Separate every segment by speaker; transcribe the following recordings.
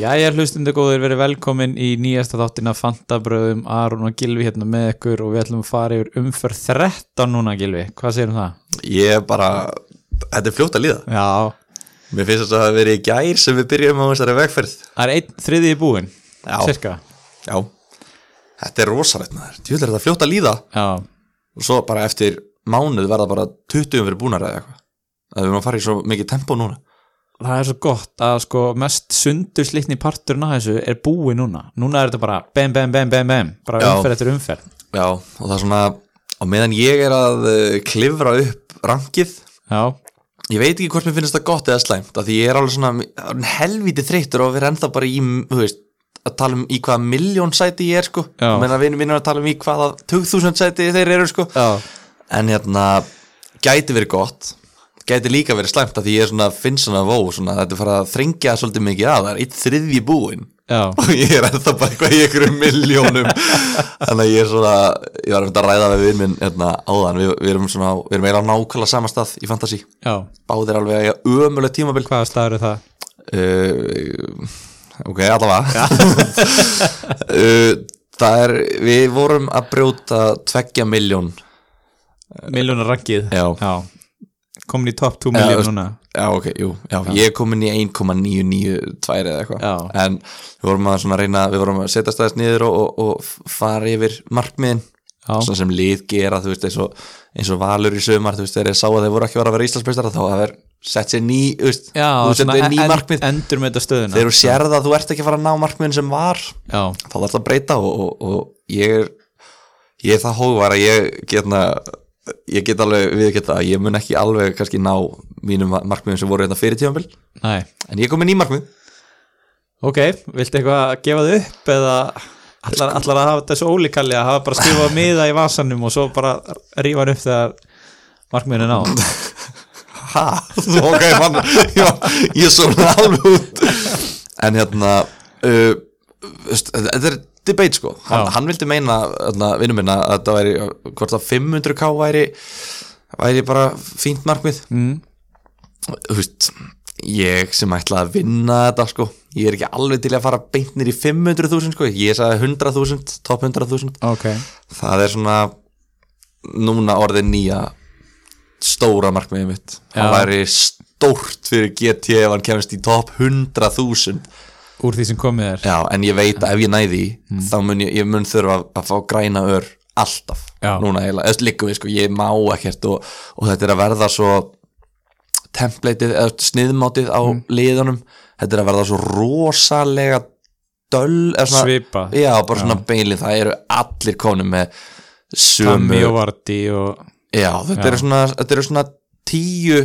Speaker 1: Jæja hlustundu góður, verið velkomin í nýjasta þáttina Fantabröðum, Aron og Gilvi hérna með ykkur og við ætlum að fara yfir umferð 13 núna Gilvi, hvað segir um það?
Speaker 2: Ég er bara, þetta er fljótt að líða
Speaker 1: Já,
Speaker 2: Mér finnst þess að það hafi verið í gær sem við byrjum á þessari vegferð
Speaker 1: það er einn þriði í búin,
Speaker 2: Já.
Speaker 1: cirka
Speaker 2: Já, þetta er rosalegt maður Tjóðlega er þetta fljótt að líða
Speaker 1: Já,
Speaker 2: Og svo bara eftir mánuð verða bara 20 fyrir búnar eða eitthvað Það við erum að fara í svo mikið tempo núna
Speaker 1: það er svo gott að sko mest sundur slitni parturinn að þessu er búin núna Núna er þetta bara bam, bam, bam, bam, bam, bara
Speaker 2: Já.
Speaker 1: umferð eftir umferð
Speaker 2: Já, og það er svona Á meðan ég er að eh, klifra upp rankið
Speaker 1: Já,
Speaker 2: Ég veit ekki hvort mér finnst það gott eða slæmt af Því ég er alveg svona orðinn helvítið þreyttur og við erum ennþá bara í, þú veist að tala um í hvaða miljón sæti ég er sko
Speaker 1: Já.
Speaker 2: menn að vinur minn er að tala um í hvaða 2000 sæti þeir eru sko
Speaker 1: já,
Speaker 2: en hérna, gæti verið gott gæti líka verið slæmt af því ég er svona finnst svona vó, svona þetta er farið að þrengja svolítið mikið að, það er eitt þriðji búin
Speaker 1: já,
Speaker 2: og ég er ennþá bara eitthvað í einhverjum miljónum þannig að ég er svona ég var einmitt að ræða við vinn minn hérna, áðan, við, við erum svona, við erum eiginlega á nákvæmlega samastað í Fantasí,
Speaker 1: já
Speaker 2: báðir alveg að ég ömuleg tímabil
Speaker 1: Hvaða staður er það?
Speaker 2: uh, ok, allavega uh, það er, við vorum að brjóta tveggja miljón
Speaker 1: Miljónar rankið
Speaker 2: Já.
Speaker 1: Komin í top 2
Speaker 2: Já,
Speaker 1: miljón
Speaker 2: veist-
Speaker 1: núna
Speaker 2: Já, ok, jú, já, ég er komin í 1,992
Speaker 1: Já.
Speaker 2: eða eitthvað en við vorum að svona reyna við vorum að setja staðist niður og, og, og fara yfir markmiðin
Speaker 1: Já.
Speaker 2: svona sem lið gera, þú veist, eins og, eins og valur í sömar, þú veist, þegar ég sá að þeir voru ekki að vera að vera Íslandsmeistar þá að vera sett sér ný, þú veist,
Speaker 1: Já,
Speaker 2: þú
Speaker 1: svona
Speaker 2: settir ný
Speaker 1: en-
Speaker 2: markmið
Speaker 1: endur með þetta stöðuna
Speaker 2: þegar þú sérð að þú ert ekki að fara að ná markmiðin sem var
Speaker 1: Já,
Speaker 2: þá þarf það að breyta og, og, og ég er ég er það hóvar að ég getna ég get alveg við geta að ég mun ekki alveg kannski ná mínum markmiðum sem voru hérna fyrir tímanbíl
Speaker 1: næ
Speaker 2: en ég er komin í markmið
Speaker 1: Ok, viltu eitthvað að gefa þið upp eða allar, allar að hafa þessu ólíkalli að hafa bara skrifað miða í vasanum og svo bara rífa hann upp þegar markmiðinu ná
Speaker 2: ha, ok, mann já, ég er svona alveg út en hérna uh, veist, þetta er debate sko hann,
Speaker 1: Já.
Speaker 2: hann vildi meina, hérna, vinnum minna að þetta væri, hvort að 500k væri væri bara fínt markmið
Speaker 1: mm.
Speaker 2: þú veist ég sem ætla að vinna þetta sko ég er ekki alveg til að fara beint nýr í 500.000 sko, ég sagði 100.000 top 100.000,
Speaker 1: Ok,
Speaker 2: það er svona núna orðið nýja stóra markmiðið mitt
Speaker 1: Já.
Speaker 2: það væri stórt fyrir GT ef hann kemist í top 100.000
Speaker 1: úr því sem komið er
Speaker 2: já, en ég veit að ef ég næði mm. þá mun ég, ég mun þurfa að, að fá græna ör alltaf,
Speaker 1: Já.
Speaker 2: núna eiginlega eða líka við sko, ég má ekkert og, og þetta er að verða svo templateið eða sniðmátið á liðunum, þetta er að verða svo rosalega döll eða svona,
Speaker 1: Svipa,
Speaker 2: já, bara svona beinlið það eru allir konum með
Speaker 1: Tammy
Speaker 2: sömu,
Speaker 1: og Vardy og
Speaker 2: já, þetta eru svona þetta eru svona tíu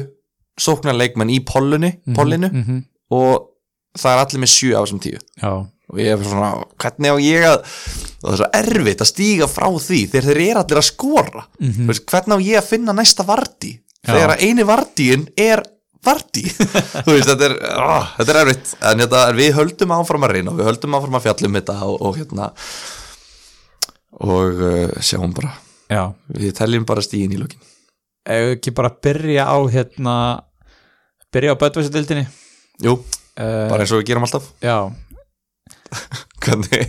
Speaker 2: sóknarleikmenn í pollunni, pollinu
Speaker 1: mm -hmm.
Speaker 2: og það er allir með sjö af þessum tíu
Speaker 1: Já,
Speaker 2: og ég er svona, hvernig á ég að og það er svo erfitt að stíga frá því þegar þeir eru allir að skora mm veist, hvernig á ég að finna næsta varti
Speaker 1: Já.
Speaker 2: þegar að eini vartíin er varti þú veist, þetta er, oh, þetta er erfitt en þetta, en við höldum áfram að reyna og við höldum áfram að fjallum þetta og, og hérna og uh, sjáum bara
Speaker 1: já
Speaker 2: við teljum bara stíin í lokin
Speaker 1: Ef við ekki bara byrja á hérna byrja á Böttvæsadildinni
Speaker 2: jú,
Speaker 1: uh,
Speaker 2: bara eins og við gerum alltaf
Speaker 1: Já,
Speaker 2: hvernig,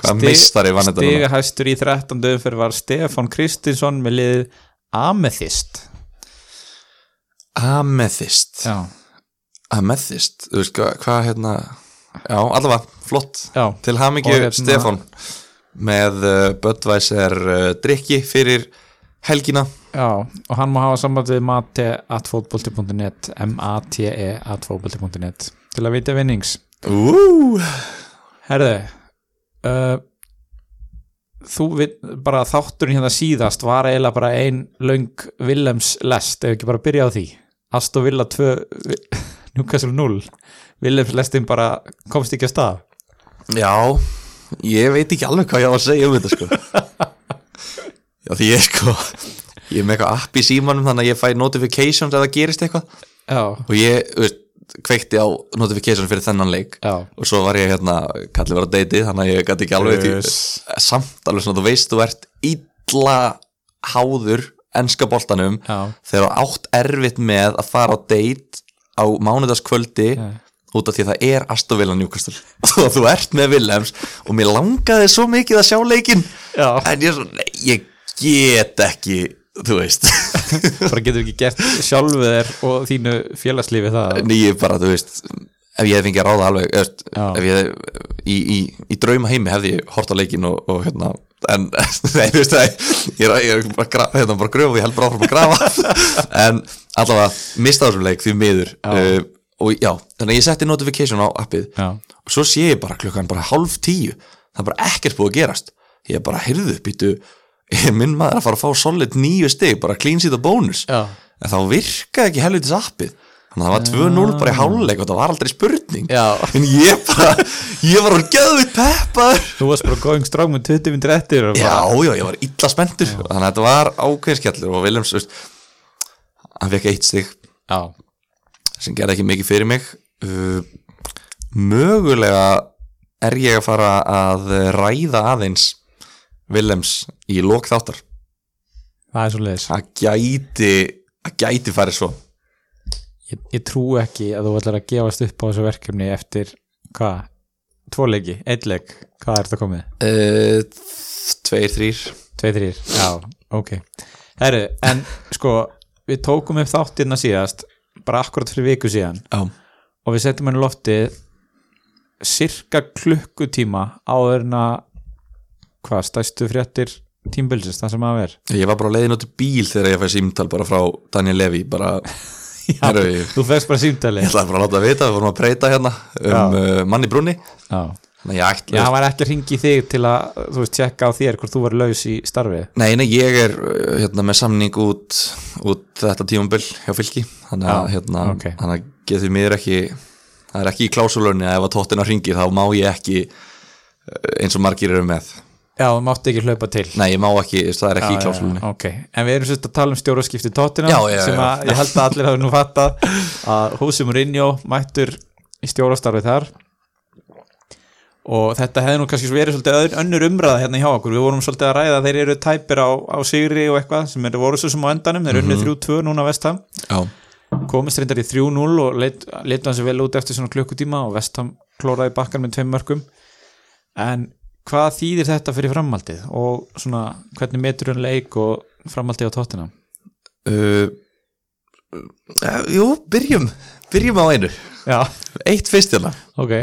Speaker 2: hvað meistari vann þetta núna?
Speaker 1: Stiga hæstur í 13. umferð var Stefán Kristinsson með liðið Amethyst
Speaker 2: Amethyst
Speaker 1: Já,
Speaker 2: Amethyst, þú veist hvað, hvað hérna já, allavega, flott
Speaker 1: já
Speaker 2: til hamingju
Speaker 1: Og hérna-
Speaker 2: Stefán með uh, Budweiser uh, drikki fyrir helgina
Speaker 1: Já, og hann má hafa samband við mate.atfótbolti.net m-a-t-e.atfótbolti.net E til að vita vinnings
Speaker 2: Ú,
Speaker 1: Herðu uh, þú við, bara þátturinn hérna síðast var eiginlega bara ein löng Willems lest, ef ekki bara byrja á því Astor Villa 2 Vi- Newcastle 0 Willems lestin bara komst ekki að stað
Speaker 2: já ég veit ekki alveg hvað ég á að segja um þetta sko já, því ég sko ég er með eitthvað app í símanum þannig að ég fæ notifications ef það gerist eitthvað
Speaker 1: Já,
Speaker 2: og ég, þú veist, kveikti á notifications fyrir þennan leik
Speaker 1: já,
Speaker 2: og svo var ég hérna, kallið var á deiti þannig að ég gæti ekki alveg yes.
Speaker 1: Yes.
Speaker 2: samt alveg svona, þú veist, þú ert illa háður enska boltanum
Speaker 1: já
Speaker 2: þegar þú átt erfitt með að fara á date á mánudagskvöldi
Speaker 1: Já.
Speaker 2: út af því að það er Aston Villa Newcastle og þú ert með Willems og mér langaði svo mikið að sjá leikin
Speaker 1: Já.
Speaker 2: en ég, er svo, nei, ég get ekki þú veist
Speaker 1: bara getur ekki gert sjálfu þér og þínu félagslífi það
Speaker 2: en ég bara, þú veist ef ég hef fengið að ráða alveg þú veist,
Speaker 1: Já.
Speaker 2: ef ég, í, í, í drauma heimi hefði ég hort á leikin og, og hérna en nei, þú veist það ég er, ég er bara, gra, hérna, bara gröf og ég held bara áfram að grafa en allavega mista þessum leik því miður uh, og já, þannig að ég setti notification á appið
Speaker 1: Já.
Speaker 2: og svo sé ég bara klukkan bara hálf tíu það er bara ekkert búið að gerast ég er bara heyrðu, býtu er minn maður að fara að fá solid nýju stig bara clean sheet og bónus
Speaker 1: Já.
Speaker 2: en þá virkaði ekki helvitis appið þannig að það var 2-0 bara í háluleik og það var aldrei spurning
Speaker 1: Já.
Speaker 2: en ég bara, ég var hún gæðið peppaður
Speaker 1: Þú varst bara going strong með 20 minn réttir og bara,
Speaker 2: já, já, ég var illa spenntur þannig að þetta var ákveðinskjallur og Williams, þú veist, hann fekk eitt stig
Speaker 1: já.
Speaker 2: sem gerði ekki mikið fyrir mig uh, mögulega er ég að fara að ræða aðeins Willems í lok þáttar
Speaker 1: það er svo leiðis
Speaker 2: það gæti það gæti farið svo
Speaker 1: ég, ég trú ekki að þú ætlar að gefast upp á þessu verkefni eftir hvað, tvo leiki, einn leik hvað er þetta komið?
Speaker 2: uh, tveir, þrýr
Speaker 1: Tveir, þrýr, já, ok Herru, en sko við tókum upp þáttirna síðast bara akkurat fyrir viku síðan
Speaker 2: já,
Speaker 1: og við setjum henni loftið cirka klukkutíma áður en að hvað, stæstu fréttir tímbilsins, það sem að vera
Speaker 2: ég var bara á leiðin út í bíl þegar ég fæði símtal bara frá Daniel Levy bara, Herru, ég-
Speaker 1: þú fegst bara símtali
Speaker 2: ég ætlaði bara að láta að vita við vorum að breyta hérna um uh, manni brunni
Speaker 1: Já,
Speaker 2: þannig að ég ætla
Speaker 1: Já, hann var ekki að ringi þig til að, þú veist, tjekka á þér hvort þú var laus í starfi
Speaker 2: Nei, nei, ég er uh, hérna, með samning út, út þetta tímambil hjá fylki þannig að,
Speaker 1: Já,
Speaker 2: hérna,
Speaker 1: ok.
Speaker 2: þannig að getur mér ekki það er ekki í klásulunni að ef að tóttina hringir þá má ég ekki uh, eins og margir eru með
Speaker 1: Já, þú mátti ekki hlaupa til
Speaker 2: Nei, ég má ekki, þú veist, það er ekki í
Speaker 1: Já,
Speaker 2: klásulunni
Speaker 1: já, ok, en við erum sérst að tala um stjóraskipti tóttina
Speaker 2: Já, já, já.
Speaker 1: sem að ég held að allir hafi nú fattað að Húsum Rinjó mættur í stjórastarfið þar og þetta hefði nú kannski verið svolítið öðru- önnur umræða hérna hjá okkur við vorum svolítið að ræða að þeir eru tæpir á, á Sigri og eitthvað sem eru voru svo sem á endanum
Speaker 2: Mhm.
Speaker 1: þeir eru unnu 3-2 núna vestam
Speaker 2: Já,
Speaker 1: komist reyndar í 3-0 og leit, leitt hann sér vel út eftir svona klukkutíma og Vestham klóraði bakkan með tveim mörgum en hvað þýðir þetta fyrir framhaldið og svona hvernig metur hann leik og framhaldið á tóttina
Speaker 2: uh, uh, Jú, byrjum byrjum á einu,
Speaker 1: Já,
Speaker 2: eitt fyrst hérna
Speaker 1: ok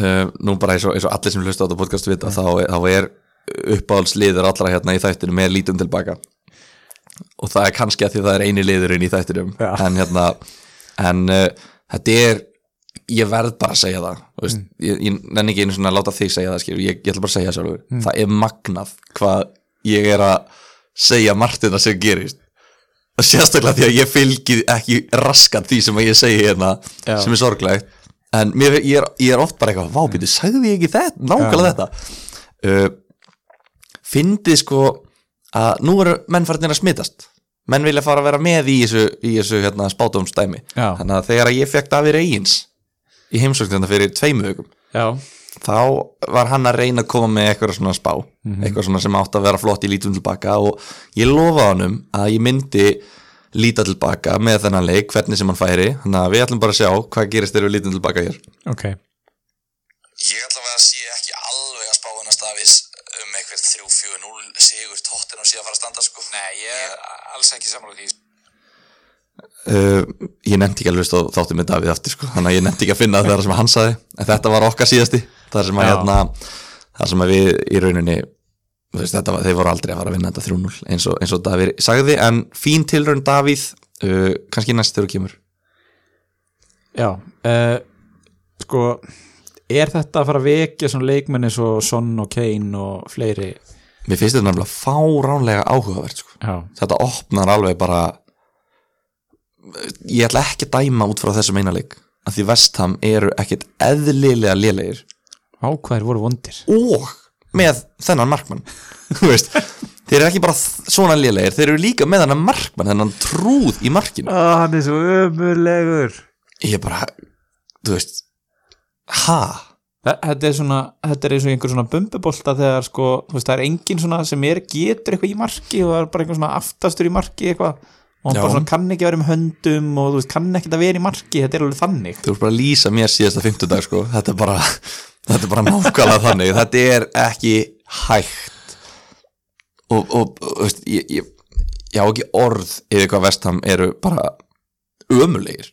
Speaker 2: uh, Nú bara eins og, eins og allir sem hlusta á þetta podcast vita þá, þá er uppáhaldsliður allra hérna í þættinu með lítum tilbaka og það er kannski að því það er eini liðurinn í þættinum
Speaker 1: Já.
Speaker 2: en hérna en uh, þetta er ég verð bara að segja það þú veist, ég, ég nenni ekki einu svona að láta þig segja það skil, ég, ég ætla bara að segja það sjálfur það er magnað hvað ég er að segja margt þetta sem gerist og sérstaklega því að ég fylgi ekki raskat því sem ég segi hérna
Speaker 1: Já.
Speaker 2: sem er sorglegt en mér, ég, er, ég er oft bara eitthvað, vábýttu, sagði ég ekki þetta nákvæmlega þetta uh, fyndið sko að nú eru menn farinir að smitast menn vilja fara að vera með í þessu, í þessu hérna, spátumstæmi
Speaker 1: Já.
Speaker 2: þannig að þegar að ég fekk Davíð Reyins í heimsókn hérna fyrir tveimu hugum
Speaker 1: Já,
Speaker 2: þá var hann að reyna að koma með eitthvað svona spá eitthvað svona sem átt að vera flott í lítum tilbaka og ég lofaði honum að ég myndi líta tilbaka með þennan leik, hvernig sem hann færi þannig að við ætlum bara að sjá hvað gerist þegar við lítum tilbaka hér
Speaker 1: ok
Speaker 3: Ég ætla að sé ekki alveg að spá hennar stafis um eitthvað 3-4-0 sigur tóttin og síðan fara að standa sko. Nei, ég er alls ekki samanlega því.
Speaker 2: uh, ég nefndi ekki alveg stóð þáttum með Davíð aftur sko, þannig að ég nefndi ekki að finna það sem hann saði, en þetta var okkar síðasti þar sem að
Speaker 1: Já.
Speaker 2: hérna þar sem að við í rauninni þú veist, þetta, var- þeir voru aldrei að fara að vinna þetta 3-0 eins, og- eins og Davíð sagði, en fín tilraun Davíð, uh, kannski næst þegar þú kemur
Speaker 1: Já, uh, sko er þetta að fara að vekja svona leikmenni svo Son og Kane og fleiri
Speaker 2: Mér finnst þetta nefnilega fáránlega áhugavert sko.
Speaker 1: Já,
Speaker 2: þetta opnar alveg bara ég ætla ekki að dæma út frá þessum eina leik af því Vestham eru ekkit eðlilega lélegir
Speaker 1: ákvæðir voru vondir
Speaker 2: og með þennan markmann Þú veist, þeir eru ekki bara þ- svona lélegir, þeir eru líka með þennan markmann þennan trúð í markinu
Speaker 1: ah, Hann er svo ömurlegur
Speaker 2: ég er bara, þú veist ha,
Speaker 1: Þa- Þetta er, svona, þetta er eins og einhver svona bumbubolta þegar sko, þú veist, það er enginn svona sem er getur eitthvað í marki og það er bara einhver svona aftastur í marki eitthvað og hann
Speaker 2: Já.
Speaker 1: bara svona kann ekki að vera um höndum og þú veist, kann ekki að vera í marki, þetta er alveg þannig
Speaker 2: þú ert bara að lýsa mér síðasta fimmtudag sko. þetta er bara þetta er bara nákvæmlega þannig þetta er ekki hægt og, og, og veist, ég, ég, ég á ekki orð yfir hvað vestam eru bara ömulegir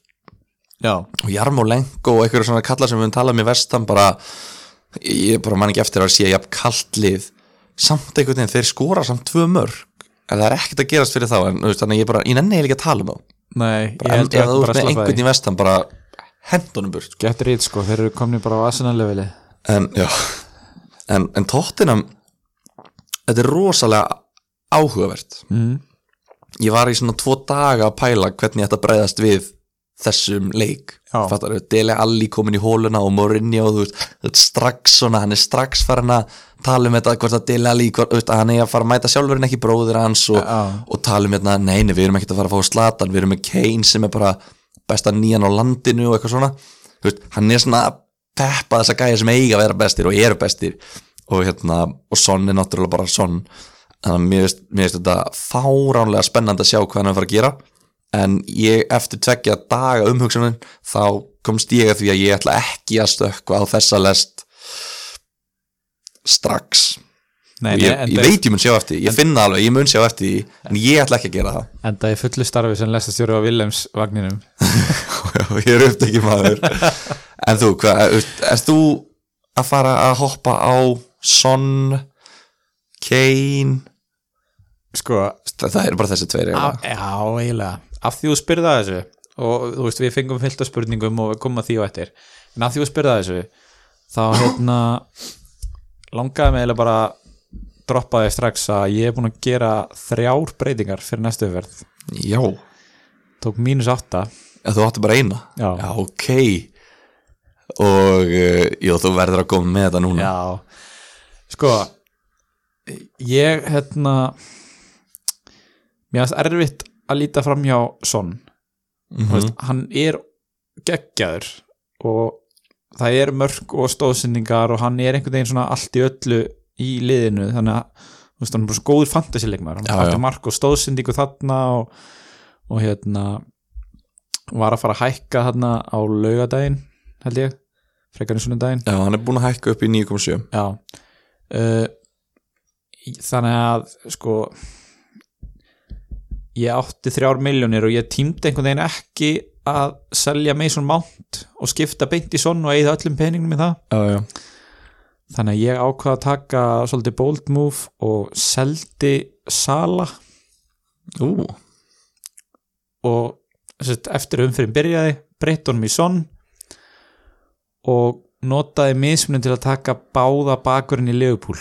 Speaker 1: Já,
Speaker 2: og Jarmo Lenko og einhverju svona kalla sem við höfum talað um í vestan bara ég bara man ekki eftir að sé jafn kalt lið samt einhvern veginn, þeir skora samt tvö mörg en það er ekkert að gerast fyrir þá en, þú veist, þannig að ég bara, ég nenni eiginlega ekki að tala um þá
Speaker 1: nei, ég
Speaker 2: bara, en,
Speaker 1: held ég
Speaker 2: ef þú
Speaker 1: að bara
Speaker 2: ert með
Speaker 1: slappa
Speaker 2: einhvern
Speaker 1: því
Speaker 2: í vestan bara hendunum burt sko.
Speaker 1: Gett rít sko, þeir eru komni bara á asinanlefili
Speaker 2: en, já en, en tóttinam þetta er rosalega áhugavert
Speaker 1: mm.
Speaker 2: ég var í svona tvo daga að pæla hvernig þetta breyðast við þessum leik
Speaker 1: Já.
Speaker 2: fattar þau, Dele Alli komin í hóluna og Mourinho, þú veist, þetta er strax svona, hann er strax farin að tala um þetta hvort að Dele Alli, hvort, þú veist, að hann er að fara að mæta sjálfurinn ekki bróðir hans og,
Speaker 1: Já.
Speaker 2: og tala um hérna, nei, nei, við erum ekkert að fara að fá slatan, við erum með Kane sem er bara besta nýjan á landinu og eitthvað svona Þú veist, hann er svona að peppa þessa gæja sem eiga að vera bestir og eru bestir og hérna, og Son er náttúrulega bara Son þannig að mér veist, mér veist þetta fáránlega spennandi að sjá hvað hann er að fara að gera en ég eftir tvekja daga umhugsunin þá komst ég að því að ég ætla ekki að stökkva á þessa lest strax
Speaker 1: Nei,
Speaker 2: og
Speaker 1: nei,
Speaker 2: ég,
Speaker 1: enda,
Speaker 2: ég veit ég mun sjá eftir, því, ég finna alveg, ég mun sjá eftir því, en ég ætla ekki að gera það
Speaker 1: enda í fullu starfi sem lestastjóri á Willems vagninum
Speaker 2: ég er upptekið maður en þú, hvað, er- ert þú að fara að hoppa á Son Kane
Speaker 1: Sko,
Speaker 2: það, það eru bara þessi
Speaker 1: á,
Speaker 2: tveir eiginlega.
Speaker 1: já, eiginlega Af því þú spyrða þessu og þú veist, við fengum fyllt af spurningum og við komum að því og eftir en af því þú spyrða þessu þá hérna langaði mig eiginlega bara droppaði strax að ég er búin að gera þrjár breytingar fyrir næstu umferð
Speaker 2: já,
Speaker 1: tók mínus átta
Speaker 2: en þú áttu bara eina
Speaker 1: Já.
Speaker 2: ok og uh, já, þú verður að koma með þetta núna
Speaker 1: Já, sko ég hérna mér finnst erfitt að líta fram hjá Son,
Speaker 2: Mhm.
Speaker 1: mm veist, hann er geggjaður og það er mörg og stóðsendingar og hann er einhvern veginn svona allt í öllu í liðinu, þannig að þú veist, hann er bara svo góður fantasileikmaður, hann
Speaker 2: Já,
Speaker 1: fætti
Speaker 2: já.
Speaker 1: mark og stóðsendingu þarna og, og hérna var að fara að hækka þarna á laugadaginn held ég, frekarinn sunnudaginn
Speaker 2: já, hann er búin að hækka upp í 9.7
Speaker 1: Já uh, Þannig að sko ég átti þrjár miljónir og ég tímdi einhvern veginn ekki að selja Mason Mount og skipta beint í sonn og eigða öllum peningum í það
Speaker 2: já, já.
Speaker 1: þannig að ég ákvaða að taka svolítið bold move og seldi Sala
Speaker 2: Ú,
Speaker 1: og sett, eftir að umfyrir byrjaði breytti honum í sonn og notaði mismunum til að taka báða bakurinn í legupúl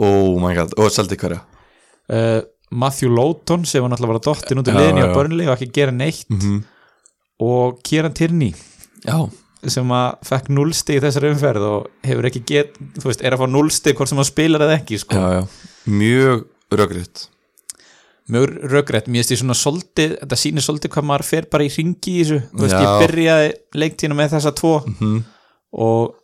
Speaker 2: oh my god, og seldi hverja
Speaker 1: uh, Matthew Lowton sem var náttúrulega bara dottin út í
Speaker 2: Já,
Speaker 1: liðinni
Speaker 2: já.
Speaker 1: á Burnley og ekki að gera neitt
Speaker 2: Mhm.
Speaker 1: og Kieran Tierney
Speaker 2: já,
Speaker 1: sem að fekk núlstig í þessari umferð og hefur ekki get, þú veist, er að fá núlstig hvort sem hann spilar eða ekki sko.
Speaker 2: já, já mjög röggrétt
Speaker 1: mjög röggrætt, mér finnst ég svona soldið, þetta sýnir soldið hvað maður fer bara í ringi í þessu, þú veist,
Speaker 2: Já.
Speaker 1: ég byrjaði leiktíðina með þessa tvo
Speaker 2: Mhm.
Speaker 1: og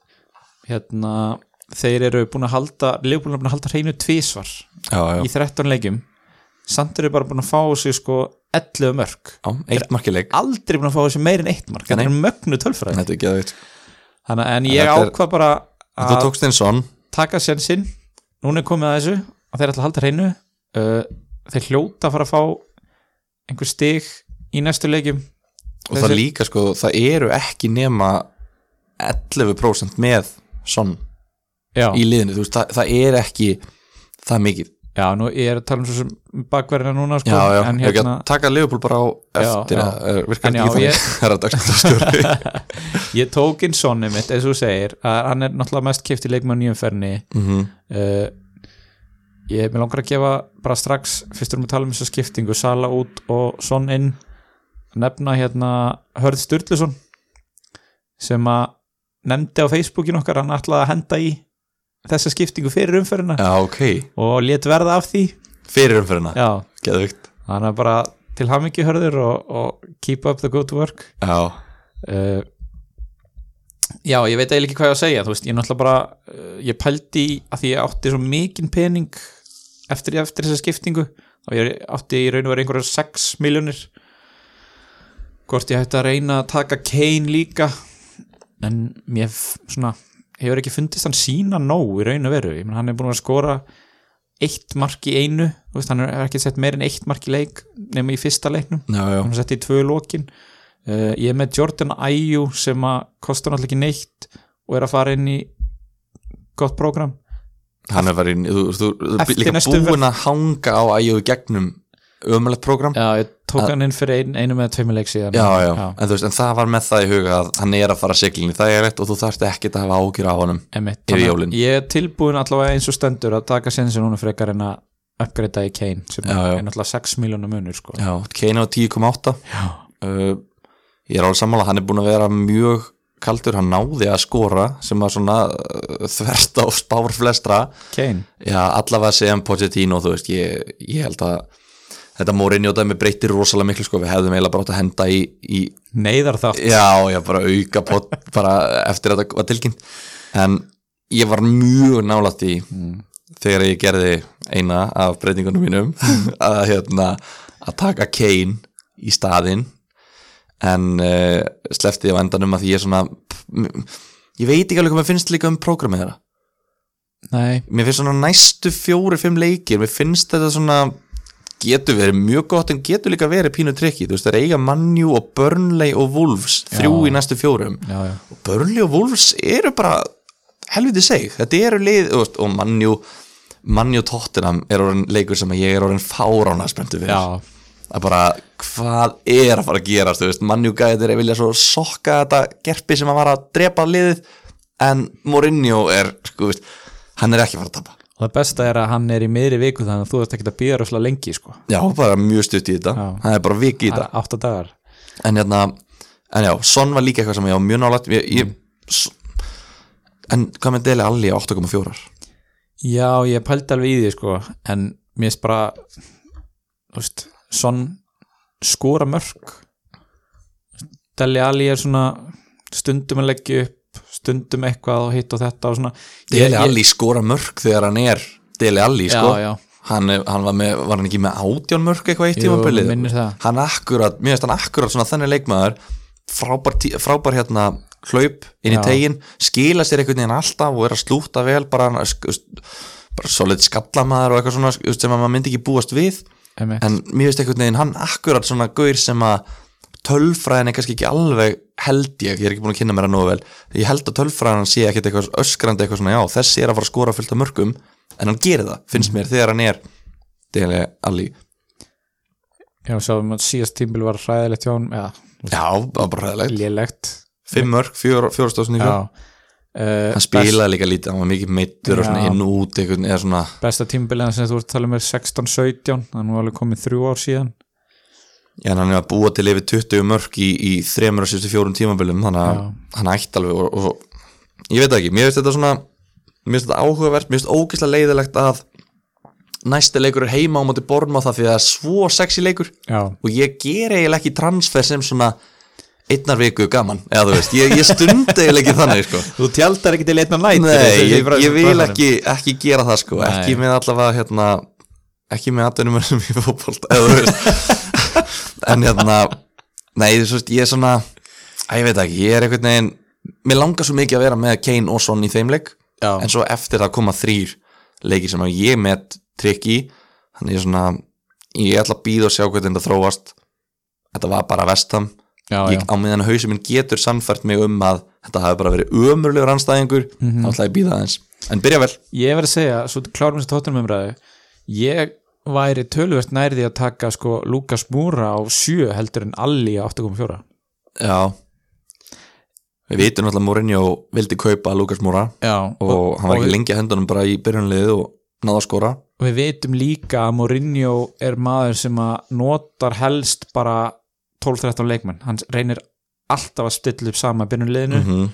Speaker 1: hérna þeir eru búin að halda, Leopold er búin að halda hreinu tvísvar
Speaker 2: já, já,
Speaker 1: í 13 leikjum samt eru bara búin að fá sig sko 11 mörg
Speaker 2: já, eitt markileik
Speaker 1: aldrei búin að fá þessu meir en eitt mark þetta
Speaker 2: Nei.
Speaker 1: er mögnu tölfræði
Speaker 2: þetta er geðveikt.
Speaker 1: Þannig, en ég
Speaker 2: þetta er-
Speaker 1: ákvað bara
Speaker 2: En þú
Speaker 1: að
Speaker 2: tókst einn son
Speaker 1: taka sensinn núna er komið að þessu að þeir ætla að halda hreinu uh, þeir hljóta að fara að fá einhver stig í næstu leikjum
Speaker 2: og það
Speaker 1: Þessi-
Speaker 2: líka sko, það eru ekki nema 11% með son
Speaker 1: já,
Speaker 2: í liðinu, þú veist, það, það er ekki það mikið,
Speaker 1: já, nú ég er að tala um svo sem bakverðina núna sko,
Speaker 2: já, já,
Speaker 1: en
Speaker 2: ekki að
Speaker 1: hérna
Speaker 2: taka Leopold bara á eftir
Speaker 1: já.
Speaker 2: að er- virkar
Speaker 1: En
Speaker 2: þetta
Speaker 1: já,
Speaker 2: ekki
Speaker 1: ég-
Speaker 2: þannig það er að dagstöðstjóri
Speaker 1: ég tók inn sonni mitt eins og þú segir að hann er náttúrulega mest kipti leikmann í umferðinni
Speaker 2: Mhm.
Speaker 1: uh, ég með langar að gefa bara strax, fyrst erum við að tala um þessa skiptingu Sala út og Son inn nefna hérna Hörð Sturluson sem að nefndi á Facebookin okkar hann ætlaði að henda í þessa skiptingu fyrir umferðina
Speaker 2: já, ok,
Speaker 1: og let verða af því
Speaker 2: fyrir umfyrirna
Speaker 1: já,
Speaker 2: geðvikt,
Speaker 1: hann er bara til hamingi hörður og, og keep up the good work
Speaker 2: já,
Speaker 1: uh, Já, ég veit eh, eiginlega ekki hvað ég á að segja þú veist, ég náttúrulega bara uh, ég pældi í að því ég átti svo mikinn pening eftir, eftir þessa skiptingu þá ég átti í raun og verið einhverjar 6 miljónir hvort ég hætti að reyna að taka Kane líka en mér f- svona, hefur ekki fundist hann sína nóg í raun og veru ég menn hann er búin að skora eitt mark í einu þú veist, hann er ekki sett meir en eitt mark í leik nema í fyrsta leiknum
Speaker 2: já, já,
Speaker 1: hann setti í tvö lokin uh, ég er með Jordan Ayew sem að kostar náttúrulega ekki neitt og er að fara inn í gott prógram
Speaker 2: hann er verið þú, þú, þú
Speaker 1: Eftir
Speaker 2: er líka
Speaker 1: næstu
Speaker 2: búin að hanga á ægjöðu gegnum ömulegt prógram já.
Speaker 1: já, ég tók hann inn fyrir ein, einu með tveimur leik síðan
Speaker 2: Já, En, þú veist, en það var með það í huga að hann er að fara siglinni það er rétt og þú þarft ekkert að hafa ágjur á honum
Speaker 1: Einmitt,
Speaker 2: Yfir
Speaker 1: þannig að
Speaker 2: jólin.
Speaker 1: ég er tilbúin allavega eins og stendur að taka sensi núna frekar en að uppgreita í Kane sem
Speaker 2: Já, já.
Speaker 1: er náttúrulega 6 miljónum munur sko.
Speaker 2: Já, Kane á 10,8 uh, Ég er alveg sammála, hann er búin að vera mjög kaldur, hann náði að skora sem var svona uh, þvert á spár flestra
Speaker 1: Kane,
Speaker 2: Já, allavega sem Pochettino, þú veist, ég, ég held að þetta Mourinho dæmi breytir rosalega miklu sko, við hefðum eiginlega bara átt að henda í, í
Speaker 1: neyðar þátt
Speaker 2: já, já, bara auka pot, bara eftir að þetta var tilkynnt en ég var mjög nálætt í þegar ég gerði eina af breytingunum mínum að hérna að taka Kane í staðinn en uh, slefti ég á endanum að því ég er svona ég veit ekki alveg hvað mér finnst líka um prógramið þeirra
Speaker 1: Nei,
Speaker 2: mér finnst svona næstu fjóri, fimm leikir mér finnst þetta svona getur verið mjög gott en getur líka verið pínu trikki, þú veist það er eiga mannjú og Burnley og Wolves, þrjú í næstu fjórum
Speaker 1: já, já.
Speaker 2: og Burnley og Wolves eru bara helviti seg, þetta eru lið þú veist, og mannjú mannjú tóttinam er orðin leikur sem að ég er orðin fárána spenntu fyrir
Speaker 1: Já.
Speaker 2: að bara hvað er að fara að gerast þú veist, mannjú gæðir vilja svo sokka þetta gerpi sem að var að drepa liðið en Mourinho er sko, þú veist, hann er ekki að fara að tapa
Speaker 1: og það besta er að hann er í miðri viku þannig að þú ert ekkert að býða röfslega lengi sko.
Speaker 2: Já, bara mjög stutt í þetta
Speaker 1: Já.
Speaker 2: Það er bara vik í þetta
Speaker 1: 8 dagar
Speaker 2: En hérna, en já, Son var líka eitthvað sem ég á mjög nálægt ég,
Speaker 1: Mm.
Speaker 2: ég, s- En hvað með Dele Alli á 8,4
Speaker 1: Já, ég pældi alveg í því sko en mér finnst bara þú veist, svon skora mörg Deli Ali er svona stundum að leggja upp stundum eitthvað og hitt og þetta og svona
Speaker 2: Dele Alli skora mörg þegar hann er Dele Alli, sko
Speaker 1: Já, já,
Speaker 2: Hann, er- hann var, með, var hann ekki með átján mörg eitthvað eitt
Speaker 1: Jú,
Speaker 2: tímabilið
Speaker 1: minnir það.
Speaker 2: Hann akkurat, mér finnst hann akkurat svona þannig leikmaður frábær, tí- frábær hérna hlaup inn í
Speaker 1: Já.
Speaker 2: tegin skila sér einhvern veginn alltaf og er að slúta vel bara, hann- sk- sk- bara solid skallamaður og eitthvað svona sk- sem að maður myndi ekki búast við
Speaker 1: einmitt.
Speaker 2: en mér finnst einhvern veginn hann akkurat svona gaur sem að tölfræðin er kannski ekki alveg held ég, ég er ekki búin að kynna mér hann nógu vel ég held að tölfræðin sé ekkert eitthvað öskrandi eitthvað svona já, þessi er að fara að skora fullt af mörgum en hann gerir það, finnst
Speaker 1: Mhm.
Speaker 2: mér, þegar hann er Dele Alli
Speaker 1: já, sjáum að síðast tímbil var hræðilegt hjá hann, eða
Speaker 2: Já, það var bara ræðilegt
Speaker 1: lélegt
Speaker 2: Fimm mörg, fjórastofsni
Speaker 1: Já, uh,
Speaker 2: Hann spilaði líka lítið, hann var mikið meittur og svona
Speaker 1: Já.
Speaker 2: inn og út einhvern, eða svona
Speaker 1: besta tímbil sem þú ert að tala um er 16-17 þannig var alveg komið þrjú ár síðan
Speaker 2: Já, en hann er að búa til yfir 20 mörg í, í 364 tímabölum þannig að
Speaker 1: Já.
Speaker 2: hann ætti alveg og, og svo, ég veit það ekki, mér finnst þetta svona mér finnst þetta áhugavert, mér finnst ógeðslega leiðilegt að næsti leikur er heima á móti borma það því að það er svo sexy leikur
Speaker 1: Já,
Speaker 2: og ég ger eiginlega ekki transfer sem svona einnar viku gaman, eða þú veist, ég, ég stund eiginlega ekki þannig sko.
Speaker 1: þú tjaldar ekki til leitna nætt
Speaker 2: Nei, ég, ég vil ekki, ekki gera það sko,
Speaker 1: Nei.
Speaker 2: ekki með allavega hérna, ekki með aðdönum í fótbolta eða þú veist en hérna, nei þú veist ég er svona, að ég veit ekki, ég er einhvern veginn, mér langar svo mikið að vera með Kane og Son í þeim leik
Speaker 1: Já.
Speaker 2: en svo eftir það koma þrýr leikir sem að ég met trikk í þannig ég er svona, ég ætla að býða og sjá hvernig þetta þróast þetta var bara vestam
Speaker 1: já, já.
Speaker 2: ég, á meðan hausum minn getur sannfært mig um að þetta hafi bara verið ömurlegur anstæðingur þá ætla ég að býða aðeins en byrja vel
Speaker 1: ég verð að segja, svo klárum þessi tóttunum umræðu ég væri tölvert nærði að taka sko Lukas Múra á 7 heldur en Alli á 8.4
Speaker 2: já við vitum náttúrulega að Mourinho vildi kaupa Lucas Moura
Speaker 1: já,
Speaker 2: og, hann var ekki lengi að hendunum bara í byrjunliðið og náða að skora
Speaker 1: við vitum líka að Mourinho er maður sem að notar helst bara 12-13 leikmenn hann reynir alltaf að stilla upp sama byrjunliðinu,
Speaker 2: mm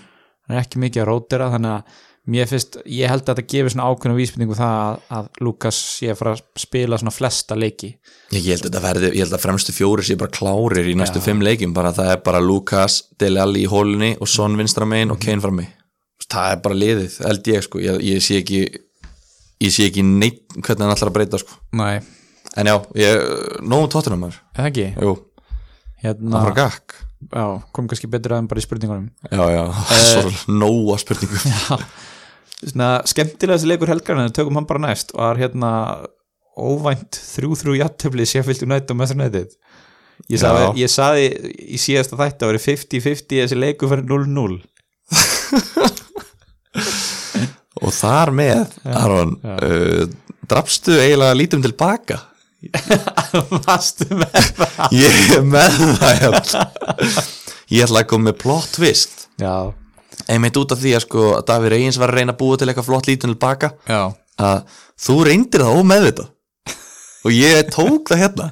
Speaker 1: hann er ekki mikið að rótira þannig að mér finnst, ég held að þetta gefi svona ákveðna vísbendingu um það að, að Lukas sé að fara að spila svona flesta leiki
Speaker 2: ég held að þetta verði, ég held að fremstu fjóri sé bara klárir í næstu fimm leikim bara það er bara Lucas, Dele Alli í hólunni og Mhm. Son vinstra megin og Kane frammi það er bara liðið, held ég sko ég, ég sé ekki ég sé ekki neitt hvernig hann ætlar að breyta sko.
Speaker 1: Nei,
Speaker 2: en já, ég, nógum tóttunum maður
Speaker 1: eða ekki
Speaker 2: jú, það
Speaker 1: hérna,
Speaker 2: var gakk
Speaker 1: já, kom kannski betur aðeins bara í spurningunum
Speaker 2: já, já, svo nóa spurningum
Speaker 1: Svona, skemmtilegast leikur helgarna tökum hann bara næst og er hérna óvænt 3-3 játtöfli séfilt United og Manchester United ég sagði,
Speaker 2: Já.
Speaker 1: ég sagði í síðasta þætti að verið 50-50 þessi leikur fyrir 0-0
Speaker 2: og þar með, Aron
Speaker 1: já.
Speaker 2: uh, drafstu eiginlega lítum til baka
Speaker 1: Vastu með það
Speaker 2: ég er með það hérna. ég ætla að koma með plot twist
Speaker 1: Já,
Speaker 2: einmitt út af því að sko að Davíð Reyns var að reyna að búa til eitthvað flott lítum til baka
Speaker 1: já,
Speaker 2: að þú reyndir það ómeðvita og ég tók það hérna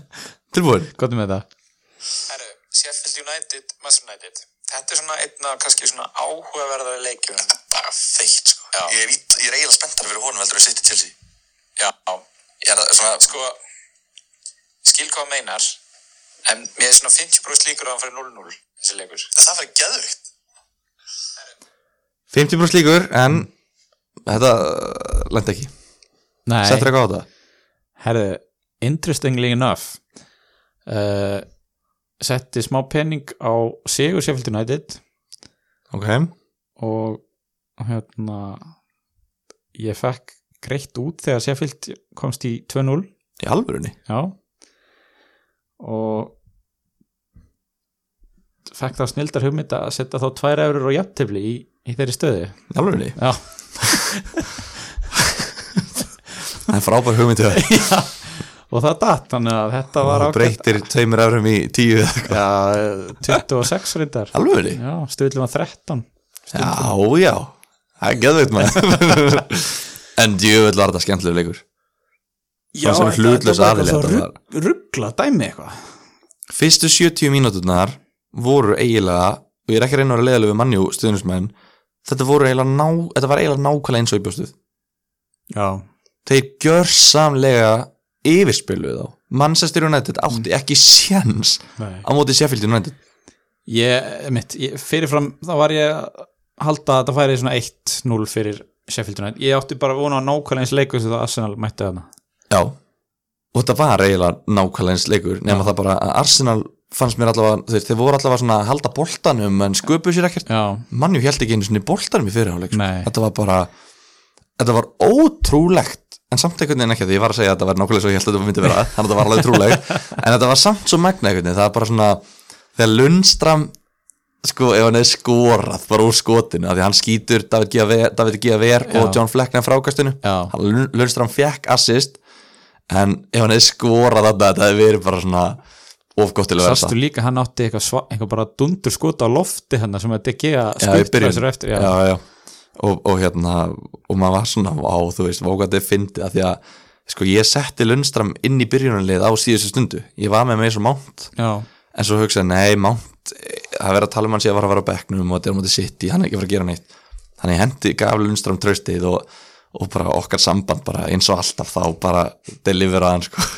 Speaker 2: tilbúin
Speaker 1: gott með það
Speaker 3: Herru, Sheffield United, Manchester United Þetta er svona einna kannski svona áhugaverðari leikjum Bara feitt sko Já. Ég er, ít- ég er eiginlega spenntar fyrir honum heldur að sitja til því Já Ég er að- svona, sko Skil hvað hann meinar En mér er svona 50 brúst líkur á hann fyrir 0-0 Þessi leikur Það fyrir geðvikt
Speaker 2: 50 brúst líkur en þetta lendi ekki
Speaker 1: Nei,
Speaker 2: settur eitthvað á það
Speaker 1: herðu, interestingly enough uh, setti smá penning á Sigur Sheffield United
Speaker 2: ok,
Speaker 1: og hérna ég fekk greitt út þegar Sheffield komst í 2-0
Speaker 2: í alvörunni
Speaker 1: já og fekk þá snildar hugmynd að setja þá tvær eurur og jafntefli í, í þeirri stöðu
Speaker 2: í alvörunni,
Speaker 1: já,
Speaker 2: það er frábær hugmynd til það
Speaker 1: og það datt þannig að þetta var
Speaker 2: það breytir tveimur efrum í tíu eða eitthvað.
Speaker 1: já, 26 reyndar
Speaker 2: alvörunni,
Speaker 1: já, stöðlum að 13
Speaker 2: já, já það er geðveit maður en djöfull var þetta skemmtilegur leikur
Speaker 1: Já,
Speaker 2: sem
Speaker 1: þetta-
Speaker 2: hlutlaus
Speaker 1: þetta var
Speaker 2: aðili
Speaker 1: eitthvað
Speaker 2: þetta
Speaker 1: svo rugg- ruggla dæmi eitthvað
Speaker 2: fyrstu 70 mínúturnar voru eiginlega og ég er ekki að reyna að vera leiðilega við mannjú stuðnismenn þetta voru eiginlega ná, þetta var eiginlega nákvæmlega eins og í bjóstuð
Speaker 1: Já,
Speaker 2: þeir gjörsamlega yfirspiluð þá Manchester United átti ekki séns
Speaker 1: nei
Speaker 2: á móti Sheffield United
Speaker 1: Ég, mitt, ég, fyrirfram þá var ég að halda að þetta færi svona 1-0 fyrir Sheffield United ég átti bara að vona á nákvæmlega eins leikur sem það Arsenal mætti þarna
Speaker 2: já, og þetta var eiginlega nákvæmlega eins leikur nema það bara að Arsenal fannst mér allavega, þeir, þeir voru allavega svona að halda boltanum en sköpuð sér ekkert
Speaker 1: Já,
Speaker 2: mannjú held ekki einu svona boltanum í fyrirháleik
Speaker 1: Nei.
Speaker 2: þetta var bara þetta var ótrúlegt en samt einhvern veginn ekki því ég var að segja að þetta var nákvæmlega svo ég held að þetta myndi vera þannig að þetta var alveg trúlegt en þetta var samt svo magna einhvern veginn það er bara svona þegar Lundstram sko ef hann er skorað bara úr skotinu af því hann skýtur David Gia Ver, David Gia Ver og
Speaker 1: Já.
Speaker 2: John Flecknam frákastinu
Speaker 1: Já.
Speaker 2: Hann- Lund- Lundstram fekk assist en ef hann er skorað þarna þetta hefði verið bara svona ofgóttilega
Speaker 1: sástu líka hann átti eitthvað, sva, eitthvað bara dundur skota á lofti hérna sem að DG
Speaker 2: Já, í
Speaker 1: skutt
Speaker 2: byrjun.
Speaker 1: þessar eftir já.
Speaker 2: já, já. Og, og hérna og maður var svona á, þú veist, vókandi fyndið að því að sko, ég setti Lundstram inn í byrjunarlið á síðustu stundu ég var með mig svo mánt
Speaker 1: Já.
Speaker 2: en svo hugsaði, nei, mánt eh, það verið að tala um hann sé að var að vera á bekknum og þetta er á móti sitt hann er ekki að fara að gera neitt þannig ég hendi gaf Lundstram tröstið og, og bara okkar samband bara eins og alltaf þá bara deliveraði hann sko.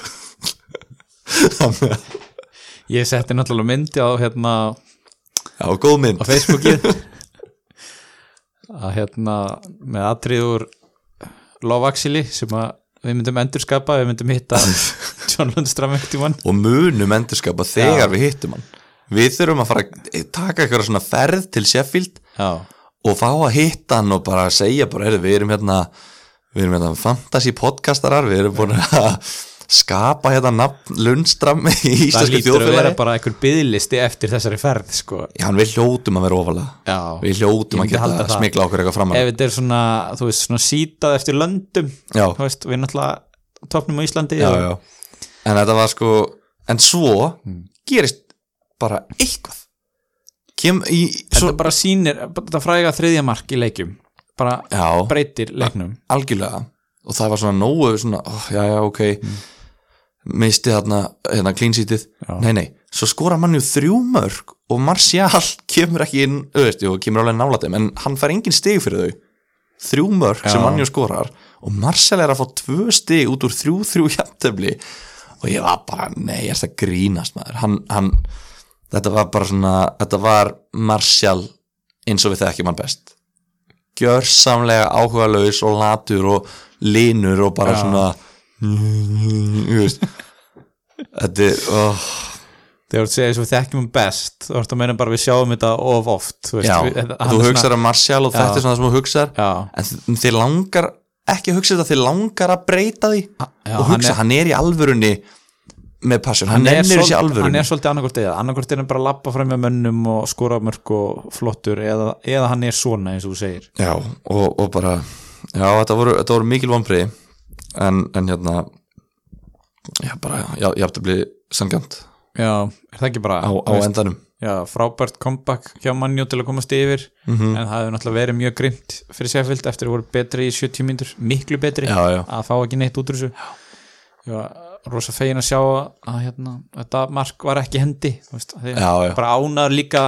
Speaker 1: ég setti náttúrulega myndi á hérna
Speaker 2: já, góð
Speaker 1: á
Speaker 2: mynd
Speaker 1: Facebookið að hérna með atriður Lovaxili sem að við myndum endurskapa, við myndum hitta John Lundstram ekkert í mann
Speaker 2: og munum endurskapa þegar við hittum hann við þurfum að fara að taka eitthvað svona ferð til Sheffield
Speaker 1: Já,
Speaker 2: og fá að hitta hann og bara segja bara, heyrðu, við erum hérna við erum hérna fantasy podcastarar við erum búin að skapa hérna nafn Lundstram í
Speaker 1: það
Speaker 2: íslensku
Speaker 1: lítur að vera
Speaker 2: þjóðfélagi
Speaker 1: bara einhver byðlisti eftir þessari ferð sko.
Speaker 2: Já, en við hljótum að vera ofalega
Speaker 1: Já.
Speaker 2: við hljótum
Speaker 1: Ég
Speaker 2: að
Speaker 1: myndi
Speaker 2: geta
Speaker 1: halda
Speaker 2: að
Speaker 1: það.
Speaker 2: smikla okkur eitthvað framar
Speaker 1: ef þetta er svona, þú veist, svona sítað eftir löndum
Speaker 2: Já,
Speaker 1: þú veist, við náttúrulega topnum á Íslandi
Speaker 2: já,
Speaker 1: og-
Speaker 2: já En þetta var sko, en svo
Speaker 1: Mm.
Speaker 2: gerist bara eitthvað Kem í
Speaker 1: þetta
Speaker 2: svo,
Speaker 1: bara sýnir, þetta fræga þriðja mark í leikjum bara
Speaker 2: Já,
Speaker 1: breytir leiknum
Speaker 2: algjörlega og það var svona nógu svona, oh, já, já, ok
Speaker 1: Mm.
Speaker 2: misti þarna, hérna klínsítið
Speaker 1: Já.
Speaker 2: nei, nei, svo skora mann ju þrjú mörg og Martial kemur ekki inn þú veist, jú, kemur alveg nála þeim, en hann fær engin stig fyrir þau þrjú mörg
Speaker 1: Já.
Speaker 2: sem mann ju skorar og Martial er að fá tvö stig út úr þrjú þrjú jafntefli og ég var bara, nei, er það grínast maður hann, hann, þetta var bara svona þetta var Martial eins og við þekkjum hann best gjörsamlega áhugalaus og latur og linur og bara
Speaker 1: Já.
Speaker 2: svona þú veist þetta er oh,
Speaker 1: þegar þú segir þess að við þekkjum um best þá ertu að meina bara við sjáum þetta of oft þú veist,
Speaker 2: já,
Speaker 1: við, hann er
Speaker 2: þú
Speaker 1: svona-
Speaker 2: hugsar að Martial og þetta
Speaker 1: Já.
Speaker 2: er svona það sem þú hugsar
Speaker 1: já,
Speaker 2: en þi- þið langar ekki að hugsa þetta, þið langar að breyta því
Speaker 1: já,
Speaker 2: og hugsa, hann er, í alvörunni með passion, hann,
Speaker 1: er
Speaker 2: hann ennir þessi
Speaker 1: svol- hann
Speaker 2: alvörunni
Speaker 1: er svolítið annarkort eða annarkort er hann bara að labba fram með mönnum og skora mörg og flottur eða, eða hann er svona eins og þú segir
Speaker 2: Já, og, og bara Já, þetta voru, þetta voru mikil vonbrigði en, en hérna Já, bara, já, ég hafði blið sangjant
Speaker 1: já, er það ekki bara
Speaker 2: á, á
Speaker 1: þú veist,
Speaker 2: endanum
Speaker 1: já, frábært comeback hjá mannjú til að komast yfir
Speaker 2: Mhm.
Speaker 1: en það hefur náttúrulega verið mjög grimt fyrir Seffild eftir að voru betri í 70 mínútur miklu betri
Speaker 2: Já, já,
Speaker 1: að fá ekki neitt út úr þessu ég var rosa fegin að sjá að hérna, þetta mark var ekki hendi þú veist, að því
Speaker 2: já, já,
Speaker 1: bara ánaður líka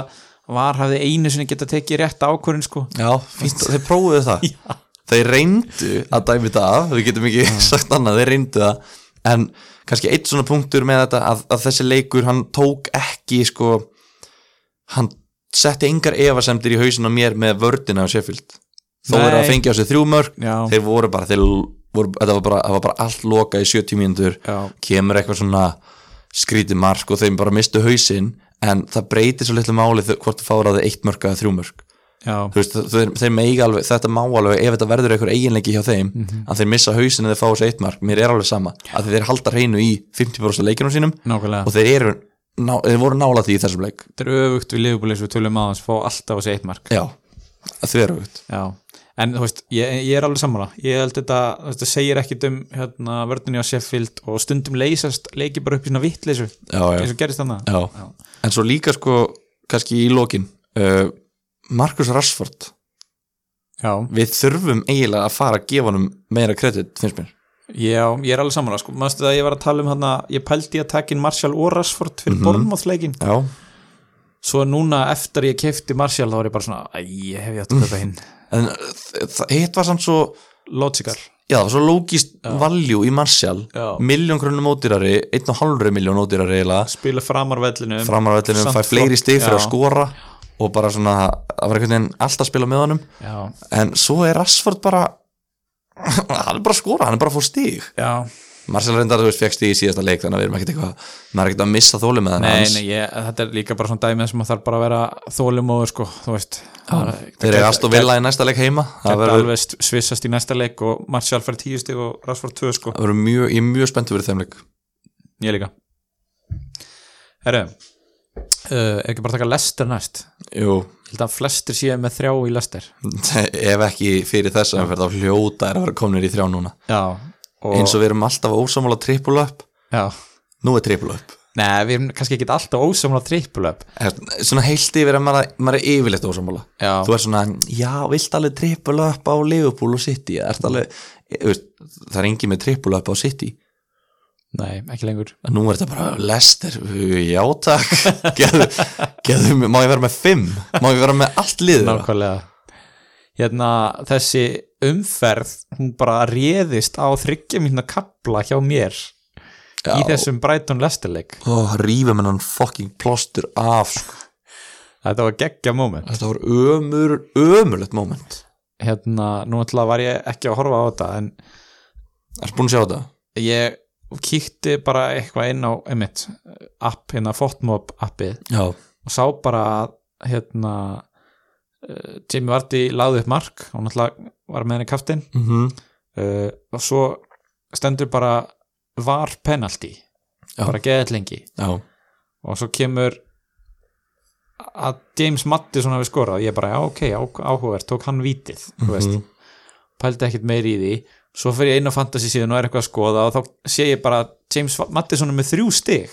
Speaker 1: var hafði einu sinni geta tekið rétt ákvörðin sko
Speaker 2: já fínt, þeir prófuðu það
Speaker 1: Já. Mm.
Speaker 2: Þeir reyndu að dæmi þetta af Við getum ekki sagt annað, þeir reyndu það En kannski eitt svona punktur með þetta að, að þessi leikur, hann tók ekki sko, hann setti engar efasemdir í hausin á mér með vördina á Sheffield þó er að
Speaker 1: Nei.
Speaker 2: fengja á sig þrjú mörg
Speaker 1: já,
Speaker 2: þeir voru bara, þeir voru, þetta var bara, það var bara allt loka í 70 mínútur
Speaker 1: já,
Speaker 2: kemur eitthvað svona skrítið mark og þeim bara mistu hausinn en það breytir svo litlu máli þau- hvort þú fáir að það eitt mörg eða þrjú mörg
Speaker 1: já,
Speaker 2: Þú veist, þeir, þeir megi alveg, þetta má alveg ef þetta verður eitthvað eiginleiki hjá þeim
Speaker 1: Mhm.
Speaker 2: að þeir missa hausinn eða þeir fá þessu eitt mark mér er alveg sama, að þeir halda hreinu í 50% leikinum sínum
Speaker 1: nákvæmlega
Speaker 2: og þeir eru, ná, þeir voru nála því í þessum leik
Speaker 1: þetta er öfugt við liðbúlis við tölum um aðeins fá alltaf þessi eitt mark
Speaker 2: já, að þeir eru
Speaker 1: já. en þú veist, ég, ég er alveg sammála ég held þetta, þú veist, það segir ekkit um hérna, vörðinni á Sheffield og stundum leysast leiki bara upp í svona vittleysu eins
Speaker 2: já, já.
Speaker 1: og gerist þannig
Speaker 2: Já.
Speaker 1: Já.
Speaker 2: en svo líka sko kannski í lokin uh, Marcus Rashford
Speaker 1: já,
Speaker 2: við þurfum eiginlega að fara að gefa honum meira kredit, finnst mér
Speaker 1: Já, ég er alveg samanlega sko, maður stuð að ég var að tala um hann ég pældi í að taka inn Marshall og Rashford fyrir mm
Speaker 2: Mhm.
Speaker 1: -hmm. Bornmothleikin,
Speaker 2: já,
Speaker 1: svo núna eftir ég kefti Marshall þá var ég bara svona, æ, ég hef ég átt að köpa hinn
Speaker 2: en uh, þ- það- hitt var samt svo
Speaker 1: Logical,
Speaker 2: já, það var svo logist valjú í Martial
Speaker 1: Já.
Speaker 2: miljón krónum ódýrari, einn og halvri miljón ódýrari eiginlega,
Speaker 1: spila framar vellinu
Speaker 2: framarvellinum
Speaker 1: Samt
Speaker 2: fær fleiri
Speaker 1: flott,
Speaker 2: stig
Speaker 1: já.
Speaker 2: fyrir að skora og bara svona, það var einhvern veginn allt að spila með honum,
Speaker 1: Já,
Speaker 2: en svo er Rashford bara hann er bara að skora, hann er bara að fá stig
Speaker 1: já,
Speaker 2: Marcel reyndar, þú veist, fegst í síðasta leik þannig að við erum ekkert eitthvað, maður er ekkert að missa þóli með hann
Speaker 1: nei, nei, ég, þetta er líka bara svona dæmið sem að þarf bara að vera þólumóður sko, þú veist
Speaker 2: þeir eru aðstof vilja í næsta leik heima það
Speaker 1: Þetta
Speaker 2: verður
Speaker 1: alveg st- svissast í næsta leik og Marshall fær tíu stig og Rashford tvö sko
Speaker 2: það verður mjög, ég er mjög spenntur fyrir þeim leik
Speaker 1: Ég líka Herru, uh, er ekki bara að taka lester næst?
Speaker 2: jú,
Speaker 1: Ég held að flestir séu með þrjá í lester
Speaker 2: ef ekki fyrir þess að verða hljóta er að vera komnir í þrjá núna
Speaker 1: Já og,
Speaker 2: eins og við erum alltaf ósamála triple up
Speaker 1: Já
Speaker 2: nú er triple up
Speaker 1: Nei, við erum kannski ekki alltaf ósamla triple up
Speaker 2: Er- svona heilt yfir að maður, maður er yfirleitt ósamála
Speaker 1: Já.
Speaker 2: þú er svona, já, vilt alveg triple up á Liverpool og City Ert alveg, e, þú veist, það er engin með triple up á City
Speaker 1: Nei, ekki lengur
Speaker 2: En nú er þetta bara lester já takk geðu, geðu, má ég vera með fimm má ég vera með allt liður
Speaker 1: Nákvæmlega Hérna, þessi umferð hún bara réðist á þryggja mínna kapla hjá mér í þessum Brighton Lesterleik
Speaker 2: Ó, rífum hennan fucking plóstur af sko.
Speaker 1: Þetta var geggja moment
Speaker 2: þetta var ömur, ömurlegt moment
Speaker 1: Hérna, nú ætla var ég ekki að horfa á þetta en
Speaker 2: ertu búin að sjá þetta?
Speaker 1: ég kíkti bara eitthvað inn á emitt app, hérna Fotmob appið
Speaker 2: já,
Speaker 1: og sá bara að hérna uh, Jimmy Vardy laði upp mark og náttúrulega var með henni kaftin
Speaker 2: mm
Speaker 1: uh, og svo stendur bara var penalty
Speaker 2: Já.
Speaker 1: bara geðið lengi
Speaker 2: já.
Speaker 1: og svo kemur að James Madison hafi skorað ég bara, já ok, á- áhugavert, tók hann vítið þú veist, pældi ekkert meir í því svo fer ég inn á fantasy síðan og er eitthvað að skoða og þá sé ég bara að James Madison er með þrjú stig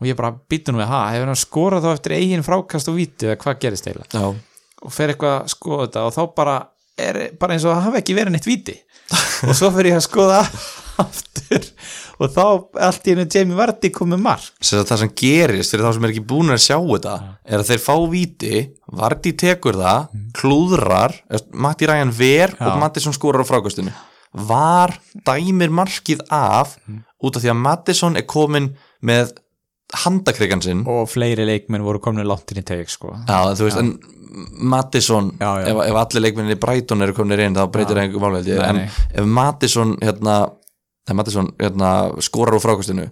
Speaker 1: og ég bara býtu nú við, ha, hefur hann skorað þá eftir eigin frákast og vítið eða hvað gerist eiginlega
Speaker 2: já,
Speaker 1: og fer eitthvað að skoða þetta og þá bara er bara eins og það hafi ekki verið neitt viti og svo fer ég að skoða aftur og þá allt í hennu Jamie Vardy komið mark
Speaker 2: Sem sagt, það sem gerist fyrir þá sem er ekki búin að sjá þetta er að þeir fá víti, Vardí tekur það klúðrar, eh, Matti Ræjan ver
Speaker 1: Já.
Speaker 2: og Mattisson skorar á frákastinu var dæmir markið af út af því að Mattisson er komin með handakrikan sinn
Speaker 1: og fleiri leikmenn voru komin langt inn í teg sko.
Speaker 2: Já, en þú veist, en Mattisson
Speaker 1: Já, já.
Speaker 2: Ef, ef allir leikminni í Brighton eru komnir inn þá breytir það einhver málveldi
Speaker 1: Nei,
Speaker 2: en
Speaker 1: nei.
Speaker 2: ef Mattisson, hérna, ef Mattisson hérna, skorar úr frákostinu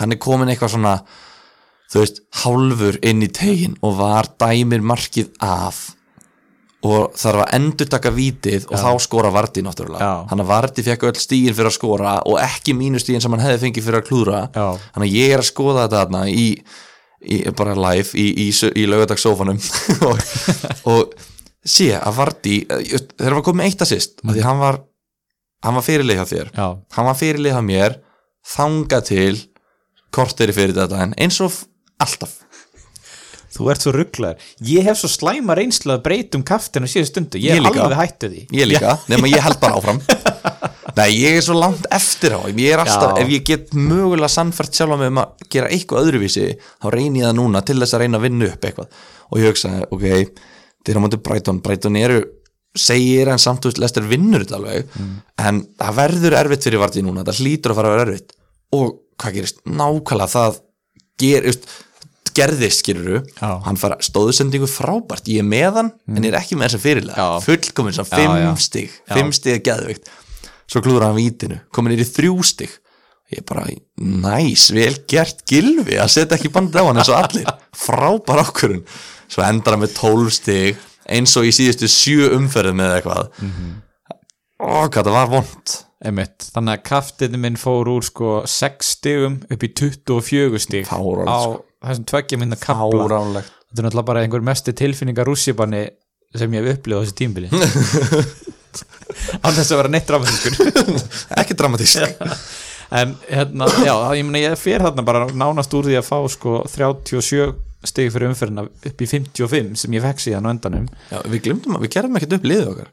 Speaker 2: hann er komin eitthvað svona þú veist, hálfur inn í tegin og var dæmir markið af og þarf að endur taka vítið og þá skora Vardí náttúrulega
Speaker 1: Já.
Speaker 2: hann að Vardí fekk öll stígin fyrir að skora og ekki mínustígin sem hann hefði fengið fyrir að klúðra
Speaker 1: Já.
Speaker 2: þannig að ég er að skoða þetta þarna í, í bara live í, í, sö- í laugardagssófanum og, og sé að Vardí þegar var komið eitt að sýst því hann var, hann var fyrirlið hjá þér
Speaker 1: Já,
Speaker 2: hann var fyrirlið hjá mér þanga til korteri fyrir þetta en eins og f- alltaf
Speaker 1: þú ert svo rugglaður Ég hef svo slæma reynslu að breytum kaftin á síðan stundu, ég,
Speaker 2: Ég
Speaker 1: er
Speaker 2: líka.
Speaker 1: alveg hættu því
Speaker 2: ég líka, nema ég held bara áfram Nei, ég er svo langt eftir á þeim. ég er alltaf,
Speaker 1: Já.
Speaker 2: ef ég get mögulega sannfært sjálf með um að gera eitthvað öðruvísi þá reyni ég það núna til þess að reyna að vinna upp eitthvað og ég hugsaði, ok þeir eru á móti Brighton, Brighton eru segir en samt samtúrst lestir vinnur þetta alveg
Speaker 1: Mm.
Speaker 2: en það verður erfitt fyrir vartið núna, það hlýtur að fara að vera erfitt og hvað gerist, nákvæmlega það ger, just, gerðist skiluru,
Speaker 1: Já. Mm.
Speaker 2: hann fara stóðsendingu frábært, ég er með hann en ég er ekki með þess að fyrirlega,
Speaker 1: Já.
Speaker 2: fullkomin sem
Speaker 1: Já,
Speaker 2: fimm
Speaker 1: já.
Speaker 2: stig, fimm stig er geðveikt svo klúður hann vítinu, komin er í þrjú stig ég bara, næs vel gert gilfi að setja ekki bandið á hann eins og allir, frábær ákvörun svo endar hann með tólf stig eins og í síðustu sjö umferðum með eitthvað mm
Speaker 1: Mhm.
Speaker 2: hvað það var vond
Speaker 1: Einmitt. Þannig að kaftinni minn fór úr sko 6 stigum upp í 24 stig
Speaker 2: Fáránlegt,
Speaker 1: á
Speaker 2: sko.
Speaker 1: þessum tveggja minna kapla
Speaker 2: áránlegt
Speaker 1: Þetta er náttúrulega bara einhver mesti tilfinningar rússipanni sem ég hef upplifað á þessu tímbili Án þess að vera neitt dramatískur
Speaker 2: ekki dramatísk
Speaker 1: En hérna, já, það- ég meina ég fer þarna bara nánast úr því að fá sko 37 stig fyrir umferðina upp í 55 sem ég fekk síðan á endanum
Speaker 2: Já, við glemdum að við gerðum ekkert upp liðið okkar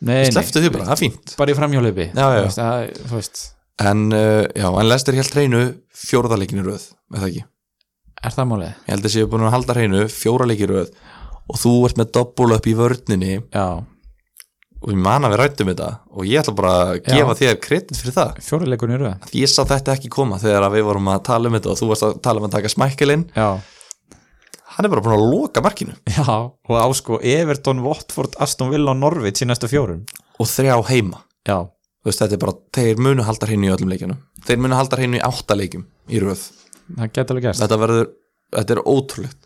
Speaker 1: Nei, nei,
Speaker 2: sleftu því bara, það er fínt
Speaker 1: bara í framhjólupi
Speaker 2: Já, já.
Speaker 1: Þú veist,
Speaker 2: en, uh, já, en lestir helt reynu fjórðaleikinu röð, með það ekki
Speaker 1: er það málið?
Speaker 2: ég held að séu búin að halda hreinu fjóra leikir í röð og þú ert með doppul upp í vörninni
Speaker 1: Já,
Speaker 2: og ég man að við rættum þetta og ég ætla bara að gefa þér kredit fyrir það
Speaker 1: fjórileikurinn í röða
Speaker 2: því ég sá þetta ekki koma þegar að við vorum að tala um þetta og þú varst að tala um að taka smækkelinn
Speaker 1: Já,
Speaker 2: hann er bara búin að loka markinu
Speaker 1: Já, og á sko Everton, Watford, Aston Villa og Norvits í næstu fjórum
Speaker 2: og þrjá heima
Speaker 1: Já,
Speaker 2: Þú veist, þetta er bara, þeir munu halda hreinu í öllum leikjunum þeir munu halda hreinu í átta leikjum í röð
Speaker 1: það geti alveg gerst
Speaker 2: þetta verður, þetta er ótrúlegt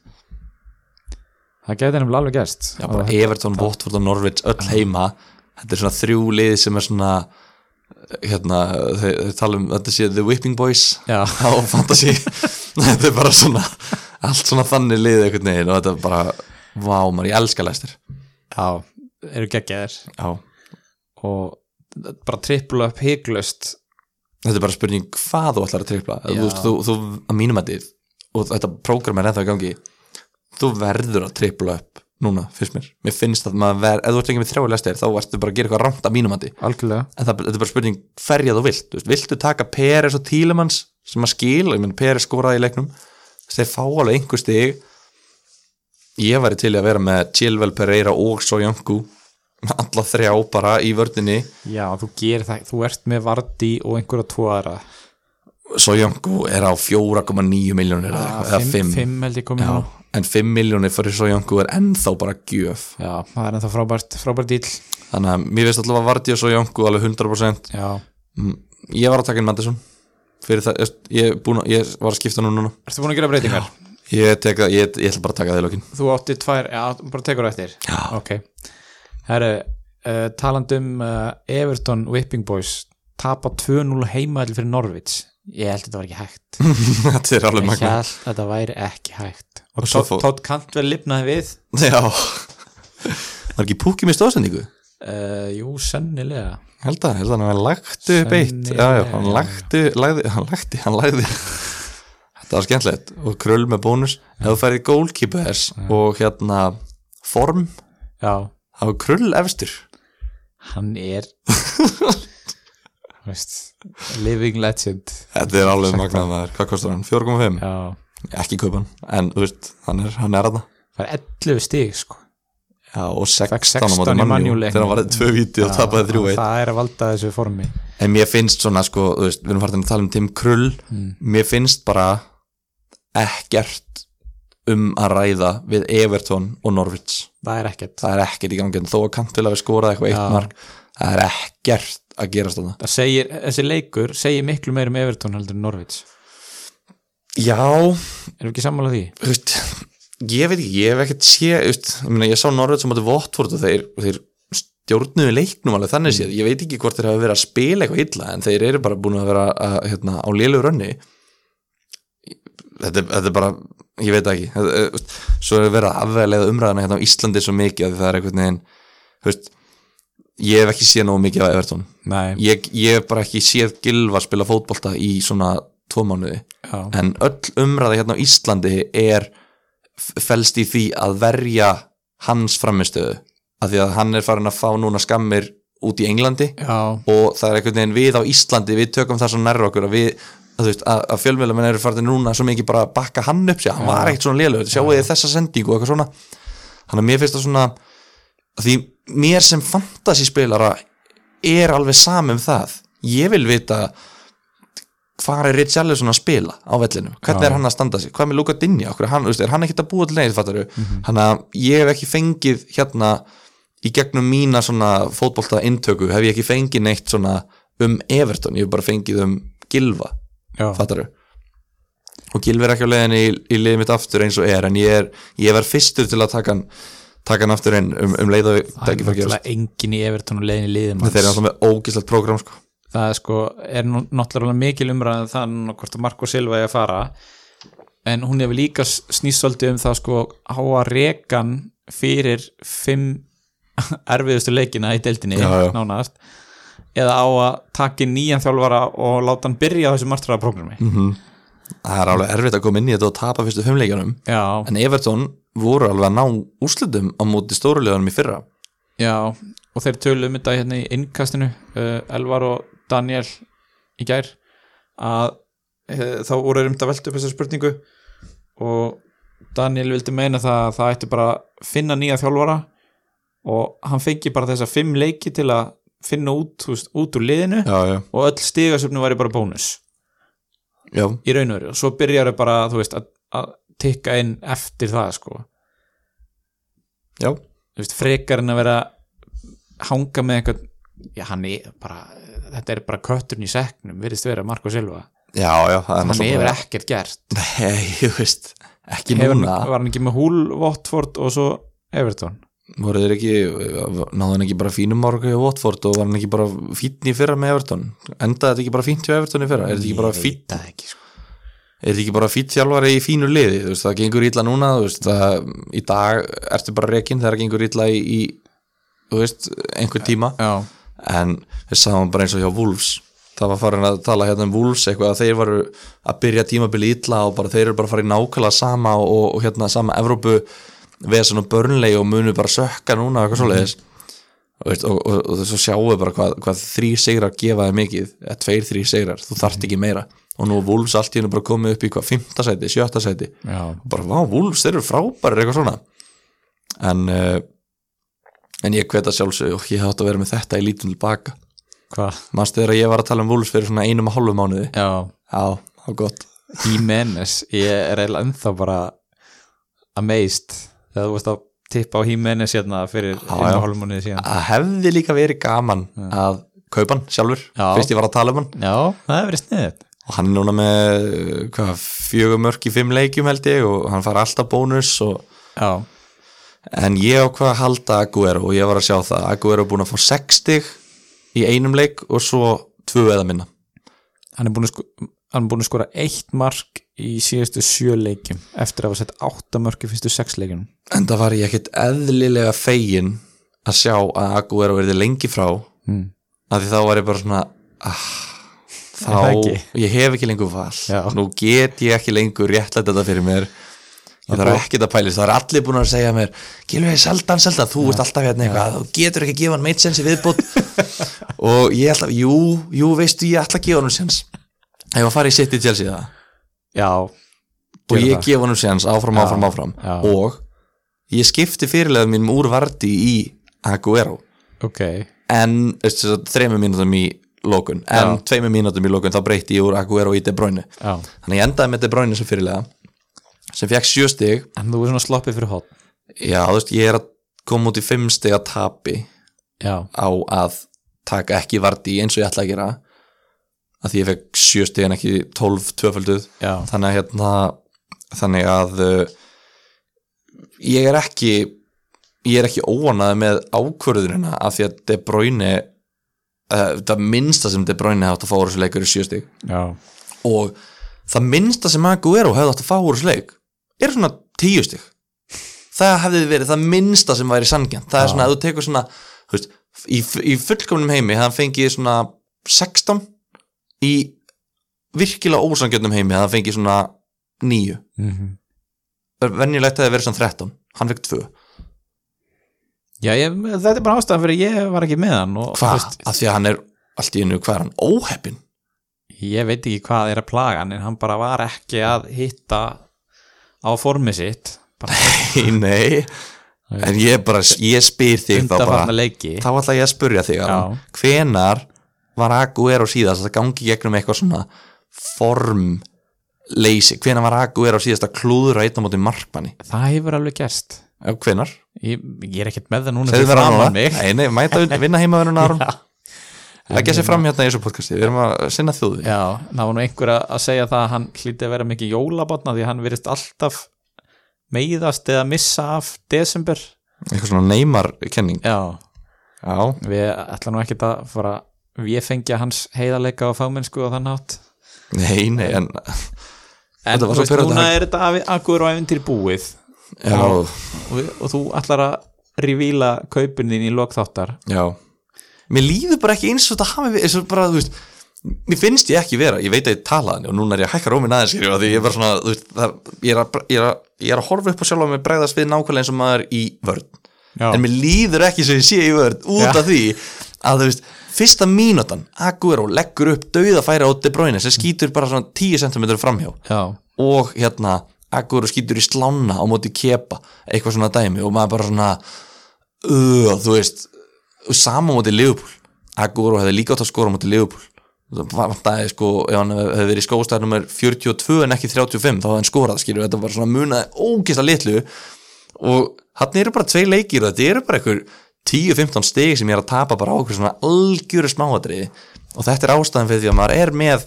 Speaker 1: Það geti nefnilega alveg gerst
Speaker 2: Já,
Speaker 1: Og
Speaker 2: bara Everton, Watford og Norwich öll heima þetta er svona þrjú liði sem er svona hérna, þeir, þeir tala um þetta sé The Whipping Boys
Speaker 1: Já.
Speaker 2: á Fantasy þetta er bara svona allt svona þannig liði einhvern veginn og þetta er bara, vá maður, ég elska læstir
Speaker 1: Já, eru geggjaðir
Speaker 2: Já.
Speaker 1: og bara trippla upp hygglust
Speaker 2: þetta er bara spurning hvað þú ætlar að tripla
Speaker 1: Já.
Speaker 2: þú, veist, þú, þú, að mínum að þið og þetta prógram er ennþá í gangi þú verður að tripla upp núna, finnst mér, mér finnst að maður verð ef þú ert ekki með þrjá læstir, þá ertu bara að gera eitthvað rámt að mínum að þið
Speaker 1: Algjörlega
Speaker 2: en það, þetta er bara spurning hverja þú vilt þú veist, viltu taka Peres og Tílemanns sem að skila, ég menn Peres skoraði í leiknum þeir fá alveg einhver stig ég væri til í að vera með Chilwell, Pereira og Sojanku alla þrjá bara í vördinni
Speaker 1: Já, þú gerir það, þú ert með Vardí og einhverja tvo aðra
Speaker 2: Sojanku er á 4,9 miljónir eða eitthvað, eða 5,
Speaker 1: Ah,
Speaker 2: 5.
Speaker 1: Fimm held ég komið á
Speaker 2: en 5 miljónir fyrir Sojanku er ennþá bara gjöf
Speaker 1: Já, það er ennþá frábært, frábært dýl
Speaker 2: þannig að mér veist allavega Vardí og Sojanku alveg 100%
Speaker 1: Já
Speaker 2: ég var að taka inn Mattisson fyrir það, ég, er búinn að- ég var að skipta nú núna
Speaker 1: Ertu búin að gera breytingar?
Speaker 2: Ég, tek, að- ég, ég ætla bara að taka það í lokin
Speaker 1: Þú átti tvær, já, bara tekur eftir
Speaker 2: Já.
Speaker 1: Ok, herru uh, talandi um uh, Everton Whipping Boys tapa 2-0 heimaðil fyrir Norvits ég held þetta var ekki hægt ég
Speaker 2: Þetta er alveg magna
Speaker 1: held þetta væri ekki hægt og
Speaker 2: svo
Speaker 1: Todd
Speaker 2: fór-
Speaker 1: Todd Cantwell lifnaði við
Speaker 2: Já Var ekki púkið með stóðsendingu?
Speaker 1: uh, jú, sennilega
Speaker 2: Held að, held að hann lagtu upp eitt Já, já, hann
Speaker 1: Sennilega.
Speaker 2: lagtu, lagði, hann lagði, hann lagði Þetta var skemmtilegt og krull með bónus Ef þú færið goalkeepers og hérna form,
Speaker 1: já,
Speaker 2: þá er krull efstur
Speaker 1: hann er Þú veist, living legend
Speaker 2: Þetta er alveg magna maður, hvað kostar hann? 4,5?
Speaker 1: já,
Speaker 2: Ekki kaupa hann, en þú veist, hann er, hann er aðna
Speaker 1: það er 11 stig sko
Speaker 2: Já, og
Speaker 1: Fekk
Speaker 2: 16 á
Speaker 1: 16
Speaker 2: móti
Speaker 1: í
Speaker 2: Man U,
Speaker 1: Man U leiknum.
Speaker 2: Þegar hann varði tvö víti og tapaði þrjú eitt
Speaker 1: það er að valda þessu formi Mm.
Speaker 2: En mér finnst svona, sko, þú veist, við erum farin að tala um Tim Krull Mér finnst bara ekkert um að ræða við Everton og Norwich
Speaker 1: það er ekkert
Speaker 2: það er ekkert í gangi en þó að Kantvilafi skoraði eitthvað eitt
Speaker 1: Já.
Speaker 2: mark það er ekkert að gerast þarna
Speaker 1: það segir, þessi leikur segir miklu meir um Everton heldur en Norvits
Speaker 2: já,
Speaker 1: erum ekki sammála því?
Speaker 2: þú veist ég veit ekki, ég hef ekkert sé þú veist, ég, meina, ég sá Norvits sem átti Votford og þeir, og þeir stjórnuðu leiknum alveg þannig séð, ég veit ekki hvort þeir hafa verið að spila eitthvað illa en þeir eru bara búin að vera að, hérna, á lélu rönni þetta, er- þetta er bara ég veit það ekki Þetta er- þú veist, svo er verið að afveglega umræðana hérna á Íslandi svo mikið að það er einhvern veginn þú veist, ég hef ekki séð nógu mikið af Everton
Speaker 1: Nei,
Speaker 2: ég, ég hef bara ekki séð Gylfa spila fótbolta í svona tvo mánuði
Speaker 1: já,
Speaker 2: en öll umræða hérna á Íslandi er f- felst í því að verja hans framistöðu af því að hann er farin að fá núna skammir út í Englandi
Speaker 1: já,
Speaker 2: og það er einhvern veginn við á Íslandi við tökum það svo nærra okkur að við að, þú veist, að, að fjölmjölamenn eru farin núna svo mikið bara að bakka hann upp sér, hann var ekkert svona lélugur sjáu þið þessa sendingu og eitthvað svona þannig að mér finnst það svona því mér sem fantasyspilara er alveg sam um það ég vil vita hvað er Richarlison að spila á vellinum
Speaker 1: Já.
Speaker 2: hvernig er hann að standa sig, hvað með Luka Dinja okkur, hann, þú veist, er hann ekkert að búa til leið mm
Speaker 1: Mhm.
Speaker 2: þannig að ég hef ekki fengið hérna í gegnum mína svona fótbolta inntöku hef ég ekki fengið neitt svona um Everton, ég hef bara fengið um Gilva
Speaker 1: já.
Speaker 2: fattaru og Gylfi er ekki á leiðinni í, í liðið mitt aftur eins og er en ég er, ég verð fyrstur til að taka hann taka hann aftur inn um, um leið og
Speaker 1: það er
Speaker 2: dækifæri gerast
Speaker 1: náttúrulega engin í Everton og leiðin í liðum
Speaker 2: þeir eru náttúrulega með ógislegt prógram sko.
Speaker 1: það er sko, er nú náttúrulega mikil umræðan þann og hvort að Marko Silva er að fara en hún hefur líka snýst svolítið um það sko á að rekan fyrir fimm erfiðustu leikina í deildinni
Speaker 2: Já, já.
Speaker 1: nánast eða á að taki nýjan þjálfara og láta hann byrja á þessu martraða prógrami
Speaker 2: Mm. Mhm. það er alveg erfitt að koma inn í þetta og tapa fyrstu fimmleikjanum
Speaker 1: já,
Speaker 2: en Everton voru alveg að ná úrslitum á móti stóruleganum í fyrra
Speaker 1: já, og þeir töluðum þetta hérna í innkastinu uh, Elvar og Daniel í gær að uh, þá voru þeir um þetta velt upp þessa spurningu og Daniel vildi meina það að það ætti bara að finna nýja þjálfara og hann fengi bara þessa fimm leiki til að finna út, þú veist, út úr liðinu
Speaker 2: já, já,
Speaker 1: og öll stigasöfnum væri bara bónus
Speaker 2: já,
Speaker 1: í raun og veru og svo byrjar þau bara þú veist, að, að tikka inn eftir það sko.
Speaker 2: já.
Speaker 1: þú veist, frekar en að vera hanga með eitthvað já, hann er bara, þetta er bara kötturinn í seknum, virðist vera Marko Silva
Speaker 2: já, já það er
Speaker 1: hann
Speaker 2: náttúrulega
Speaker 1: hefur
Speaker 2: bara-
Speaker 1: ekkert gert
Speaker 2: Nei, þú veist, ekki
Speaker 1: hefur,
Speaker 2: núna
Speaker 1: var hann ekki með Hull, Watford og svo Everton
Speaker 2: voru þeir ekki, náðu hann ekki bara fínum áraugu í Watford og var hann ekki bara fínn í fyrra með Everton endaði þetta ekki bara fínt hjá Everton í fyrra er þetta ekki bara
Speaker 1: Ég
Speaker 2: fínn,
Speaker 1: veit það ekki, sko.
Speaker 2: er þetta ekki bara fínn þjálfari í fínu liði, þú veist, það gengur illa núna þú veist, það, í dag ertu bara rekin þegar það gengur illa í, í þú veist, einhver tíma
Speaker 1: já,
Speaker 2: en við sáum bara eins og hjá Wolves það var farin að tala hérna um Wolves eitthvað að þeir varu að byrja tímabili illa og bara þeir eru bara að fara í nákvæmlega sama og, og hérna sama Evrópu vesen og börnlegi og munu bara sökka núna og eitthvað svoleiðis og, veist, og, og, og svo sjáum við bara hvað, hvað þrý sigrar gefa þér mikið, eða tveir þrý sigrar þú þarft ekki meira og nú er Wolves allt í hennu bara komið upp í hvað, fymta sæti, sjötta sæti
Speaker 1: já,
Speaker 2: bara, vá, Wolves, þeir eru frábærir eitthvað svona en uh, en ég hveta sjálfsög og ég þátt að vera með þetta í lítum tilbaka
Speaker 1: hvað
Speaker 2: manstu þegar ég var að tala um Wolves fyrir svona einum og hálfum mánuði
Speaker 1: já,
Speaker 2: já, það var gott
Speaker 1: Jimenez, ég er eiginlega ennþá bara amazed þegar þú veist að tippa á Jimenez hérna fyrir
Speaker 2: já.
Speaker 1: innahólmunni síðan
Speaker 2: það hefði líka verið gaman að kaupa hann sjálfur,
Speaker 1: Já.
Speaker 2: fyrst ég var að tala um hann
Speaker 1: já, það hefur verið sniðið
Speaker 2: og hann er núna með uh, hvað, fjögur mörk í fimm leikjum held ég og hann fara alltaf bónus og
Speaker 1: já,
Speaker 2: En ég ákvað að halda Aguero og ég var að sjá það Aguero er búin að fá 60 í einum leik og svo tvö eða minna
Speaker 1: hann er búin að, sko, hann er búin að skora eitt mark í síðustu sjö leikjum eftir að hafa sett átta mörk í fyrstu sex leikjum
Speaker 2: En það var ég ekkit eðlilega fegin að sjá að Aguero verði lengi frá
Speaker 1: mm.
Speaker 2: að því þá var ég bara svona ah,
Speaker 1: Er það
Speaker 2: þá,
Speaker 1: ekki?
Speaker 2: ég hef ekki lengur val
Speaker 1: Já.
Speaker 2: nú get ég ekki lengur réttlætt þetta fyrir mér ég þarf ekkit að pælis, það er allir búin að segja mér Gilvið, seldan, seldan, þú veist alltaf hérna eitthvað þú getur ekki að gefa hann meitt sens í viðbútt og ég alltaf, jú, jú veistu, ég ætla að gefa hann sens ef að fara í sitt í tjelsi það
Speaker 1: já,
Speaker 2: og
Speaker 1: Gera
Speaker 2: ég
Speaker 1: það.
Speaker 2: gef honum séans áfram, áfram, áfram
Speaker 1: já.
Speaker 2: og ég skipti fyrirlega mínum úr Vardi í Aguero
Speaker 1: ok
Speaker 2: en veistu, svo þremur mínútum í lókun en
Speaker 1: Já.
Speaker 2: tveimur mínútum í lókun þá breyti ég úr Aguero í De Bruyne
Speaker 1: já,
Speaker 2: þannig ég endaði með De Bruyne sem fyrirlega sem fekk sjö stig
Speaker 1: en þú er svona sloppið fyrir hot
Speaker 2: já, þú veist, ég er að koma út í fimm stig að tapi
Speaker 1: já,
Speaker 2: á að taka ekki vardi eins og ég ætla að gera að því ég fekk sjö stig en ekki tólf tvöfölduð
Speaker 1: já,
Speaker 2: þannig að hérna þannig að uh, ég er ekki ég er ekki óanað með ákvörðunina af því að De Bruyne uh, það minnsta sem De Bruyne hafði átt að fá úr þessu leikur er sjö stig
Speaker 1: já,
Speaker 2: og það minnsta sem Aguero hefði átt að fá úr þessu leik er svona tíu stig það hefði verið það minnsta sem væri sangjant það er
Speaker 1: Já.
Speaker 2: svona að þú tekur svona þú veist, í, í fullkomnum heimi hann fengið svona 16 í virkilega ósangjöndum heimi hann fengið svona 9
Speaker 1: mhm
Speaker 2: venjulegt hefði verið svona 13 hann fekk 2
Speaker 1: Já, ég, þetta er bara ástæðan fyrir ég var ekki með hann og,
Speaker 2: hvað?
Speaker 1: þú
Speaker 2: af því að hann er allt í einu hvað er hann óheppin
Speaker 1: ég veit ekki hvað er að plaga hann en hann bara var ekki að hitta á formið sitt bara
Speaker 2: nei en ég bara ég spyr þig þá bara
Speaker 1: undarfarna leiki
Speaker 2: þá ætla ég að spurja þig Aron. hvenar var Aguero síðast að gangi gegnum eitthvað svona formleysi, hvenar var Aguero síðast að klúðra einn á móti markmanni
Speaker 1: það hefur alveg gerst
Speaker 2: Já, hvenar?
Speaker 1: ég, ég er ekkert með það núna
Speaker 2: Segðu
Speaker 1: fyrir
Speaker 2: mér það
Speaker 1: framan
Speaker 2: núna.
Speaker 1: mig.
Speaker 2: Nei, nei, mæta að vinna heimaverun Aron leggja sér fram hérna í þessu podcasti, við erum að sinna þjóði
Speaker 1: já, það var nú einhver að að segja það að hann hlýtti að vera mikið jólabotna því að hann virðist alltaf meiðast eða missa af desember
Speaker 2: eitthvað svona neymarkenning
Speaker 1: já,
Speaker 2: Já,
Speaker 1: við ætlum nú ekkert að fara við fengja hans heiðarleika og fagmennsku og þann hátt
Speaker 2: nei, nei, en
Speaker 1: en
Speaker 2: Þetta
Speaker 1: þú
Speaker 2: var svo
Speaker 1: veist,
Speaker 2: pirrandi.
Speaker 1: núna er þetta akkur og æfintir búið
Speaker 2: já,
Speaker 1: og, við- og þú ætlar að revíla kaupin þín í lokþáttar
Speaker 2: já Mér líður bara ekki eins og þetta hafi eins og bara, þú veist Mér finnst ég ekki vera, ég veit að ég tala þannig og núna er ég að hækka rómin aðeins skilju því ég er bara svona, þú veist, það, ég, er að, ég, er að, ég er að horfa upp á sjálf og mér bregðast við nákvæmlega eins og maður í vörn
Speaker 1: Já.
Speaker 2: en mér líður ekki sem ég sé í vörn út
Speaker 1: Já.
Speaker 2: af því að þú veist, fyrsta mínútan Aguero leggur upp dauðafæri á De Bruyne sem skýtur bara svona 10 cm framhjá
Speaker 1: já,
Speaker 2: og hérna Aguero skýtur í slána á móti kepa eitthvað svona dæmi og maður bara svona uh, þú veist sama á móti Liverpool Aguero hefði líka átt að skora á móti Liverpool það vantaði sko ef hann hefði verið í skóstæðar nummer 42 en ekki 35 þá hefði hann skorað skilur þetta var svona munaði ógeðslega litlu og hann eru bara tvei leikir og þetta eru bara einhver 10-15 stig sem ég er að tapa bara á okkur svona algjöru smáadriði og þetta er ástæðan fyrir því að maður er með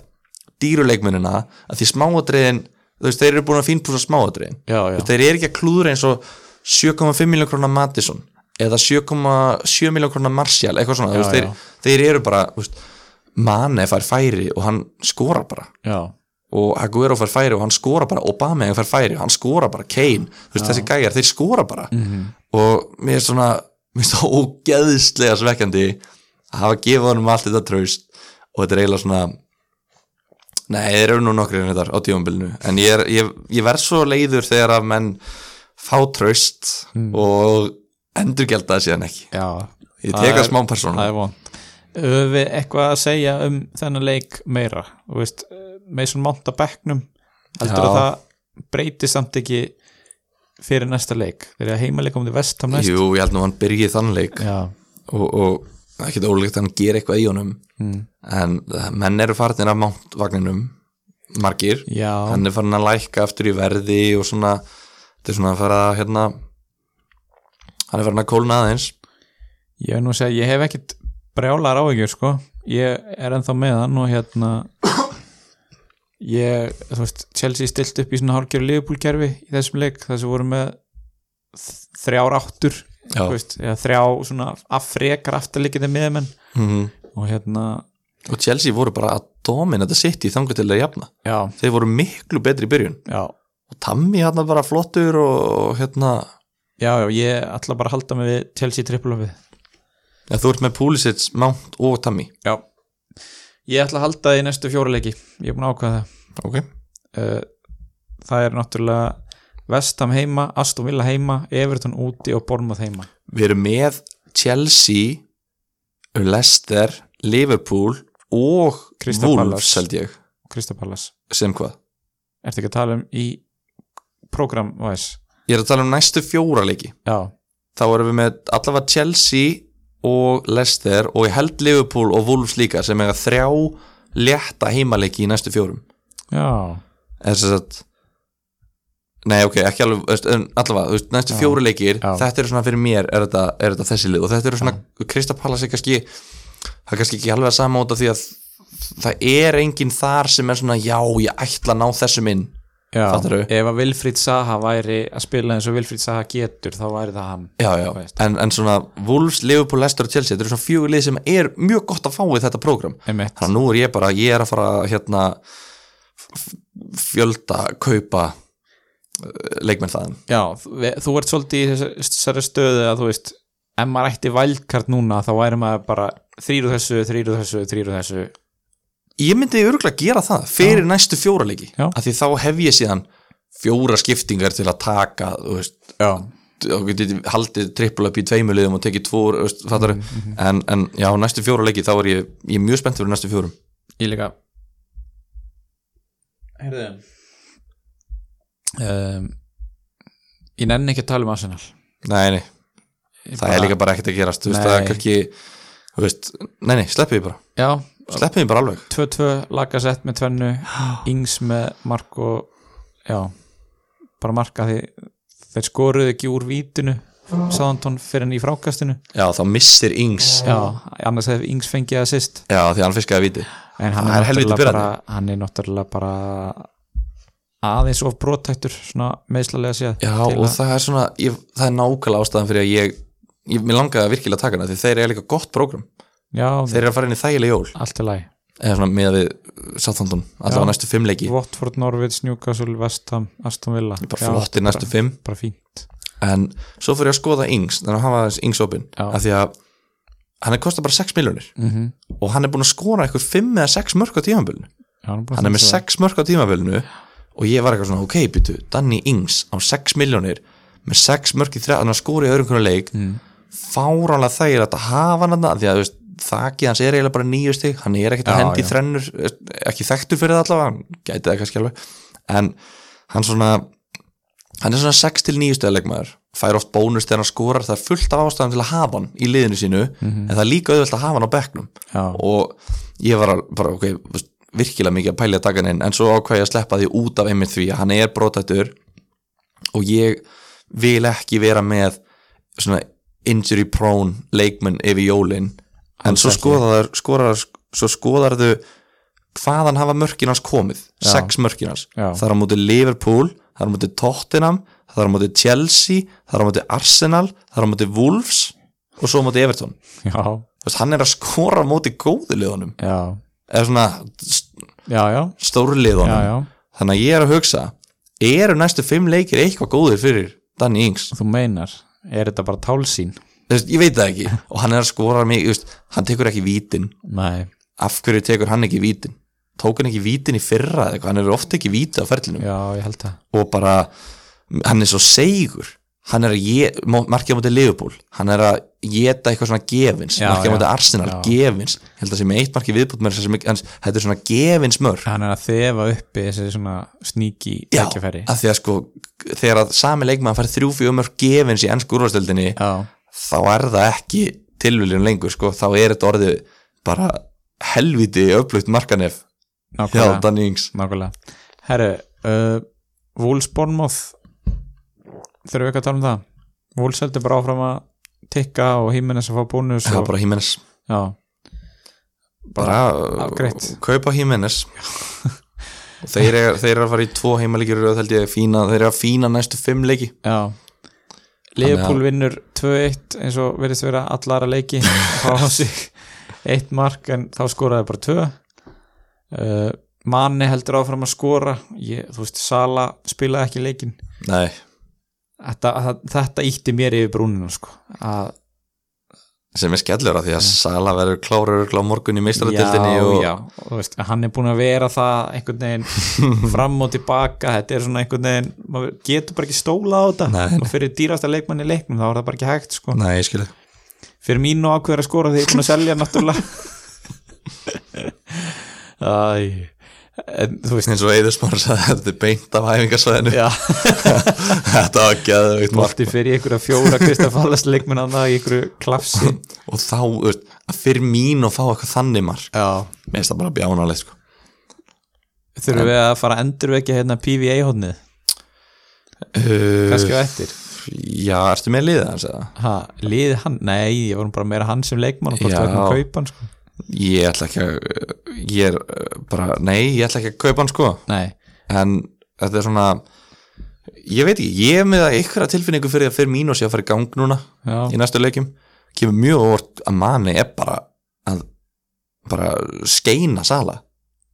Speaker 2: dýruleikmunina að því smáadriðin þú veist, þeir eru búin að fínpúsa smáadriðin
Speaker 1: já, já,
Speaker 2: þeir eru ekki að klúðra eins og 7,5 miljón krónar Madison eða 7,7 miljón krónar Martial eitthvað svona,
Speaker 1: Já,
Speaker 2: þú veist,
Speaker 1: já.
Speaker 2: þeir, þeir eru bara þú veist, manni fær færi og hann skorar bara
Speaker 1: já,
Speaker 2: og Aguero fær færi og hann skora bara Obama fær færi og hann skora bara Kane þú veist, þessi gæjar, þeir skora bara
Speaker 1: Mhm.
Speaker 2: og mér er svona mér er svona ógeðslega svekkjandi að hafa gefað honum allt þetta traust og þetta er eiginlega svona nei, þeir eru nú nokkri en þetta á tífumbilinu en ég, er, ég, ég verð svo leiður þegar að menn fá traust
Speaker 1: Mm.
Speaker 2: og endurgelda það síðan ekki
Speaker 1: já.
Speaker 2: ég
Speaker 1: Það
Speaker 2: tek að
Speaker 1: er-
Speaker 2: smá persónu
Speaker 1: það er vond höfum við eitthvað að segja um þennan leik meira, þú veist Mason Mount að bekknum heldur
Speaker 2: Já.
Speaker 1: að það breyti samt ekki fyrir næsta leik þeir eru að heimaleika um því vestam næst
Speaker 2: jú, ég held nú hann byrjið þann leik
Speaker 1: já,
Speaker 2: og, og ekkert ólíkt að hann gera eitthvað í honum
Speaker 1: mm.
Speaker 2: en eh, menn eru farin af mántvagninum margir,
Speaker 1: já,
Speaker 2: hann er farin að lækka aftur í verði og svona þetta er svona að fara að hérna hann er farin að kólna aðeins
Speaker 1: ég er nú að segja ég hef ekkit brjálar áhyggjur sko ég er ennþá með hann og hérna ég, þú veist, Chelsea stilt upp í svona hálfgerðu liðbúlkerfi í þessum leik þar sem voru með þ- þrjár áttur
Speaker 2: Já.
Speaker 1: þú veist, eða þrjá svona að frekar aftarleikinu miðumenn
Speaker 2: mm -hmm.
Speaker 1: og hérna,
Speaker 2: og Chelsea voru bara að domin þetta sitt í þangu til að jafna
Speaker 1: já,
Speaker 2: þeir voru miklu betri í byrjun
Speaker 1: já
Speaker 2: og Tammy hann bara flottur og hérna,
Speaker 1: já, já, ég ætla bara að halda mig við Chelsea trippulöfið
Speaker 2: ja, þú ert með Pulisic, Mount og Tammy
Speaker 1: já, ég ætla að halda því næstu fjóruleiki ég er búin að ákvæða það
Speaker 2: ok,
Speaker 1: Eh, það er náttúrulega Vestam heima, Aston Villa heima Everton úti og Bournemouth heima
Speaker 2: við erum með Chelsea Leicester, Liverpool og
Speaker 1: Crystal
Speaker 2: Wolves
Speaker 1: Palace.
Speaker 2: held ég,
Speaker 1: Kristapalas,
Speaker 2: sem hvað
Speaker 1: ertu ekki að tala um í program-wise
Speaker 2: Ég er að tala um næstu fjóra leiki
Speaker 1: já,
Speaker 2: Þá erum við með allavega Chelsea og Leicester og ég held Liverpool og Wolves líka sem eiga þrjá létta heimaleiki í næstu fjórum
Speaker 1: já,
Speaker 2: eða þess að Nei, ok, ekki alveg, þú veist, en allavega, þú veist, næstu fjóri leikir,
Speaker 1: Já.
Speaker 2: þetta eru svona fyrir mér er þetta, er þetta þessi lið og þetta eru svona Kristapallas er kannski, það er kannski ekki alveg að sama út af því að það er enginn þar sem er svona, já, ég ætla að ná þessum inn
Speaker 1: Já,
Speaker 2: Fattarðu?
Speaker 1: ef að Vilfríð Saha væri að spila eins og Vilfríð Saha getur þá væri það hann
Speaker 2: Já, já,
Speaker 1: Þú veist.
Speaker 2: en, en svona Wolves, Liverpool, Leicester og Chelsea, þetta eru svona fjögur lið sem er mjög gott að fá við þetta prógram
Speaker 1: Einmitt.
Speaker 2: Þannig að nú er ég bara, ég er að fara hérna f- fjölda kaupa eh, leikmenn þaðan
Speaker 1: Já, þú, við- þú ert svolítið í þessari- þessari stöðu að þú veist ef maður ætti vældkart núna þá væri maður bara þrýru þessu, þrýru þessu, þrýru þessu
Speaker 2: Ég myndi örgulega gera það fyrir næstu fjóra leiki
Speaker 1: Já.
Speaker 2: af því þá hef ég síðan fjóra skiptingar til að taka þú veist,
Speaker 1: Já,
Speaker 2: og getið haldið trippul upp í tveimu liðum og tekið tvo þú veist, mm -hmm. en, en já, næstu fjóra leiki þá er ég, ég er mjög spennt fyrir næstu fjórum
Speaker 1: ég líka Heyrðu um, Ég nenni ekki að tala um Arsenal
Speaker 2: Nei, nei,
Speaker 1: Ég
Speaker 2: það er líka bara ekkert að gerast þú veist,
Speaker 1: Nei.
Speaker 2: það er kannski þú veist, nei, nei, sleppið því bara
Speaker 1: Já,
Speaker 2: sleppið því bara alveg
Speaker 1: 2-2 lagasett með tvennu Ings með mark og já, bara marka því þeir skoruðu ekki úr vítinu Sáðantón fyrir hann í frákastinu
Speaker 2: Já, þá missir Ings
Speaker 1: já, annars hefði Ings fengið það sýst
Speaker 2: Já, því hann fiskaði viti
Speaker 1: en hann
Speaker 2: Það
Speaker 1: er,
Speaker 2: er helviti
Speaker 1: náttúrulega bara, hann er náttúrulega bara aðeins of brotættur svona meðslalega séð
Speaker 2: Já,
Speaker 1: til
Speaker 2: og
Speaker 1: að-
Speaker 2: það er svona, ég, það er nákvæmlega ástæðan fyrir að ég, ég mér langaði virkilega að taka hana því þeir eru líka gott prógram
Speaker 1: já,
Speaker 2: þeir eru að fara inn í þægileg jól
Speaker 1: allt er læg
Speaker 2: eða svona með við Southampton allavega næstu fimm leiki,
Speaker 1: Watford, Norvids, Newcastle, Vestham, Aston Villa
Speaker 2: bara
Speaker 1: Já,
Speaker 2: flottir næstu fimm
Speaker 1: bara fínt
Speaker 2: en svo fyrir ég að skoða Ings þannig að hafa aðeins Ings opinn
Speaker 1: Já.
Speaker 2: af því að hann er kostað bara 6 miljonir -hmm. og hann er búin að skora eitthvað 5 eða 6 mörg á tímabilinu
Speaker 1: já, hann
Speaker 2: hann er með 6 mörg á tímabilinu og ég var eitthvað svona, ok, býtu, Danny Ings á 6 miljonir með 6 mörg í 3 hann er að skora í öðrum konar leik mm. fáránlega þægir að hafa hann þarna, af því að þú veist, þakið hans er eiginlega bara nýju stig hann er ekkert að
Speaker 1: Já,
Speaker 2: hendi í
Speaker 1: já.
Speaker 2: þrennur ekki þekktur fyrir það allavega, hann gæti það kannski alveg en hann svona hann er svona 6 til 9 stegleikmaður fær oft bónus þegar hann skorar það er fullt af ástæðan til að hafa hann í liðinu sínu en það er líka auðvelt að hafa hann á bekknum
Speaker 1: Mhm. Já.
Speaker 2: og ég var al- bara okay, þú veist, virkilega mikið að pælja dagan inn en svo ákvæði ég að sleppa því út af einmitt því að hann er brotættur og ég vil ekki vera með svona injury prone leikmenn yfir jólin en
Speaker 1: Alls
Speaker 2: svo
Speaker 1: ekki.
Speaker 2: skoðar, skorar, svo skoðar þau hvaðan hafa mörkin hans komið sex mörkin hans
Speaker 1: Já.
Speaker 2: það er á móti Liverpool, það er á móti Tottenham það er á móti Chelsea, það er á móti Arsenal það er á móti Wolves og svo á móti Everton
Speaker 1: já,
Speaker 2: Þú veist, hann er að skora á móti góðu liðunum
Speaker 1: já,
Speaker 2: eða svona
Speaker 1: já, já,
Speaker 2: stóru
Speaker 1: já,
Speaker 2: liðunum
Speaker 1: já.
Speaker 2: þannig að ég er að hugsa eru næstu fimm leikir eitthvað góðir fyrir Danny Ings
Speaker 1: þú meinar, er þetta bara tálsýn?
Speaker 2: Þú veist, ég veit það ekki og hann er að skora mig, veist, hann tekur ekki vítin
Speaker 1: Nei,
Speaker 2: af hverju tekur hann ekki vítin tók hann ekki vítin í fyrra eða eitthvað, hann er ofta ekki víti á ferlinum
Speaker 1: já, ég held það
Speaker 2: og bara hann er svo seigur hann er að ég, mó- markið á móti Liverpool hann er að geta eitthvað svona gefins
Speaker 1: Já,
Speaker 2: markið á
Speaker 1: já.
Speaker 2: móti Arsenal,
Speaker 1: Já.
Speaker 2: gefins ég held að sem eitt markið viðbútt með þess að þetta er svona gefins mörg
Speaker 1: Hann er að þefa uppi þessi svona sníki
Speaker 2: Já,
Speaker 1: tækifæri
Speaker 2: að því að sko þegar að sami leikmann fær þrjú fjögur mörg gefins í ennsku úrvastöldinni
Speaker 1: Já,
Speaker 2: þá er það ekki tilviljun lengur sko, þá er þetta orðið bara helviti öflugt markanef hjá
Speaker 1: nákvæmlega,
Speaker 2: Danny Ings
Speaker 1: nákvæmlega. Herru, uh, Wolves Bornmoth Þurfum við ekki að tala um það? Wolves heldur bara áfram að tikka og Hímenes að fá bónus
Speaker 2: það
Speaker 1: og,
Speaker 2: er bara Hímenes
Speaker 1: Já,
Speaker 2: bara
Speaker 1: afgreitt.
Speaker 2: uh, kaupa Hímenes þeir, eru- þeir eru að fara í tvo heimalíkjur og held ég fína, þeir eru að fína næstu fimm leiki
Speaker 1: já Leopold vinnur 2-1 eins og verðist vera allara leiki fá á sig eitt mark en þá skoraði bara 2 uh, Manni heldur áfram að skora ég, þú veist, Sala spilaði ekki leikin
Speaker 2: nei,
Speaker 1: þetta, það, þetta ítti mér yfir brúninu sko. að,
Speaker 2: sem er skellur af því að Sala verður klárur á morgun í meistaradildinni
Speaker 1: já,
Speaker 2: og
Speaker 1: já, og þú veist, hann er búin að vera það einhvern veginn fram og tilbaka þetta er svona einhvern veginn, maður getur bara ekki stóla á þetta
Speaker 2: Nei.
Speaker 1: og fyrir dýrasta leikmann í leiknum þá er það bara ekki hægt sko.
Speaker 2: nei, ég skilja
Speaker 1: fyrir mínu ákveður að skora því ég er búin að selja náttúrulega Æ en, þú veist
Speaker 2: eins og Eiður Smára sagði þetta er beint af hæfingasvæðinu
Speaker 1: já,
Speaker 2: þetta var geðveikt mark
Speaker 1: bolti fyrir ykkur að fjóra Kristafallast leikmenn að það í ykkur klapsi
Speaker 2: og þá, þú veist, að fyrir mín og fá eitthvað þannig mark
Speaker 1: já,
Speaker 2: mér finnst það bara bjánalegt sko.
Speaker 1: þurfum við að fara að endurvekja hérna PVA hóðnið kannski á eftir
Speaker 2: Eh, Já, ertu með liðið hans eða?
Speaker 1: ha, liði hann, nei, ég var nú bara meira hann sem leikmann og hvort
Speaker 2: Já.
Speaker 1: við ætlum að kaupa hann sko.
Speaker 2: Ég ætla ekki að ég er uh, bara, nei, ég ætla ekki að kaupa hann sko
Speaker 1: nei,
Speaker 2: en þetta er svona ég veit ekki, ég er með einhverja tilfinningu fyrir að fyrir mínu sé að fara í gang núna
Speaker 1: Já.
Speaker 2: í næstu leikjum, kemur mjög óvart að manni er bara að bara skeina sala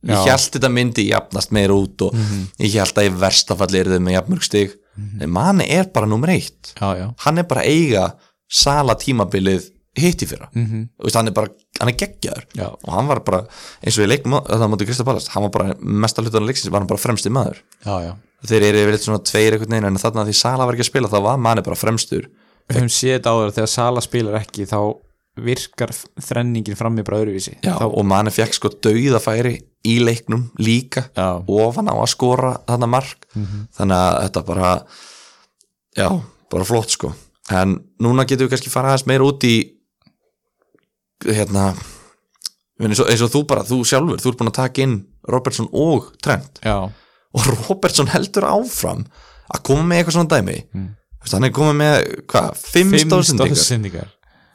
Speaker 2: ég
Speaker 1: Já.
Speaker 2: held þetta myndi jafnast meira út og ég held að í verstafalli er þau með jafnmörg stig en manni er bara nummer eitt
Speaker 1: já, já
Speaker 2: hann er bara að eiga sala tímabilið hitt í fyrra mm
Speaker 1: Mhm.
Speaker 2: -hmm. hann er bara, hann er geggjaður
Speaker 1: Já.
Speaker 2: og hann var bara, eins og ég leik þetta móti Krista Ballast, hann var bara mesta hlutan leiksins var hann bara fremsti maður
Speaker 1: já, já.
Speaker 2: þeir eru yfirleitt svona tveir einhvern veginn en þarna því Sala var ekki að spila þá var manni bara fremstur
Speaker 1: við höfum séð þetta áður að þegar Sala spilar ekki þá virkar f- þrenningin fram í bara öðruvísi
Speaker 2: þá, og manni fekk sko dauðafæri í leiknum líka
Speaker 1: Já.
Speaker 2: ofan á að skora þarna mark þannig að þetta bara já, bara flott sko en núna getum við kannski fara aðeins meira út í hérna ég meina, eins og, eins og þú bara, þú sjálfur þú ert búin að taka inn Robertson og Trent
Speaker 1: já,
Speaker 2: og Robertson heldur áfram að koma með eitthvað svona dæmi mm. hann er komið með, hvað, 5
Speaker 1: fimm
Speaker 2: stóðsendingar
Speaker 1: stóðsendingar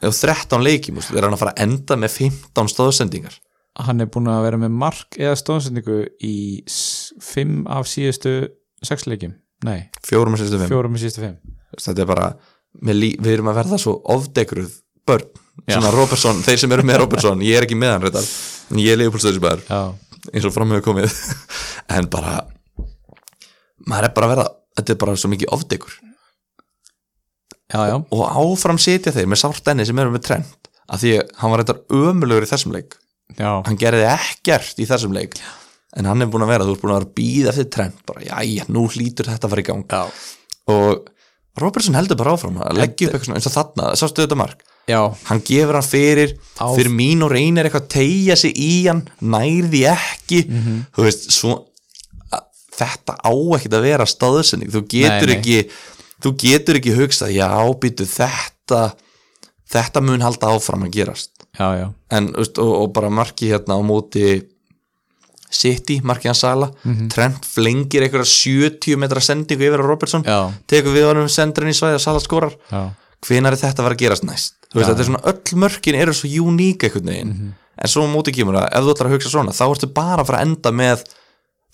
Speaker 2: og 13 leikjum, þú veist, er hann að fara að enda með 15 stóðsendingar
Speaker 1: hann er búin að vera með mark eða stóðsendingu í s- fimm af síðustu sex leikjum, nei,
Speaker 2: fjórum og sérstu fimm,
Speaker 1: fjórum af síðustu fimm
Speaker 2: þetta er bara með lí, við erum að verða svo ofdegruð börn, svona Robertson, þeir sem eru með Robertson ég er ekki með hann reyndar, en ég er leifupúlstöðisbæður
Speaker 1: já,
Speaker 2: eins og framhefur komið en bara maður er bara að verða, þetta er bara svo mikið ofdegur
Speaker 1: já, já,
Speaker 2: og áfram sitja þeir með sárt enni sem eru með trend af því að hann var reyndar ömulegur í þessum leik
Speaker 1: já.
Speaker 2: hann gerði ekkert í þessum leik en hann er búin að vera, þú ert búin að vera býð eftir trend bara, jæja, nú hlýtur þetta að fara í gang
Speaker 1: Já.
Speaker 2: og Robertson heldur bara áfram að leggja upp eitthvað svona eins og þarna, sástu þetta mark
Speaker 1: já,
Speaker 2: hann gefur hann fyrir,
Speaker 1: Á-
Speaker 2: fyrir mín og reynir eitthvað að tegja sig í hann nærði ekki,
Speaker 1: Mhm.
Speaker 2: þú veist svo, að, þetta á ekkert að vera staðsending, þú
Speaker 1: Nei,
Speaker 2: getur
Speaker 1: nei.
Speaker 2: ekki þú getur ekki hugsað já, býtu þetta þetta mun halda áfram að gerast
Speaker 1: já, já,
Speaker 2: en, þú veist, og, og bara marki hérna á móti City, marki hans sala
Speaker 1: Mhm.
Speaker 2: Trent flengir einhverja 70 metra sendingu yfir á Robertson
Speaker 1: Já.
Speaker 2: tekur við honum sendurinn í svæði og sala skorar
Speaker 1: já.
Speaker 2: hvenær er þetta að vera að gerast næst þú veist, þetta er svona, öll mörkin eru svo uník einhvern veginn,
Speaker 1: Mhm.
Speaker 2: en svo á móti kemur að ef þú ætlar að hugsa svona, þá ertu bara að fara að enda með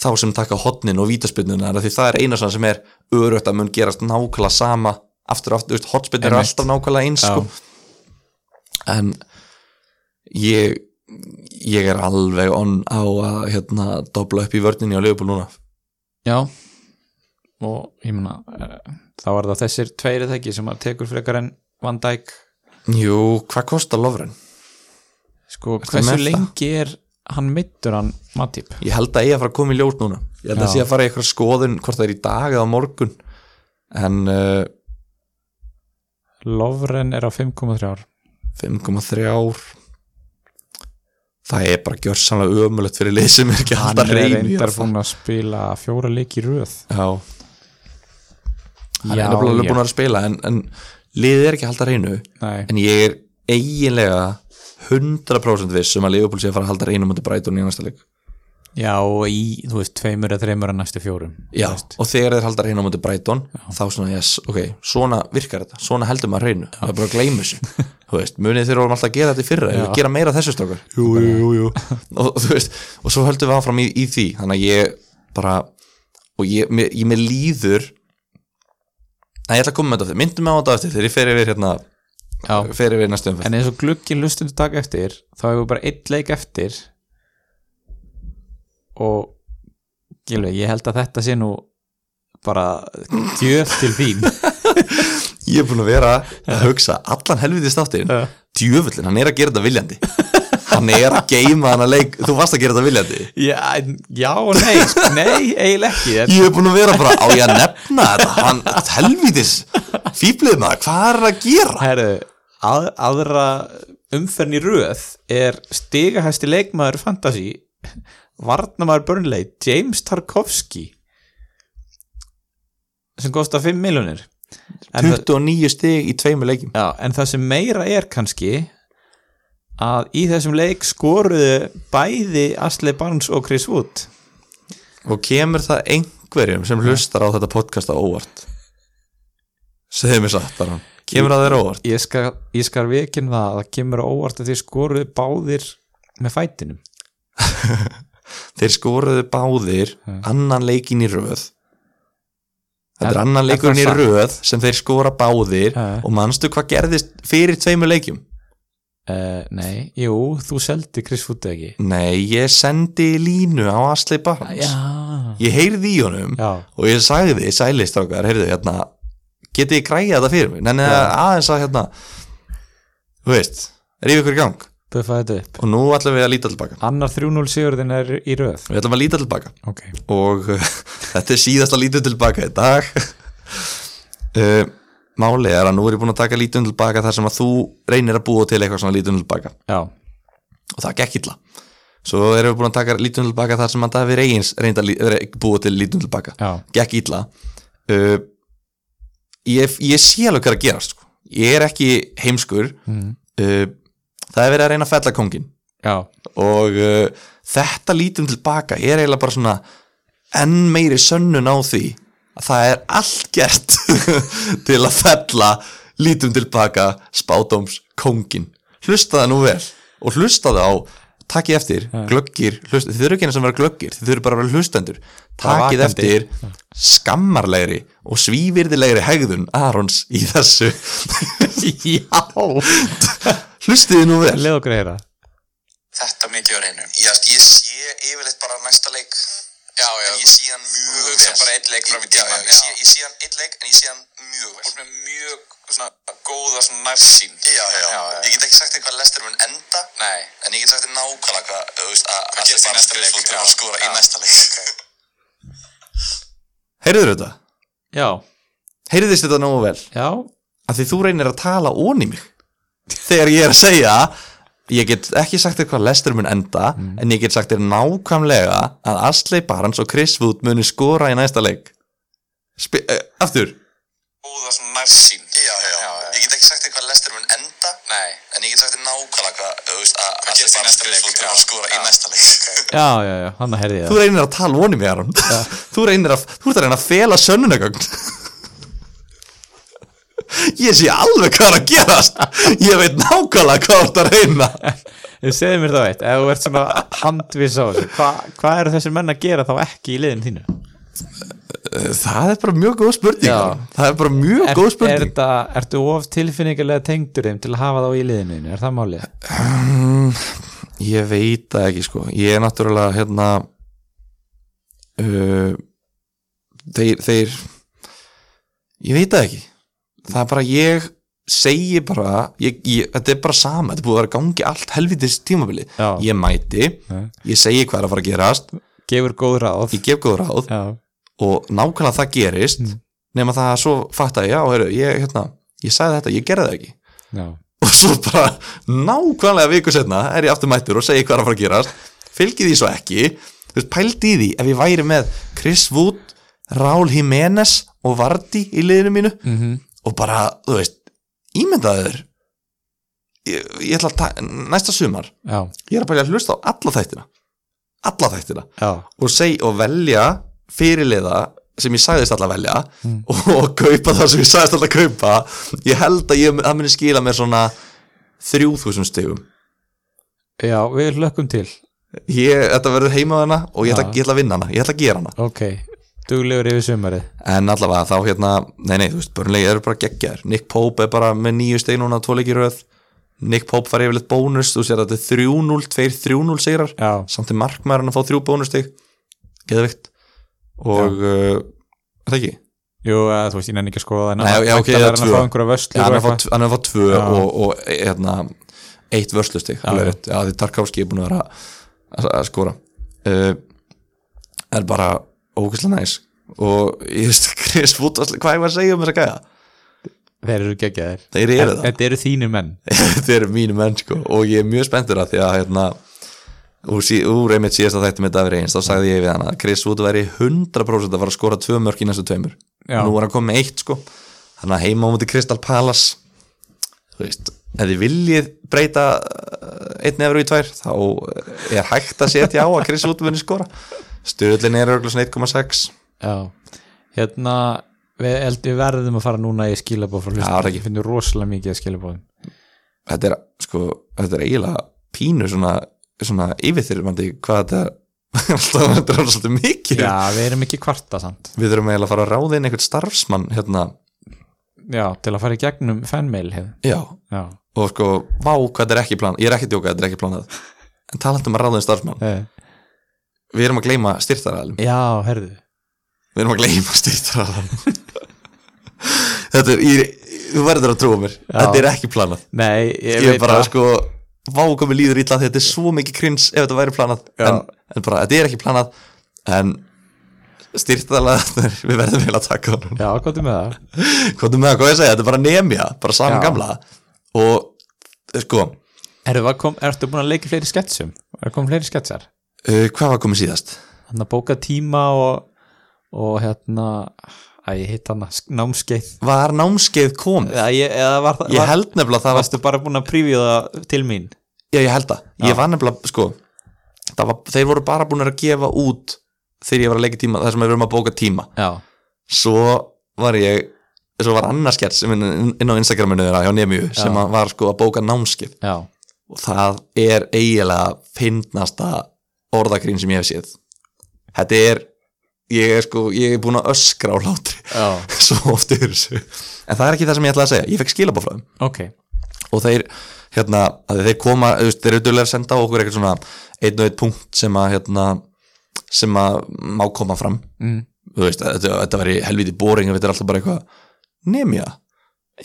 Speaker 2: þá sem taka hotnin og vítaspinnunar, því það er eina svona sem er örögt að mun gerast nákvæmlega sama aftur og aftur, þú veist, hotspinnur er
Speaker 1: Einmitt.
Speaker 2: alltaf nákvæmlega eins, sko en ég ég er alveg onn á að hérna, dobla upp í vörninni á Leopold núna
Speaker 1: Já og ég meina eh, þá er það þessir tveiri þekki sem að tekur frekar en Van Dijk
Speaker 2: Jú, hvað kostar lofren?
Speaker 1: sko
Speaker 2: með
Speaker 1: hversu
Speaker 2: það?
Speaker 1: lengi er hann mittur hann Matip
Speaker 2: ég held að ég að fara að koma í ljós núna ég held að
Speaker 1: Já.
Speaker 2: sé að fara í eitthvað skoðun hvort það er í dag eða á morgun en uh,
Speaker 1: Lovren er á 5,3 ár
Speaker 2: 5,3 ár það er bara gjörsamlega ömulegt fyrir lið sem er ekki
Speaker 1: hann
Speaker 2: alltaf
Speaker 1: er
Speaker 2: reyni
Speaker 1: reyndar búin að spila fjóra leik í röð
Speaker 2: já, hann er nefnilega alveg búin að vera að spila en, en liðið er ekki alltaf reynu
Speaker 1: Nei.
Speaker 2: en ég er eiginlega 100% viss um að Leopold sé að fara að halda reynu mútið Brighton í næsta leik
Speaker 1: já og í þú veist tveimur eða þreimur að næstu fjórum
Speaker 2: Já,
Speaker 1: þú veist.
Speaker 2: og þegar þeir halda reynu á móti Brighton þá svona, yes, ok, svona virkar þetta svona heldur maður reynu, það er bara að gleyma þessu þú veist, munið þeir vorum alltaf að gera þetta í fyrra ef við gera meira af þessu strókar jú, jú, jú, jú. og og þú veist, og svo höldum við áfram í, í því, þannig að ég bara, og ég, mér, ég mér líður að ég ætla að koma með þetta, aftur. myndum mig á þetta eftir þegar ég fer yfir hérna,
Speaker 1: já.
Speaker 2: fer yfir næstum
Speaker 1: en eins og glukkin lustundu dag eftir þá hefur bara einn leik eftir og gilveg ég held að þetta sé nú bara gjöf til þín
Speaker 2: ég er búin að vera að hugsa allan helviti státtin,
Speaker 1: Já.
Speaker 2: djöfullin hann er að gera þetta viljandi hann er að geima hann að leik, þú varst að gera þetta viljandi
Speaker 1: Já, en- já og nei, sko, nei, eiginlega ekki en,
Speaker 2: ég hef búin að vera bara á ég að nefna þetta hann, helvítis, fýblið maður hvað er að gera?
Speaker 1: Heru, að, aðra umferðin í röð er stigahæsti leikmaður fantasy varnamaður börnleit James Tarkovski sem kostar 5 miljonir en, það-
Speaker 2: 29 stig í tveimur leikjum
Speaker 1: já, en það sem meira er kannski að í þessum leik skoruðu bæði Asli Barnes og Chris Wood
Speaker 2: og kemur það einhvern einhverjum sem hlustar á þetta podcasta óvart segðu mér satt Aron kemur að þér óvart
Speaker 1: Ég skal, ég skal vikin það að það kemur á óvart að þið skoruðu báðir með fætinum
Speaker 2: þeir skoruðu báðir annan leikin í röð þetta er
Speaker 1: Er-
Speaker 2: annan
Speaker 1: er
Speaker 2: leikurinn í
Speaker 1: það satt?
Speaker 2: röð sem þeir skora báðir
Speaker 1: Ha.
Speaker 2: og manstu hvað gerðist fyrir tveimur leikjum
Speaker 1: uh, Nei, jú, þú seldi Chris Food ekki
Speaker 2: nei, ég sendi línu á Asli Barnes
Speaker 1: Já,
Speaker 2: ég heyrði í honum
Speaker 1: já,
Speaker 2: og ég sagði sælistrákar, heyrðu hérna getið þið græja þetta fyrir mig en aðeins að hérna þú veist, rífi ykkur í gang
Speaker 1: buffaði þetta upp
Speaker 2: og nú ætlum við að líta tilbaka
Speaker 1: Annar 3-0 sigurðin er í röð
Speaker 2: við ætlum að líta tilbaka
Speaker 1: Ok,
Speaker 2: og uh, þetta er síðasta lítið tilbaka í dag uh, málið er að nú er ég búin að taka lítið tilbaka þar sem að þú reynir að búa til eitthvað svona lítið tilbaka
Speaker 1: já,
Speaker 2: og það gekk illa svo erum við búin að taka lítið tilbaka þar sem að Davíð Reyins reynda að búa til lítið tilbaka
Speaker 1: já,
Speaker 2: gekk illa uh, ég, ég sé alveg hvað er að gera sko. ég er ekki heimskur
Speaker 1: Mhm.
Speaker 2: uh, það er verið að reyna að fella kongin
Speaker 1: já
Speaker 2: og uh, þetta lítum tilbaka er eiginlega bara svona enn meiri sönnun á því að það er allt gert til að fella lítum tilbaka spátóms kongin hlusta það nú vel og hlusta það á takið eftir, glöggir hlusta, þið þurfum ekki eins að vera glöggir, þið þurfum bara að vera hlustendur takið
Speaker 1: vakandi.
Speaker 2: eftir skammarlegri og svívirðilegri hegðun Arons í þessu já hlustiði nú vel
Speaker 1: Leð okkur að heyra
Speaker 3: þetta mikið á reynu Já, ég sé yfirleitt bara næsta leik Já, já Ég sé hann mjög vel Þú hugsa bara einn leik fram í tíma já, já, ég, sé, ég sé hann einn leik en ég sé hann mjög vel Og með mjög svona góða svona nærsýn já já. Ég get ekki sagt eitthvað lestir mun enda Nei En ég get sagt þér nákvæmlega hvað Þú veist að Hvað gerist í næsta leik Þú skora í næsta leik
Speaker 2: heyrður þetta?
Speaker 1: Já,
Speaker 2: heyrðist þetta nógu vel
Speaker 1: já,
Speaker 2: af því þú reynir að tala ón í mig þegar ég er að segja ég get ekki sagt þér hvað lestur mun enda en ég get sagt þér nákvæmlega að Asley Barnes og Chris Wood muni skora í næsta leik Sp uh, aftur
Speaker 3: góða svona nærsýn já, já, ég get ekki sagt eitthvað lestir mun enda Nei. en ég get sagt þér nákvæmlega hvað þú veist að hvað gerist í næsta leik þú skora í næsta leik
Speaker 1: já, já, já, hann að herði
Speaker 2: þú reynir að tala ón í mig Aron þú reynir að, þú ert að reyna að fela sönnunagögn ég sé alveg hvað er að gerast ég veit nákvæmlega hvað þú ert að reyna
Speaker 1: það Segðu mér það veit, ef þú ert svona handviss á þessu hva- Hvað eru þessir menn að gera þá ekki í liðin þínu?
Speaker 2: Það er bara mjög góð spurning
Speaker 1: Já.
Speaker 2: Aron. Það er bara mjög
Speaker 1: Er,
Speaker 2: góð
Speaker 1: er
Speaker 2: spurning
Speaker 1: þetta, ertu of tilfinningilega tengdur þeim til að hafa þá í liðinu, þínu? er það málið?
Speaker 2: Mm, Ég veit það ekki sko Ég er náttúrulega hérna uh, þeir, þeir Ég veit það ekki Það er bara ég segi bara ég, ég, Þetta er bara sama, þetta er búið að vera í gangi allt helvitis tímabili
Speaker 1: Já.
Speaker 2: Ég mæti,
Speaker 1: Já.
Speaker 2: ég segi hvað er að fara að gerast
Speaker 1: Gefur góð ráð
Speaker 2: Ég gef góð ráð
Speaker 1: Já, Mm.
Speaker 2: og nákvæmlega það gerist nema það að svo fatta ég, já, heru, ég, hérna, ég sagði þetta, ég gerði það ekki
Speaker 1: já,
Speaker 2: og svo bara nákvæmlega viku setna er ég aftur mættur og segi hvað er að fara að gerast fylgið því svo ekki þú veist, pældi í því ef ég væri með Chris Wood, Raúl Jiménez og Vardy í liðinu mínu
Speaker 1: mm
Speaker 2: og bara, þú veist, ímyndaður ég, ég ætla að ta- næsta sumar,
Speaker 1: já,
Speaker 2: ég er að bæja að hlusta á alla þættina alla þættina
Speaker 1: já
Speaker 2: og, seg, og velja fyrirliða sem ég sagðist alltaf velja og, og kaupa það sem ég sagðist alltaf kaupa ég held að ég, það muni skila mér svona 3000 stegum
Speaker 1: Já, við hlökkum til
Speaker 2: ég, þetta verður heima hana og ég ætla,
Speaker 1: Ja.
Speaker 2: ég ætla að vinna hana, ég ætla að gera hana
Speaker 1: Ok, duglegur yfir sumarið
Speaker 2: en allavega þá hérna, nei nei, þú veist, börnlegi eru bara geggjar Nick Pope er bara með nýju steg núna tvo leiki í röð, Nick Pope fær yfirleitt bónus, þú sér að þetta er 3-0 2-3-0 sigrar,
Speaker 1: Já,
Speaker 2: samt er markmaðurinn að fá þrjú bónusteg, geðvikt og, uh, er það ekki?
Speaker 1: jú, að, þú veist, ég nenni ekki að skoða það en
Speaker 2: Nei,
Speaker 1: að-
Speaker 2: já, ok,
Speaker 1: væntanlega er hann
Speaker 2: eða tvö.
Speaker 1: að fá einhverja
Speaker 2: Já,
Speaker 1: vöslur
Speaker 2: hann
Speaker 1: og
Speaker 2: er að fá
Speaker 1: eitthvað
Speaker 2: tv- hann er að fá tvö
Speaker 1: Já.
Speaker 2: og, og e- hérna, eitt vörslustig alveg rétt, já því Tarkovski er búin að vera að, að skora uh, er bara ógæslega næs og ég veist Chris Wood, var- hvað ég var að segja um þess að gæja
Speaker 1: Þeir eru geggjaðir
Speaker 2: þeir eru það,
Speaker 1: Þetta eru þínir menn
Speaker 2: þeir eru mínu menn sko og ég er mjög spenntur að því að hérna úr, sí, úr einmitt síðast að þetta með Davir Eins þá sagði ég við hann að Chris Wood væri 100% að fara að skora tvö mörk í næstu tveimur
Speaker 1: Já.
Speaker 2: nú er hann komið með eitt sko þannig að heima á múti Crystal Palace þú veist, ef þið viljið breyta eh, einn efru í tvær þá eh, er hægt að setja á að Chris Wood muni skora stöðlin er örgulega 1,6
Speaker 1: Já, hérna við, held- við verðum að fara núna í skilabóð frá
Speaker 2: Já, það er
Speaker 1: hlustum,
Speaker 2: ekki.
Speaker 1: ég finnum rosalega mikið að skilabóðum
Speaker 2: þetta er, sko, þetta er eiginlega pínu svona, svona yfirþyrmandi hvað þetta alltaf þetta er svolítið mikið
Speaker 1: Já, við erum ekki kvarta samt
Speaker 2: við þurfum eiginlega að fara að ráða inn einhvern starfsmann hérna,
Speaker 1: Já, til að fara í gegnum fanmail hef.
Speaker 2: já,
Speaker 1: Já,
Speaker 2: og sko, vá, hvað þetta er ekki plan ég er ekki að djóka, þetta er ekki planað en talandum að ráða inn starfsmann,
Speaker 1: eh,
Speaker 2: við erum að gleyma styrtaraðalum
Speaker 1: já herðu
Speaker 2: við erum að gleyma styrtaraðalum þetta er, ég, þú verður að trúa mér þetta er ekki planað
Speaker 1: Nei, ég,
Speaker 2: ég,
Speaker 1: veit
Speaker 2: bara
Speaker 1: það.
Speaker 2: sko vá komið líður illa því þetta er svo mikið kryns ef þetta væri planað
Speaker 1: Já.
Speaker 2: en, en bara þetta er ekki planað en styrtalega við verðum vel að taka honum
Speaker 1: Já, hvað er með það?
Speaker 2: hvað er með það, hvað ég segja, þetta er bara nemja bara saman
Speaker 1: Já.
Speaker 2: gamla og eh, sko,
Speaker 1: Ertu, var kom, ertu búin að leika í fleiri sketsum? Er komið fleiri sketsar?
Speaker 2: uh, hvað var komið síðast
Speaker 1: Þannig að bóka tíma og, og hérna að ég hitt hana sk- námskeið
Speaker 2: var námskeið komið
Speaker 1: eða, ég, eða var, það-
Speaker 2: ég
Speaker 1: var,
Speaker 2: held nefnilega að það var
Speaker 1: varstu bara búin að prífja það til mín
Speaker 2: já, ég held það,
Speaker 1: Já.
Speaker 2: ég var nefnilega sko, það var, þeir voru bara búin að gefa út þegar ég var að leika í tíma þar sem við erum að bóka tíma
Speaker 1: Já,
Speaker 2: svo var ég svo var annarskert sem inn, inn á Instagraminu þeirra hjá Nemiu sem að var sko að bóka námskið
Speaker 1: já,
Speaker 2: og það er eiginlega fyndnasta orðagrín sem ég hef séð þetta er ég er sko, ég er búin að öskra á látri
Speaker 1: já
Speaker 2: svo oft yfir þessu en það er ekki það sem ég ætlaði að segja, ég fekk skilabáfröðum
Speaker 1: Ok,
Speaker 2: og þeir hérna, að þeir koma, þú veist, þeir eru duglega að senda á okkur eitthvað svona einn og einn punkt sem að hérna, sem að má koma fram
Speaker 1: mm.
Speaker 2: þú veist, þetta, þetta væri helviti boring ef þetta er alltaf bara eitthvað nemja,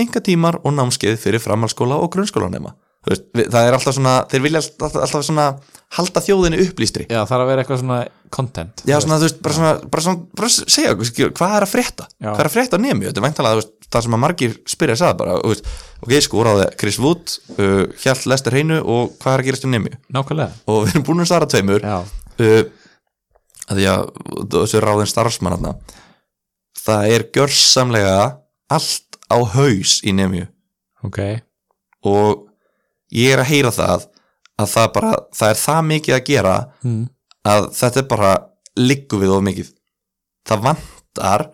Speaker 2: enga tímar og námskeið fyrir framhalskóla og grunnskólanema Þú veist, við- það er alltaf svona, þeir vilja alltaf, alltaf svona halda þjóðinu upplýstri
Speaker 1: já það er að vera eitthvað svona content
Speaker 2: já, svona, þú veist, bara svona, bara svona bara segja, okkur, skilur, hvað er að frétta,
Speaker 1: Já.
Speaker 2: hvað er að frétta á nemi, þetta er væntanlega þú veist, það sem að margir spyrja þess að bara, þú veist, ok, sko, úrháði Chris Wood uh, Hjall Lester Heinu og hvað er að gerast á nemi
Speaker 1: Nákvæmlega,
Speaker 2: og við erum búin að svara tveimur
Speaker 1: já,
Speaker 2: uh, að því að þessu ráðin starfsmann þarna það er gjörsamlega allt á haus í nefnju
Speaker 1: ok
Speaker 2: og ég er að heyra það að það bara, það er það mikið að gera
Speaker 1: mm.
Speaker 2: að þetta er bara liggu við of mikið það vantar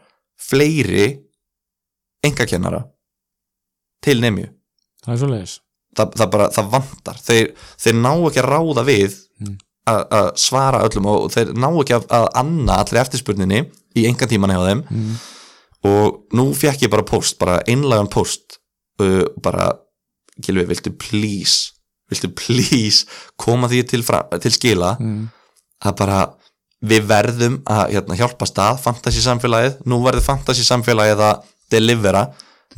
Speaker 2: fleiri engakennara til nefnju
Speaker 1: Það er svo leiðis
Speaker 2: það, það bara, það vantar þeir, þeir ná ekki að ráða við
Speaker 1: Mm.
Speaker 2: að að svara öllum og, og þeir ná ekki að, að anna allri eftirspurninni í engan tíman hjá þeim
Speaker 1: mm.
Speaker 2: og nú fekk ég bara post, bara einlagan post uh, bara, Gilvi, viltu please viltu please koma því til, fra, til skila
Speaker 1: Mm.
Speaker 2: að bara við verðum að hérna, hjálpa stað fantasy samfélagið, nú verður fantasy samfélagið að delivera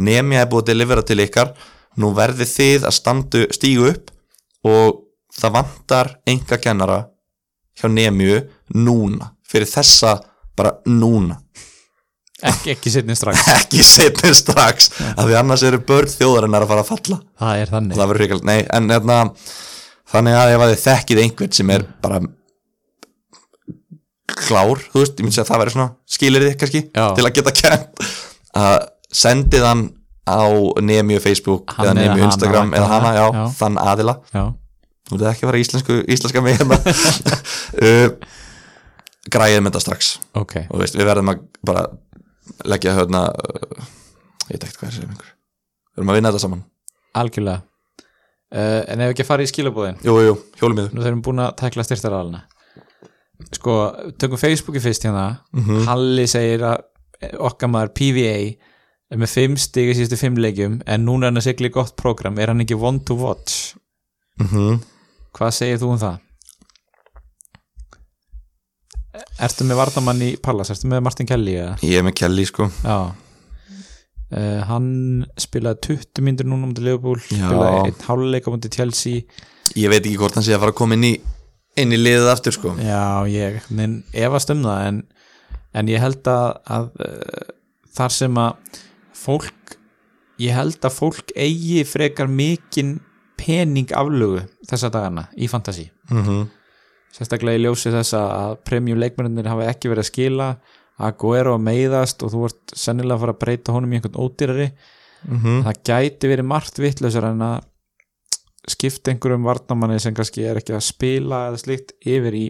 Speaker 2: nemi að búið að delivera til ykkar nú verður þið að standu stígu upp og það vantar enga kennara hjá nemiu núna fyrir þessa bara núna
Speaker 1: Ekki, ekki setni strax
Speaker 2: ekki setni strax af því annars eru börn þjóðarinnar að fara að falla
Speaker 1: Það er þannig
Speaker 2: og það verður hrikalega, nei, en hérna þannig að ef að þið þekkið einhvern sem er bara klár, þú veist, ég myndi segja að það verður svona skilir þið kannski,
Speaker 1: Já.
Speaker 2: til að geta kent að sendið hann á nemiu Facebook
Speaker 1: Hann
Speaker 2: eða
Speaker 1: eða
Speaker 2: nemiu
Speaker 1: hana,
Speaker 2: Instagram eða hana, já,
Speaker 1: já.
Speaker 2: þann aðila
Speaker 1: Já,
Speaker 2: þú veit ekki að vera íslensku, íslenska með hérna uh, græðið með þetta strax
Speaker 1: ok
Speaker 2: og veist, við verðum að bara leggja hérna uh, ég veit ekkert hvað er sem einhver við verðum að vinna þetta saman,
Speaker 1: Algjörlega uh, En ef ekki að fara í skilabóðin
Speaker 2: jú, jú, hjólum í þau
Speaker 1: Nú þeir eru búin að tekla styrtaralina Sko, tökum Facebooki fyrst hérna Halli segir að okkar maður PVA er með fimm stig í síðustu fimm leikjum en núna er hann að sigla í gott program er hann ekki one to watch
Speaker 2: mm -hmm.
Speaker 1: Hvað segir þú um það? Ertu með Vardamann í Pallas? Ertu með Martin Kelly? Eða?
Speaker 2: ég er með Kelly sko
Speaker 1: Já uh, Hann spilaði 20 myndir núna um til Leopold
Speaker 2: Já.
Speaker 1: spilaði einn háluleika um til Chelsea
Speaker 2: ég veit ekki hvort hann sé að fara að koma inn í inn í liðið aftur sko
Speaker 1: Já, ég en efast um það en, en ég held að, að uh, þar sem að fólk ég held að fólk eigi frekar mikinn pening aflögu þessa dagana í fantasi
Speaker 2: mm
Speaker 1: sérstaklega í ljósi þess að- að premium leikmennir hafa ekki verið að skila Aguero að meiðast og þú ert sennilega að fara að breyta honum í einhvern ódýrari
Speaker 2: mhm.
Speaker 1: það gæti verið margt vittlausar en að skipta einhverjum varnamanni sem kannski er ekki að spila eða slíkt yfir í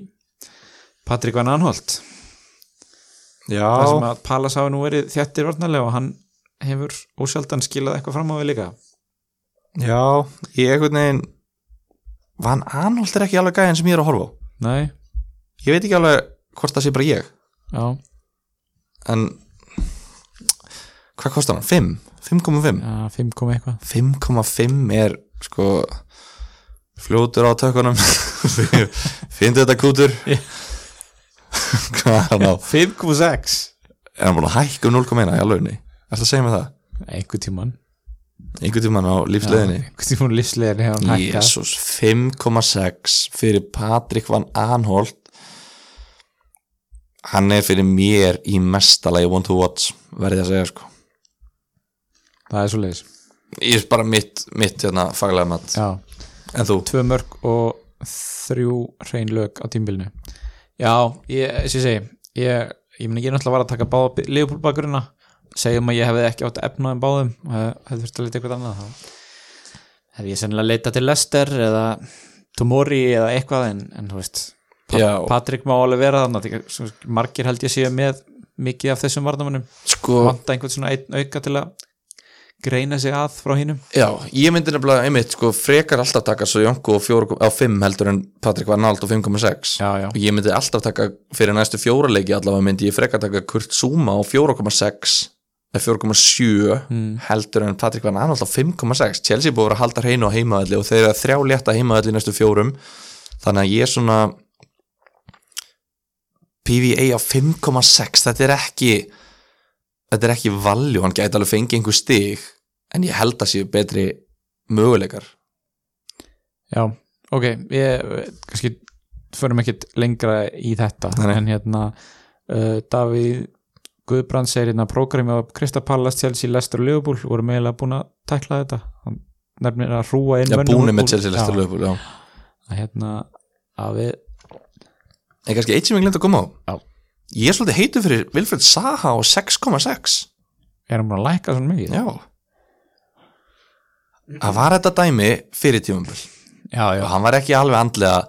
Speaker 1: Patrik Van Anholt
Speaker 2: já,
Speaker 1: það sem að Palas hafi nú verið þjættir varnarlega og hann hefur ósjaldan skilað eitthvað fram á við líka
Speaker 2: já ég einhvern veginn Van Anolt er ekki alveg gæðin sem ég er að horfa á
Speaker 1: Nei,
Speaker 2: ég veit ekki alveg hvort það sé bara ég
Speaker 1: já,
Speaker 2: en hvað kostar hann? 5? 5,5?
Speaker 1: já 5 kom eitthvað
Speaker 2: 5,5 er sko fljótur á tökunum finndu þetta kútur
Speaker 1: Já.
Speaker 2: hvað er hann á
Speaker 1: 5,6
Speaker 2: er hann búin að hækka um 0,1 í alvegni ætla að segja mig það
Speaker 1: Einhver tíman
Speaker 2: einhvern tímann á lífsleðinni
Speaker 1: Einhver tíman lífsleðinni hefur hann hækkað
Speaker 2: Jésús, 5,6 fyrir Patrik Van Anholt hann er fyrir mér í mestalagi one to watch verði að segja sko
Speaker 1: Það er svo leiðis
Speaker 2: ég er bara mitt, mitt hérna faglega mat
Speaker 1: Já,
Speaker 2: en þú,
Speaker 1: tvö mörg og þrjú hrein lög á tímbilinu Já, ég, sem ég segi ég, ég meni, ég er náttúrulega var að taka báða liðbúlbakurina, segjum að ég hefði ekki átt að efna um báðum, eh, hefði þurft að leita eitthvað annað, þá hefði ég sennilega leita til Lester eða Tomori eða eitthvað en, en þú veist,
Speaker 2: Já.
Speaker 1: Patrik má alveg vera þannig, margir held ég séu með mikið af þessum varnamunum
Speaker 2: sko
Speaker 1: vanta einhvern svona einn auka til að greina sig að frá hinnum
Speaker 2: Já, ég myndi nefnilega einmitt sko frekar alltaf taka svo Jónko á 5 heldur en Patrik var nált á 5,6
Speaker 1: Já, já.
Speaker 2: og ég myndi alltaf taka fyrir næstu fjóra leiki allavega myndi ég frekar taka Kurt Zuma á 4,6 eða 4,7
Speaker 1: Mm.
Speaker 2: heldur en Patrik var nált á 5,6 Chelsea er búið að vera að halda hreinu á heimaðalli og þeir eru að þrjá létta heimaðalli í næstu fjórum þannig að ég er svona PVA á 5,6 þetta er ekki þetta er ekki valjú, hann gæti alveg fengið einhver stig en ég held að séu betri möguleikar
Speaker 1: Já, ok, ég kannski förum ekkit lengra í þetta
Speaker 2: Nei, nei.
Speaker 1: en hérna uh, Davíð Guðbrand segir hérna prógrami á Krista Pallas, Chelsea, Lester og Liverpool voru meðlega búin að tækla þetta hann nefnir að hrúa inn
Speaker 2: Já,
Speaker 1: mönnum
Speaker 2: búni
Speaker 1: úr-
Speaker 2: með Chelsea lestur
Speaker 1: Já,
Speaker 2: lögbúl já.
Speaker 1: að hérna að við,
Speaker 2: En kannski eitt sem ég glemt að koma á
Speaker 1: Já.
Speaker 2: Ég er svolítið heitu fyrir Vilfred Saha á 6,6
Speaker 1: erum búin að læka svona mikið
Speaker 2: Já Það var þetta dæmi fyrir tímumbil
Speaker 1: já, já,
Speaker 2: og hann var ekki alveg andlega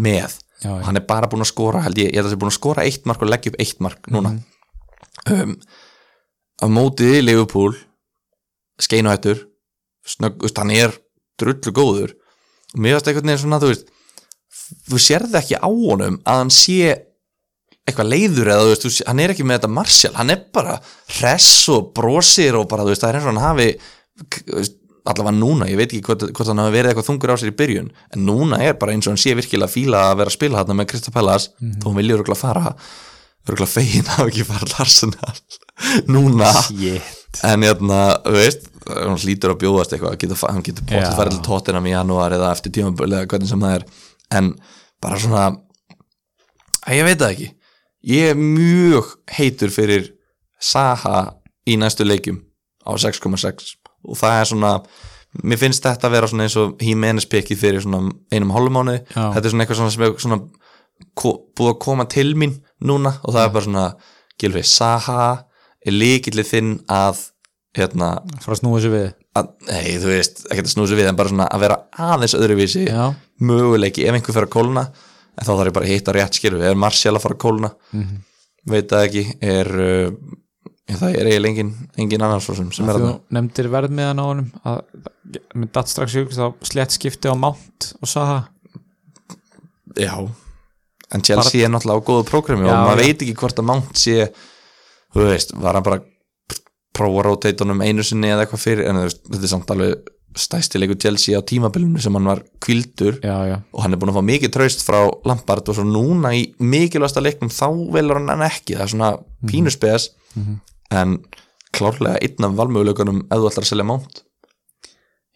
Speaker 2: með
Speaker 1: já,
Speaker 2: og
Speaker 1: já,
Speaker 2: hann er bara búin að skora held ég, ég held að sé búin að skora eitt mark og leggja upp eitt mark núna
Speaker 1: Mm.
Speaker 2: um, á mótið í Liverpool skeinuhættur snögg, þú veist, hann er drullu góður og mér varst einhvern veginn svona þú veist, þú sérð ekki á honum að hann sé eitthvað leiður eða þú veist, þú sé- hann er ekki með þetta Martial, hann er bara hress og brosir og bara þú veist, það er eins og hann hafi k- þú veist, allavega núna, ég veit ekki hvort, hvort hann hafi verið eitthvað þungur á sér í byrjun en núna er bara eins og hann sé virkilega að fíla að vera að spila hann með Krista Pellas þó hann vilja örgulega fara örgulega fegin að hafa ekki fara til Arsenal núna en hérna, þú veist, hann hlýtur að bjóðast eitthvað, geta, fa- hann getur bóttið
Speaker 1: Já.
Speaker 2: farið til tóttinam í janúar eða eftir tímabölu eða hvernig sem það er en bara svona að ég veit það ekki ég er mjög heitur fyrir Saha í næstu leikjum á 6,6 og það er svona mér finnst þetta að vera svona eins og Hímenes pikið fyrir svona einum hálfumánu
Speaker 1: Já.
Speaker 2: þetta er svona eitthvað svona sem er svona ko- búið að koma til mín núna og það er bara svona Gilfi Saha er líkillið þinn að hérna
Speaker 1: frá að snúa þessu við
Speaker 2: að, nei, þú veist, ekkert að snúsa við en bara svona að vera aðeins öðruvísi
Speaker 1: Já,
Speaker 2: möguleiki ef einhver fer að kólna en þá þarf ég bara að hitta rétt skilu er Marcial að fara að kólna
Speaker 1: Mhm.
Speaker 2: veit það ekki er, uh, það er eiginlega engin, engin annars svo sem, sem er
Speaker 1: þú
Speaker 2: þarna.
Speaker 1: nefndir verð með hann á honum að, með datt strax jökst á slett skipti á Mount og Saha
Speaker 2: já en Chelsea er náttúrulega á góðu prógrami og
Speaker 1: Já,
Speaker 2: maður
Speaker 1: já.
Speaker 2: veit ekki hvort að Mount sé þú veist, var hann bara að prófa rotatunum einu sinni eða eitthvað fyrir en þú veist, þetta er samt alveg stæstileiku Chelsea á tímabilinu sem hann var kvildur
Speaker 1: Já, já,
Speaker 2: og hann er búin að fá mikið traust frá Lampard og svo núna í mikilvægasta leiknum þá velur hann hann ekki, það er svona pínuspes en klárlega einn af valmöguleikunum ef þú ætlar að selja mánt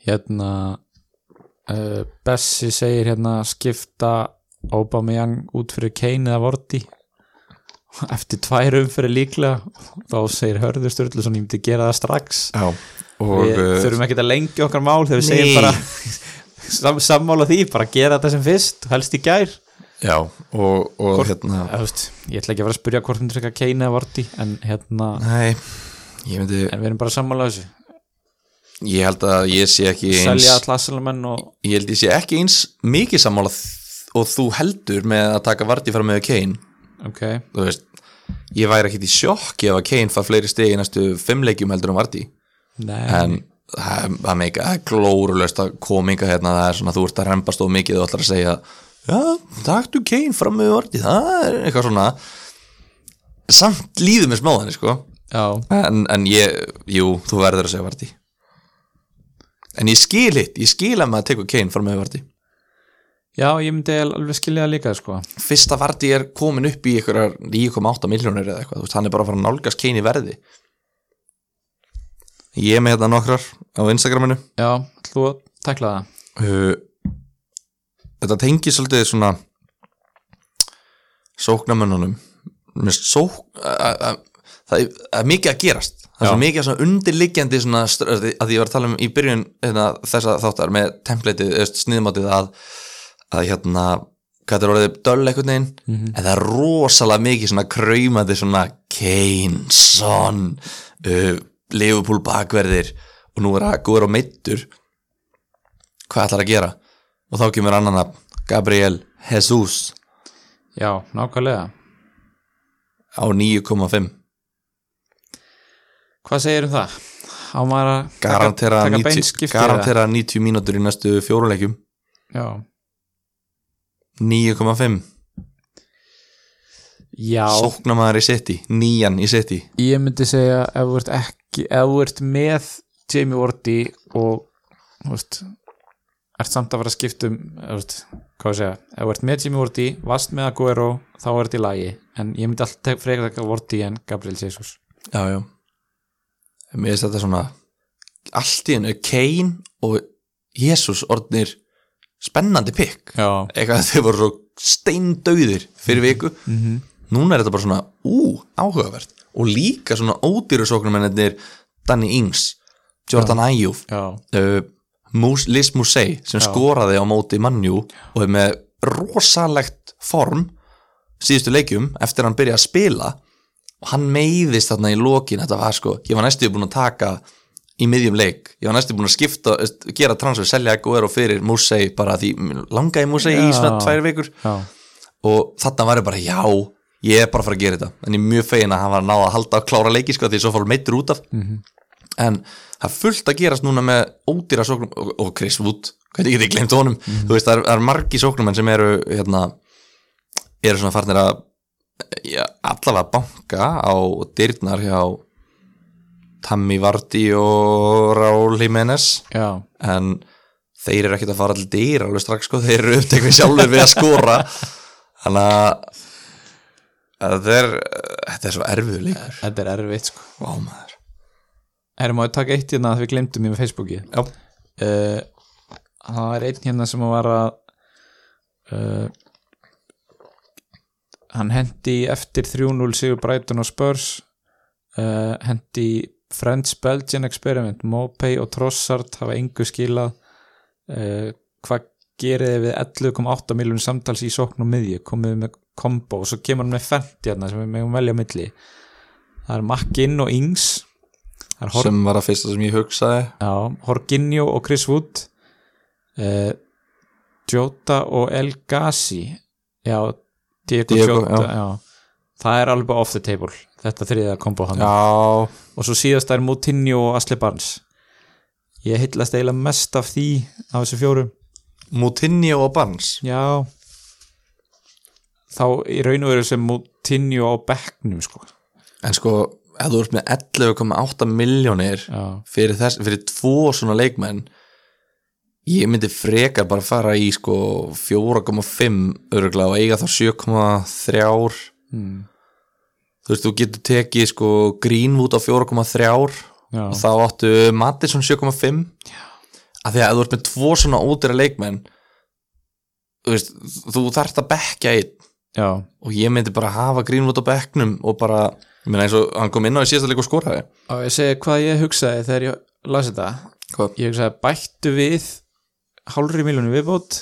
Speaker 1: hérna uh, Bessi segir hérna skipta Aubameyang út fyrir Kane eða Vorti eftir tvær umfyrir líklega þá segir Hörður Sturlu ég myndi gera það strax
Speaker 2: Já, og
Speaker 1: við
Speaker 2: eh,
Speaker 1: þurfum ekki að lengja okkar mál þegar við
Speaker 2: Nei.
Speaker 1: segjum bara sam, sammála því, bara gera þetta sem fyrst helst í gær
Speaker 2: já, og, og hérna
Speaker 1: Eða, þú veist, ég ætla ekki að vera að spyrja hvort myndir eitthvað Kane eða Vorti en hérna,
Speaker 2: nei, ég myndi
Speaker 1: en við erum bara sammála þessu
Speaker 2: ég held að ég sé ekki eins
Speaker 1: selja all asalamenn og
Speaker 2: ég held ég sé ekki eins mikið sammála þ- og þú heldur með að taka Vardí fram með Kane
Speaker 1: ok,
Speaker 2: þú veist, ég væri ekkit í sjokki ef að Kane fær fleiri stig í næstu fimm leikjum heldur um Vardí
Speaker 1: Nei,
Speaker 2: en það er- það er mikið- það er glórulegst að kominga hérna, það er svona þú ert að rempast of mikið og ætlar að segja já, taktu Kane fram með Vardí það er eitthvað svona samt líður mér smáðan sko.
Speaker 1: já,
Speaker 2: en, en ég, jú, þú verður að segja Vardí en ég skil hitt, ég skil að maður tekur Kane fram með Vardí
Speaker 1: já, ég myndi alveg skilja það líka sko.
Speaker 2: fyrsta Vardí er komin upp í einhverjar 9,8 miljónir eða eitthvað, þú veist, hann er bara að fara að nálgast Kane í verði ég er með hérna nokkrar á Instagraminu
Speaker 1: Já, ætlum þú að tekla það
Speaker 2: uh, þetta tengir svolítið svona sóknamönnunum Mér finnst sók, a, a, a, það er- það er mikið að gerast það er svo
Speaker 1: Já.
Speaker 2: mikið svona undirliggjandi svona, str- að því að ég var að tala um í byrjun hérna, þess að þáttar með templateið eða sniðmátið að, að hérna, hvað þetta er orðið döll einhvern veginn en það er rosalega mikið svona kraumandi svona Kane, Son uh, Liverpool bakverðir og nú er að góður á meittur hvað ætlar að gera og þá kemur annan að Gabriel Jesus
Speaker 1: Já, nákvæmlega
Speaker 2: á 9,5
Speaker 1: Hvað segir um það? Á maður að taka-
Speaker 2: garantera,
Speaker 1: taka
Speaker 2: 90,
Speaker 1: beinskipti eða?
Speaker 2: garantera 90 mínútur í næstu fjóruleikjum
Speaker 1: Já,
Speaker 2: 9,5
Speaker 1: já
Speaker 2: sóknamaður í seti, nýjan í seti
Speaker 1: ég myndi segja ef þú ert ekki ef þú ert með Jamie Vorty og þú veist ert samt að fara að skipta um ef þú veist, hvað ég segja, ef þú ert með Jamie Vorty vast með Aguero, þá er þetta í lagi en ég myndi alltaf tek- frekar taka Vorty en Gabriel Jesus
Speaker 2: já, já mér finnst þetta svona allt í hennu Kane og Jesus orðnir spennandi pikk
Speaker 1: Já,
Speaker 2: eitthvað að þau voru svo steindauðir fyrir
Speaker 1: Mhm.
Speaker 2: viku -hmm. núna er þetta bara svona, ú, áhugavert og líka svona ódýru sóknumennir Danny Ings, Jordan Ayew
Speaker 1: já,
Speaker 2: uh, Mus- Liz Musei sem skoraði á móti mannjú og er með rosalegt form síðustu leikjum eftir að hann byrja að spila og hann meiðist þarna í lokin þetta var sko, ég var næstu búin að taka í miðjum leik, ég var næstu búin að skipta veist, gera transfer, selja Aguero fyrir Musei bara því, mig langaði Musei í svona
Speaker 1: Já.
Speaker 2: tvær vikur
Speaker 1: já
Speaker 2: og þarna var ég bara já ég er bara að fara að gera þetta en ég er mjög fegin að hann var að náða að halda að klára leiki sko því svo fór meittur út af en það er fullt að gerast núna með ódýra sóknum og, og Chris Wood hvernig getið glemt honum þú veist það er, það er margi sóknum sem eru hérna, eru svona farnir að já, allavega banka á dyrnar hjá Tammy Vardy og Raúl Jiménez
Speaker 1: já,
Speaker 2: en þeir eru ekkert að fara allir dýr alveg strax sko, þeir eru upptekni sjálfur við að skora þannig að þetta er þetta er svo erfiður leikur
Speaker 1: þetta er erfitt sko
Speaker 2: Vá, maður.
Speaker 1: Erum að taka eitt hérna að við glemdum í Facebooki
Speaker 2: Já.
Speaker 1: uh, það er einn hérna sem var að uh, hann hendi eftir 3-0 sigur Brighton og Spurs uh, hendi French Belgian Experiment Mopey og Trossard hafa engu skilað uh, hvað geriði við 11,8 miljonum samtals í sóknum miðju komið með kombo og svo kemur hann með fendt hérna sem við megum velja á milli það er Makkinn og Ings það er Horn
Speaker 2: sem var að fyrsta sem ég hugsaði
Speaker 1: Já, Jorginho og Chris Wood uh, Jota og El Gassi Já, Diego,
Speaker 2: Diego,
Speaker 1: Jota
Speaker 2: já.
Speaker 1: já. Það er alveg off the table þetta þriða kombo hann
Speaker 2: já,
Speaker 1: og svo síðast er Moutinho og Asli Barnes Ég heitlast eiginlega mest af því af þessu fjórum
Speaker 2: Moutinho og Barnes
Speaker 1: Já þá í raun og veru sem Moutinho á bekknum sko
Speaker 2: en sko, ef þú ert með 11,8 miljónir
Speaker 1: Já,
Speaker 2: fyrir, þess, fyrir tvo svona leikmenn ég myndi frekar bara fara í sko 4,5 öruglega og eiga þá 7,3
Speaker 1: mm.
Speaker 2: þú veist, þú getur tekið sko Greenwood á 4,3 og
Speaker 1: já.
Speaker 2: þá áttu Mattisson 7,5 af því að ef þú ert með tvo svona ódýra leikmenn þú veist, þú þarft að bekka einn
Speaker 1: já
Speaker 2: og ég myndi bara hafa Greenwood á bekknum og bara, ég meina eins og hann kom inn á í síðasta leik og skoraði
Speaker 1: Og ég segi hvað ég hugsaði þegar ég las þetta
Speaker 2: Hvað?
Speaker 1: ég hugsaði bættu við hálfri miljónu viðbót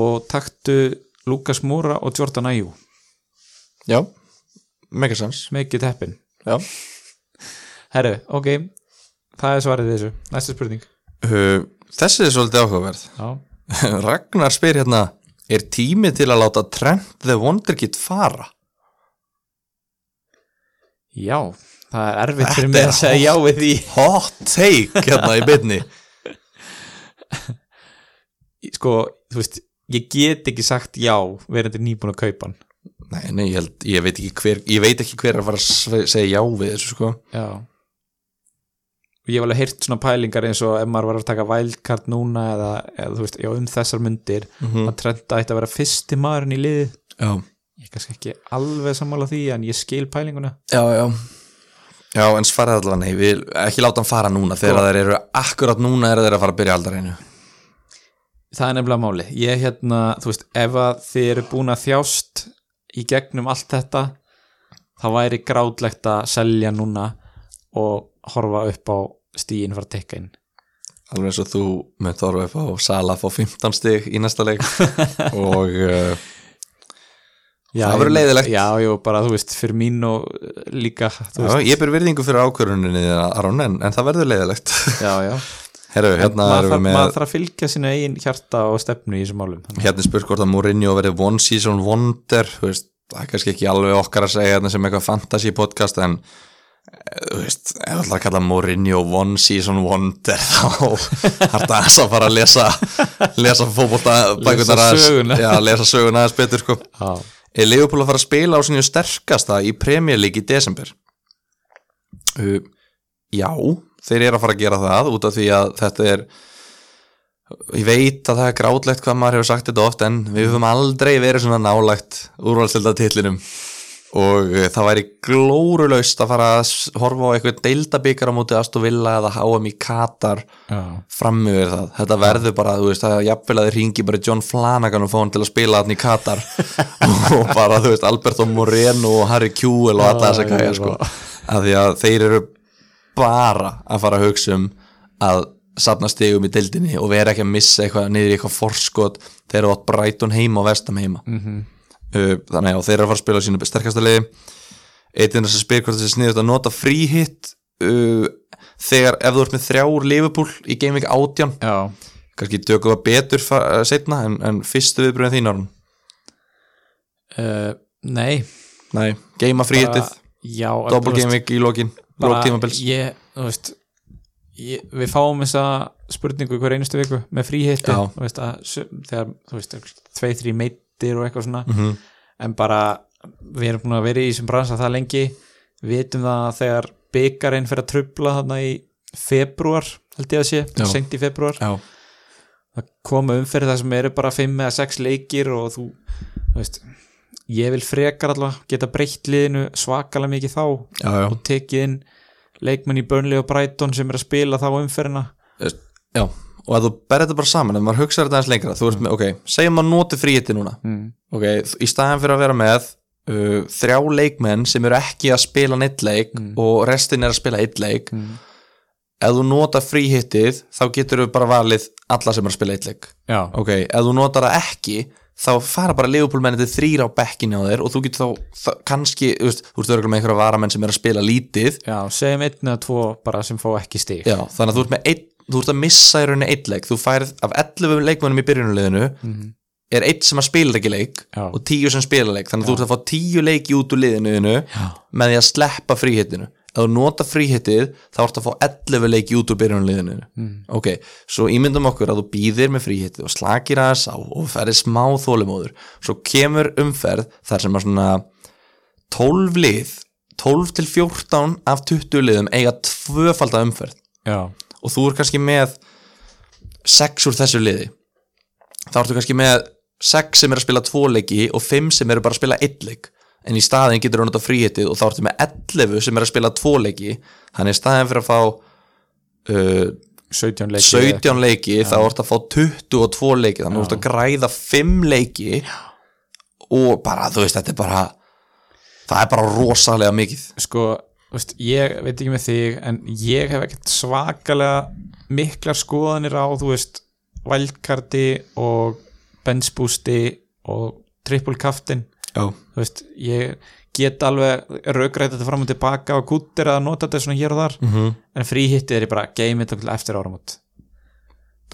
Speaker 1: og taktu Lukas Múra og Jordan Ayew
Speaker 2: Já, megasens
Speaker 1: make it happen
Speaker 2: Já
Speaker 1: herru, ok, það er svarið við þessu næsta spurning
Speaker 2: Uh, Þessi er svolítið áhugaverð
Speaker 1: já,
Speaker 2: Ragnar spyr hérna Er tími til að láta Trent the Wonderkid fara?
Speaker 1: Já, það er erfitt fyrir
Speaker 2: Þetta
Speaker 1: mig
Speaker 2: er
Speaker 1: að segja já við því
Speaker 2: hot take hérna í byrni
Speaker 1: Sko, þú veist, ég get ekki sagt já verandi nýbúin að kaupa hann
Speaker 2: nei, nei, ég, held, ég, veit ekki hver, ég veit ekki hver er að fara að sve- segja já við þessu sko
Speaker 1: Já og ég hef alveg heyrt svona pælingar eins og ef maður var að taka wildcard núna eða, eða þú veist, já um þessar mundir að Trenta ætti að vera fyrsti maðurinn í liðið
Speaker 2: já,
Speaker 1: ég er kannski ekki alveg sammála því en ég skil pælinguna
Speaker 2: já, já já, en svaraði allavega nei, við ekki láta hann fara núna
Speaker 1: Sko-
Speaker 2: þegar þeir eru akkurat núna er þeir að fara að byrja aldarinu
Speaker 1: það er nefnilega máli ég hérna, þú veist, ef að þið eru búin að þjást í gegnum allt þetta þá væri grátlegt að selja núna og horfa upp á stíin fyrir að tekka inn
Speaker 2: alveg eins og þú með Þorfa upp á Sala fá 15 stig í næsta leik og uh,
Speaker 1: já,
Speaker 2: Það verður
Speaker 1: ég-
Speaker 2: leiðilegt.
Speaker 1: já, jú, bara þú veist, fyrir mín og uh, líka þú
Speaker 2: já,
Speaker 1: veist,
Speaker 2: ég ber virðingu fyrir ákvöruninni Aron, en, en það verður leiðilegt
Speaker 1: já, já
Speaker 2: Herru, hérna
Speaker 1: maður,
Speaker 2: erum við
Speaker 1: þarf,
Speaker 2: með
Speaker 1: maður þarf að fylgja sína eigin hjarta og stefnu í þessum málum Þannig-
Speaker 2: hérna er spurt hvort að Mourinho verið one season wonder þú veist, það er kannski ekki alveg okkar að segja hérna sem eitthvað fantasy podcast en eh, þú veist, ef alltaf að kalla Mourinho one season wonder þá þarf það aðeins að fara að lesa lesa fótbolta bækurnar aðeins-
Speaker 1: söguna.
Speaker 2: já, lesa söguna aðeins betur sko.
Speaker 1: já,
Speaker 2: er Leopold að fara að spila á sinni sterkasta í Premier League í desember uh, já þeir eru að fara að gera það út af því að þetta er ég veit að það er grátlegt hvað maður hefur sagt þetta oft en við höfum aldrei verið svona nálægt úrvalstelda titlinum og uh, það væri glórulaust að fara að s- horfa á eitthvað deildabikar á móti Aston Villa eða HM í Katar
Speaker 1: já,
Speaker 2: fram yfir það, þetta verður bara þú veist, það er jafnvel að þið ringi bara í John Flanagan og fá hann til að spila hann í Katar og bara, þú veist, Alberto Moreno og Harry Kjúel og
Speaker 1: Já,
Speaker 2: alla þessa kæja
Speaker 1: ég
Speaker 2: sko, af því að þeir eru bara að fara að hugsa um að safna stegum í deildinni og vera ekki að missa eitthvað niður í eitthvað forskot þeir eru átt Brighton heima og Vestam heima
Speaker 1: Mhm.
Speaker 2: uh, þannig að þeir eru að fara að spila á sínu sterkasta liði eitthvað sem spyr hvort þessi sniðut að nota fríhitt uh, þegar ef þú ert með þrjár Liverpool í gaming átján
Speaker 1: já.
Speaker 2: kannski tökum við betur fa- eh, seinna en, en fyrstu viðbröðin þín orðin
Speaker 1: Uh, nei
Speaker 2: nei, geima fríhittið,
Speaker 1: já, þú
Speaker 2: double
Speaker 1: veist,
Speaker 2: gaming í lokin lók tímabils
Speaker 1: ég, þú veist ég, við fáum þessa spurningu hver einustu viku með fríhitti
Speaker 2: Já.
Speaker 1: þú veist, að, sum- þegar, þú veist, tvei, þrý meittir og eitthvað svona
Speaker 2: Mhm.
Speaker 1: en bara, við erum búin að vera í þessum bransa það lengi, við vitum það að þegar byggarinn fyrir að trubla þarna í februar, held ég að
Speaker 2: Já.
Speaker 1: sé sengt í februar,
Speaker 2: já,
Speaker 1: það koma umferð það sem eru bara 5 eða 6 leikir og þú, þú veist ég vil frekar allavega geta breytt liðinu svakalega mikið þá
Speaker 2: já, já,
Speaker 1: og tekið inn leikmenn í Burnley og Brighton sem er að spila þá umferðina
Speaker 2: já og að þú berð þetta bara saman, ef maður hugsa þetta aðeins lengra þú ert með, ok, segjum maður noti fríhitti núna
Speaker 1: mm.
Speaker 2: ok, í staðan fyrir að vera með uh, þrjá leikmenn sem eru ekki að spila neitt leik
Speaker 1: Mm.
Speaker 2: og restin er að spila eitt leik
Speaker 1: Mm.
Speaker 2: ef þú nota fríhittið þá getur við bara valið alla sem eru að spila eitt leik
Speaker 1: Já,
Speaker 2: ok, ef þú notar það ekki þá fara bara leifupólmennið þrýra á bekkinu á þér og þú getur þá, þá kannski, þú veist, þú ert örgulega með einhverja varamenn sem eru að spila lítið
Speaker 1: já, segjum einn eða tvo bara sem fá ekki stig
Speaker 2: Já, þannig að þú ert með einn þú ert að missa í rauninni einn leik þú færð af 11 leikmönnum í byrjunuleginu er einn sem að spila ekki leik
Speaker 1: Já.
Speaker 2: og 10 sem spila leik þannig að þú ert að fá 10 leiki út úr liðinuðinu með því að sleppa fríhittinu ef þú nota fríhittið þá ert að fá 11 leiki út úr byrjunuleginu mm. ok, svo ímyndum okkur að þú býðir með fríhittið og slakir aðeins á og ferði smá þólumóður svo kemur umferð þar sem að svona 12 lið 12 til 14 af 20 liðum eiga tvöfalda umferð
Speaker 1: já,
Speaker 2: og þú er kannski með sex úr þessu liði þá ertu kannski með sex sem er að spila tvo leiki og fimm sem eru bara að spila einn leik en í staðin getur þú nota fríhetið og þá ertu með 11 sem er að spila tvo leiki þannig í staðin fyrir að fá uh,
Speaker 1: 17 leikir
Speaker 2: 17 leiki þá ertu að fá 22 leiki þannig ertu að græða 5 leiki og bara þú veist þetta er bara það er bara rosalega mikið
Speaker 1: sko, þú veist, ég veit ekki með þig en ég hef ekkert svakalega miklar skoðanir á þú veist, wildcardi og benchboosti og triple kaftin
Speaker 2: Já,
Speaker 1: þú veist, ég get alveg raugrætt þetta fram og tilbaka og kúttir að nota þetta svona hér og þar
Speaker 2: Mhm.
Speaker 1: -hmm. en fríhittið er ég bara game it until eftir áramót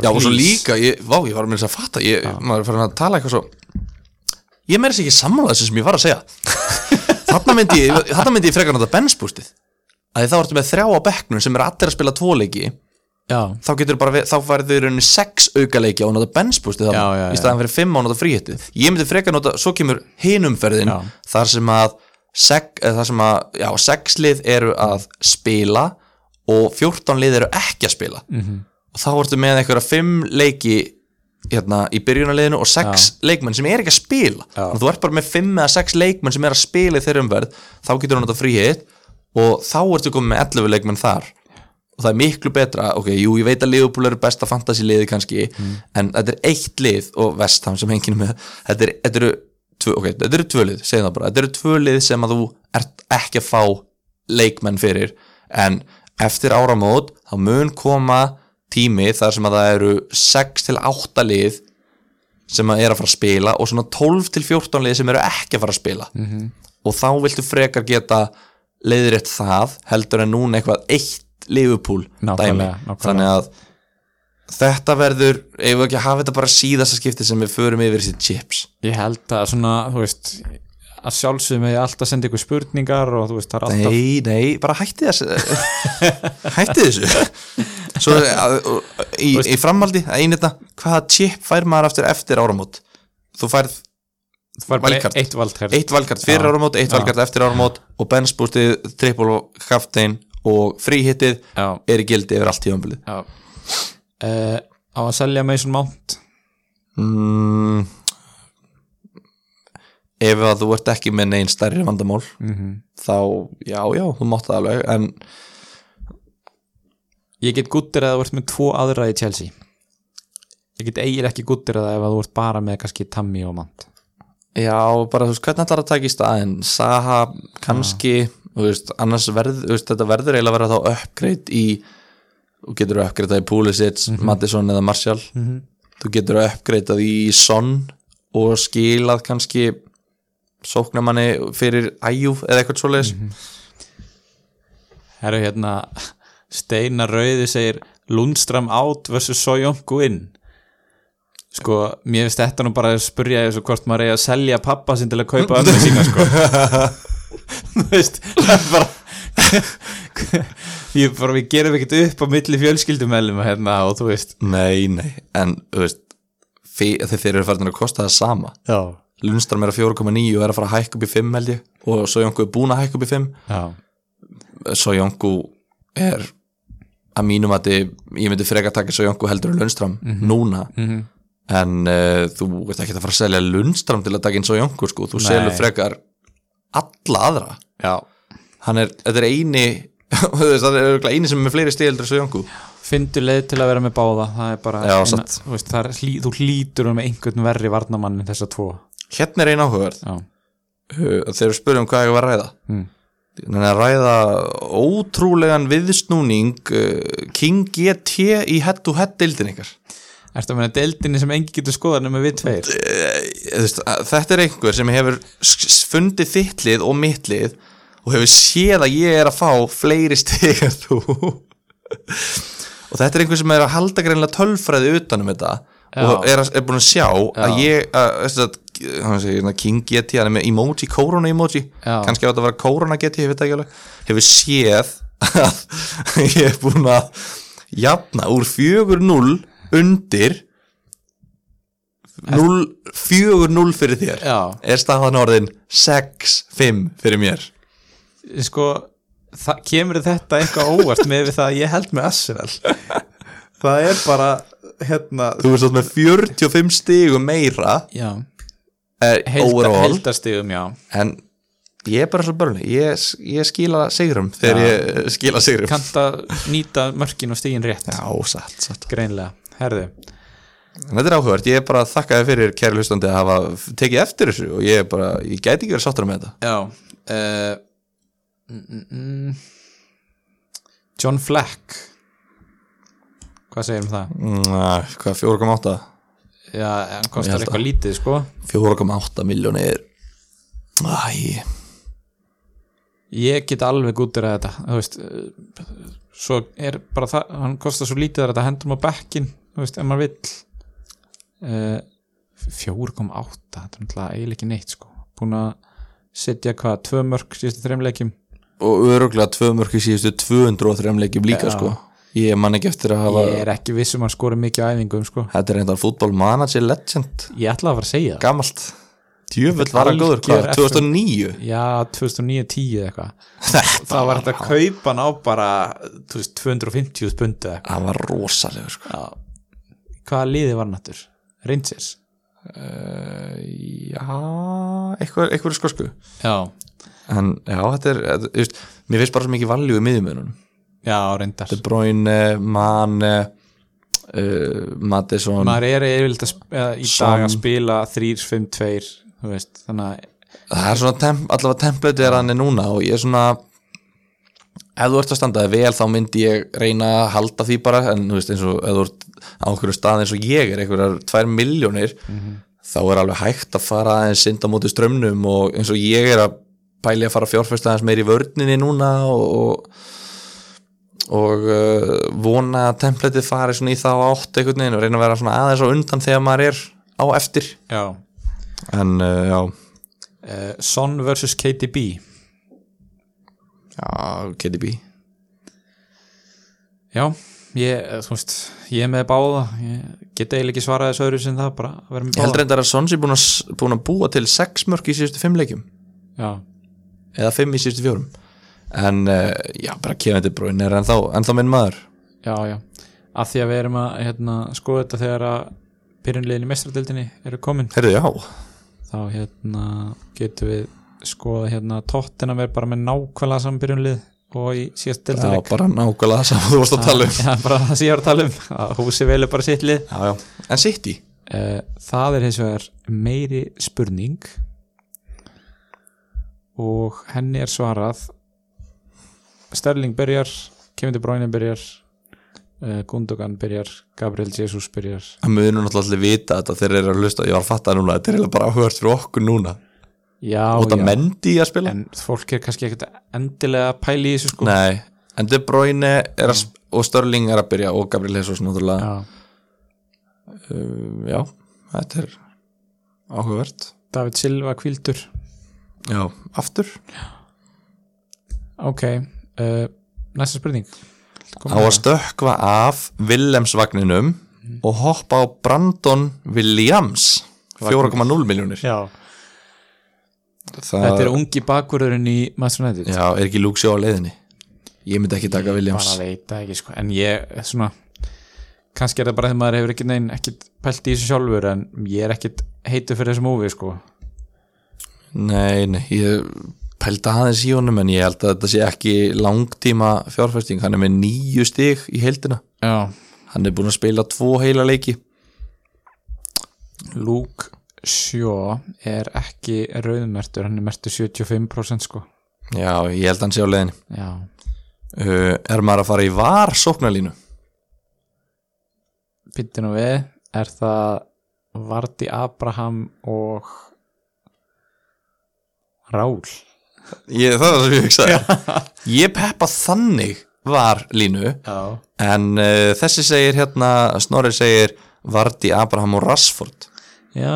Speaker 2: Já og svo
Speaker 1: Please.
Speaker 2: líka, ég, vá ég var að minna að fatta ég, maður er farin að tala eitthvað svo ég meira sér ekki sammála þessu sem ég var að segja þarna myndi ég, þarna myndi ég frekar nota benspústið að þá ertu með þrjá á bekknum sem er allir að spila tvoleiki
Speaker 1: já,
Speaker 2: þá getur bara, við- þá færðu í rauninni sex aukaleiki á að nota
Speaker 1: Já,
Speaker 2: benspústið
Speaker 1: já, já.
Speaker 2: í staðan fyrir fimm á að nota fríhettu ég myndi frekar nota, svo kemur hinumferðin
Speaker 1: Já.
Speaker 2: þar sem að seg, eh, þar sem að, já, sexlið eru að spila og 14 lið eru ekki að spila
Speaker 1: Mhm.
Speaker 2: -hmm. og þá ertu með einhverja fimm leiki hérna í byrjunarliðinu og sex leikmenn sem er ekki að spila
Speaker 1: Já.
Speaker 2: Þannig að þú ert bara með fimm eða sex leikmenn sem er að spila í þeirra umverð, þá getur hann þetta fríhitt og þá ertu komið með 11 leikmenn þar og það er miklu betra ok, jú, ég veit að Liverpool eru besta fantasy liði kannski, en þetta er eitt lið og Vestham sem hengir með þetta, er, þetta eru tvö, ok, þetta eru tvö lið segjum það bara, þetta eru tvö lið sem að þú ert ekki að fá leikmenn fyrir en eftir áramót þá mun koma tími þar sem að það eru 6 til 8 lið sem að er að fara að spila og svona 12 til 14 lið sem eru ekki að fara að spila -hmm. og þá viltu frekar geta leiðrétt það heldur en núna eitthvað eitt Liverpool dæmi
Speaker 1: Nákvæmlega, nákvæmlega.
Speaker 2: þannig að þetta verður ef við ekki að hafa þetta bara síðasta skipti sem við förum yfir þessi chips
Speaker 1: ég held að svona, þú veist að sjálfsögum með alltaf senda ykkur spurningar og þú veist, það er alltaf
Speaker 2: Nei, nei, bara hætti þessu hætti þessu svo að, og- í, í framhaldi að einu þetta, hvaða chip fær maður aftur eftir áramót þú færð
Speaker 1: það var bara
Speaker 2: Valkart.
Speaker 1: eitt valdkart
Speaker 2: eitt valkart fyrir
Speaker 1: Já.
Speaker 2: áramót, eitt
Speaker 1: Já.
Speaker 2: valkart eftir áramót og benspústið, triple kaftein og fríhittið
Speaker 1: já,
Speaker 2: er í gildi yfir allt tíðanbilið
Speaker 1: já uh, á að selja Mason Mount
Speaker 2: mm, ef að þú ert ekki með neinn stærri vandamál
Speaker 1: Mhm.
Speaker 2: þá, já, já, þú mátt það alveg en
Speaker 1: ég get guttir að það vart með tvo aðra í Chelsea ég get eigir ekki guttir að það ef að þú vart bara með kannski Tammy og Mount
Speaker 2: já, bara þú veist, hvernig ætlar að taka í staðin Saha, kannski þú veist, annars verð, þú veist, þetta verður eiginlega að vera þá uppgreitt í þú getur að uppgreita í Pulisic, Maddison eða Martial
Speaker 1: Mhm.
Speaker 2: þú getur að uppgreita í Son og skilað kannski sóknamanni fyrir Æjú eða eitthvað svoleiðis
Speaker 1: herru hérna Steinar Rauði segir Lundstram out versus Sojongu in sko, mér finnst þetta nú bara að spurja þessu hvort maður eigi að selja pappa sinn til að kaupa ömmu sína sko þú veist, það er bara ég bara, við gerum ekkert upp á milli fjölskyldumælum hérna og þú veist
Speaker 2: Nei, nei, en þú veist fyr, þeir eru farin að kosta það sama
Speaker 1: já,
Speaker 2: Lundström er að 4,9 og er að fara að hækka upp í 5 held ég og Sojongu er búin að hækka upp í 5
Speaker 1: já.
Speaker 2: Sojongu er að mínum að ég myndi freka að taka Sojongu heldur en Lundström núna
Speaker 1: Mhm.
Speaker 2: en uh, þú ert ekki að fara að selja Lundström til að taka inn Sojongu sko, þú
Speaker 1: Nei.
Speaker 2: selur frekar alla aðra
Speaker 1: Já.
Speaker 2: hann er, þetta er eini þú veist, það er örugglega eini sem er með fleiri stíl heldur en Sojongu
Speaker 1: Fyndu leið til að vera með báða það er bara,
Speaker 2: Já,
Speaker 1: eina,
Speaker 2: satt.
Speaker 1: þú, veist, það er, hlý, þú hlýtur með einhvern verri varnamann en þessa tvo
Speaker 2: hérna er eina áhugaverð
Speaker 1: já,
Speaker 2: uh, þegar við spurðum hvað ég var að ræða
Speaker 1: Mm.
Speaker 2: þannig að ræða ótrúlegan viðsnúning uh, King GT í head to head deildin ykkar
Speaker 1: Ertu að meina deildinni sem engi getur skoðað nema við tveir
Speaker 2: uh, veist, að- þetta er einhver sem hefur s- s- fundið þittlið og mittlið og hefur séð að ég er að fá fleiri stig en þú og þetta er einhver sem er að halda greinlega tölfræði utanum þetta og
Speaker 1: Já.
Speaker 2: er, að, er búin að sjá að
Speaker 1: Já.
Speaker 2: ég, að, veist að, hann segir, hérna, King GT, hann er með emoji, korona emoji
Speaker 1: Já.
Speaker 2: kannski á þetta að vera korona GT, ég veit það ekki alveg hefur séð að ég er búin að jafna úr 4-0 undir 0 4-0 fyrir þér
Speaker 1: Já.
Speaker 2: er staðan orðin 6-5 fyrir mér
Speaker 1: sko, það, kemur þetta eitthvað óvart með við það að ég held með Assevel það er bara hérna
Speaker 2: þú veist að með 45 stigum meira
Speaker 1: já,
Speaker 2: er
Speaker 1: heldar,
Speaker 2: overall
Speaker 1: heldastigum já.
Speaker 2: en ég er bara svo börnli ég, ég skila sigrum þegar
Speaker 1: Já.
Speaker 2: ég skila sigrum
Speaker 1: kannt að nýta mörkin og stigin rétt
Speaker 2: já, satt, satt
Speaker 1: greinlega, herðu
Speaker 2: en þetta er áhugavert, ég er bara að þakka þér fyrir kæri hlustandi að hafa f- tekið eftir þessu og ég er bara, ég gæti ekki verið sáttur með þetta
Speaker 1: Já uh, mm, mm, John Fleck Hvað segir um það?
Speaker 2: mm, hvað, 4,8
Speaker 1: Já, hann
Speaker 2: Ég
Speaker 1: kostar
Speaker 2: held
Speaker 1: eitthvað lítið sko
Speaker 2: 4,8 miljónir æ,
Speaker 1: Ég get alveg gúttir að þetta þú veist eh, Svo er bara það, hann kostar svo lítið að þetta hendur maður bekkin, þú veist, ef maður vill Eh, uh, 4,8 þetta er náttúrulega eiginlega ekki neitt sko búin að setja hvað, tvö mörg síðustu þreimleikjum
Speaker 2: og öruglega tvö mörki síðustu 203 leikjum líka sko ég man ekki eftir að hafa
Speaker 1: ég er ekki viss um að skora mikið á æfingum sko.
Speaker 2: þetta er einhver fútbol manager legend
Speaker 1: ég ætla að fara að segja það
Speaker 2: gamalt djöfull var að
Speaker 1: Algjör
Speaker 2: góður hvað 2009
Speaker 1: já, 2009-10 eða eitthvað það var þetta kaupan á bara þú veist, 250 spundu eða eitthvað
Speaker 2: það var rosalegur sko
Speaker 1: hvaða liði var nattur? Rangers
Speaker 2: já eitthvað, eitthvað sko sko
Speaker 1: já,
Speaker 2: en já þetta er þetta, þú veist, mér finnst bara svo mikið valjú í miðjumönunum
Speaker 1: já, reyndar
Speaker 2: De Bruyne, Mane uh, Madison
Speaker 1: maður er yfirleitt að, sp- eða í
Speaker 2: Son.
Speaker 1: dag að spila 3-5-2 þú veist, þannig að
Speaker 2: það er svona temp, allavega template er hann er núna og ég er svona ef þú ert að standa þig vel þá myndi ég reyna að halda því bara en þú veist eins og ef þú ert á einhverju stað eins og ég er einhverjar tvær miljónir þá er alveg hægt að fara aðeins synda móti strömmnum og eins og ég er að pæli að fara að fjárfesta aðeins meir í vörninni núna og og, og uh, vona að templateið fari svona í þá átt einhvern veginn og reyna að vera svona aðeins á undan þegar maður er á eftir
Speaker 1: já,
Speaker 2: en uh, já
Speaker 1: uh, Son vs. KDB
Speaker 2: já, KDB
Speaker 1: já, ég, eh, þú veist ég er með báða, ég get eiginlega ekki svarað þessu öðru sem það, bara að vera með
Speaker 2: Ég held
Speaker 1: báða
Speaker 2: reyndar að Sonsi búin að, búin að búa til sex mörg í síðustu fimm leikjum
Speaker 1: já,
Speaker 2: eða fimm í síðustu fjórum en uh, já, bara kefandi brúin er ennþá, ennþá minn maður
Speaker 1: já, já að því að við erum að hérna, skoða þetta þegar að byrjunlegin í mestradildinni eru komin
Speaker 2: Herðu, já,
Speaker 1: þá hérna getum við skoða hérna tóttina verð bara með nákvæmlega saman byrjunlið og í síðast
Speaker 2: já
Speaker 1: dildarleik
Speaker 2: bara nákvæmlega það sem þú varst að tala um
Speaker 1: Já, bara það sem ég var að tala um að húsi velur bara sitt lið
Speaker 2: Já, já, en City
Speaker 1: Eh, það er hins vegar meiri spurning og henni er svarað Sterling byrjar Kevin De Bruyne byrjar eh, Gundogan byrjar Gabriel Jesus byrjar
Speaker 2: Það munur náttúrulega allir vita þetta þegar þeir eru að hlusta ég var að fatta það núna, þetta er eiginlega bara áhugast fyrir okkur núna
Speaker 1: já,
Speaker 2: og
Speaker 1: já.
Speaker 2: það mendi að spila
Speaker 1: en fólk er kannski ekkert endilega að pæli í þessu sko
Speaker 2: Nei, en De Bruyne er að, sp- og Störling er að byrja og Gabriel Jesus náttúrulega
Speaker 1: já.
Speaker 2: Um, já, þetta er áhugavert
Speaker 1: David Silva kvildur
Speaker 2: Já, aftur
Speaker 1: ok, uh, næsta spurning
Speaker 2: á að stökkva af Willemsvagninum og hoppa á Brandon Williams 4,0 miljónir
Speaker 1: já. þetta
Speaker 2: þetta
Speaker 1: er ungi bakurðurinn í Master United
Speaker 2: Eh. já, er ekki Luke Sjó á leiðinni ég myndi ekki taka Williams
Speaker 1: bara veit það ekki sko en ég svona kannski er það bara þegar maður hefur ekki neinn ekkit pælt í þessu sjálfur en ég er ekkit heitur fyrir þessu móvi sko
Speaker 2: nei, nei, ég pælda aðeins í honum en ég held að þetta sé ekki langtíma fjárfæsting, hann er með nýju stig í heildina,
Speaker 1: já
Speaker 2: hann er búin að spila tvo heila leiki
Speaker 1: Luke Shaw er ekki rauðmertur hann er mertur 75% sko
Speaker 2: já, ég held að hann sé á leiðinni
Speaker 1: já
Speaker 2: uh, er maður að fara í var sóknarlínu
Speaker 1: Pittin og við er það Vardi Abraham og Rál
Speaker 2: ég, það var það sem ég hugsaði ég peppa þannig var línu
Speaker 1: Já
Speaker 2: en uh, þessi segir hérna Snorri segir Vardi, Abraham og Rashford
Speaker 1: Já,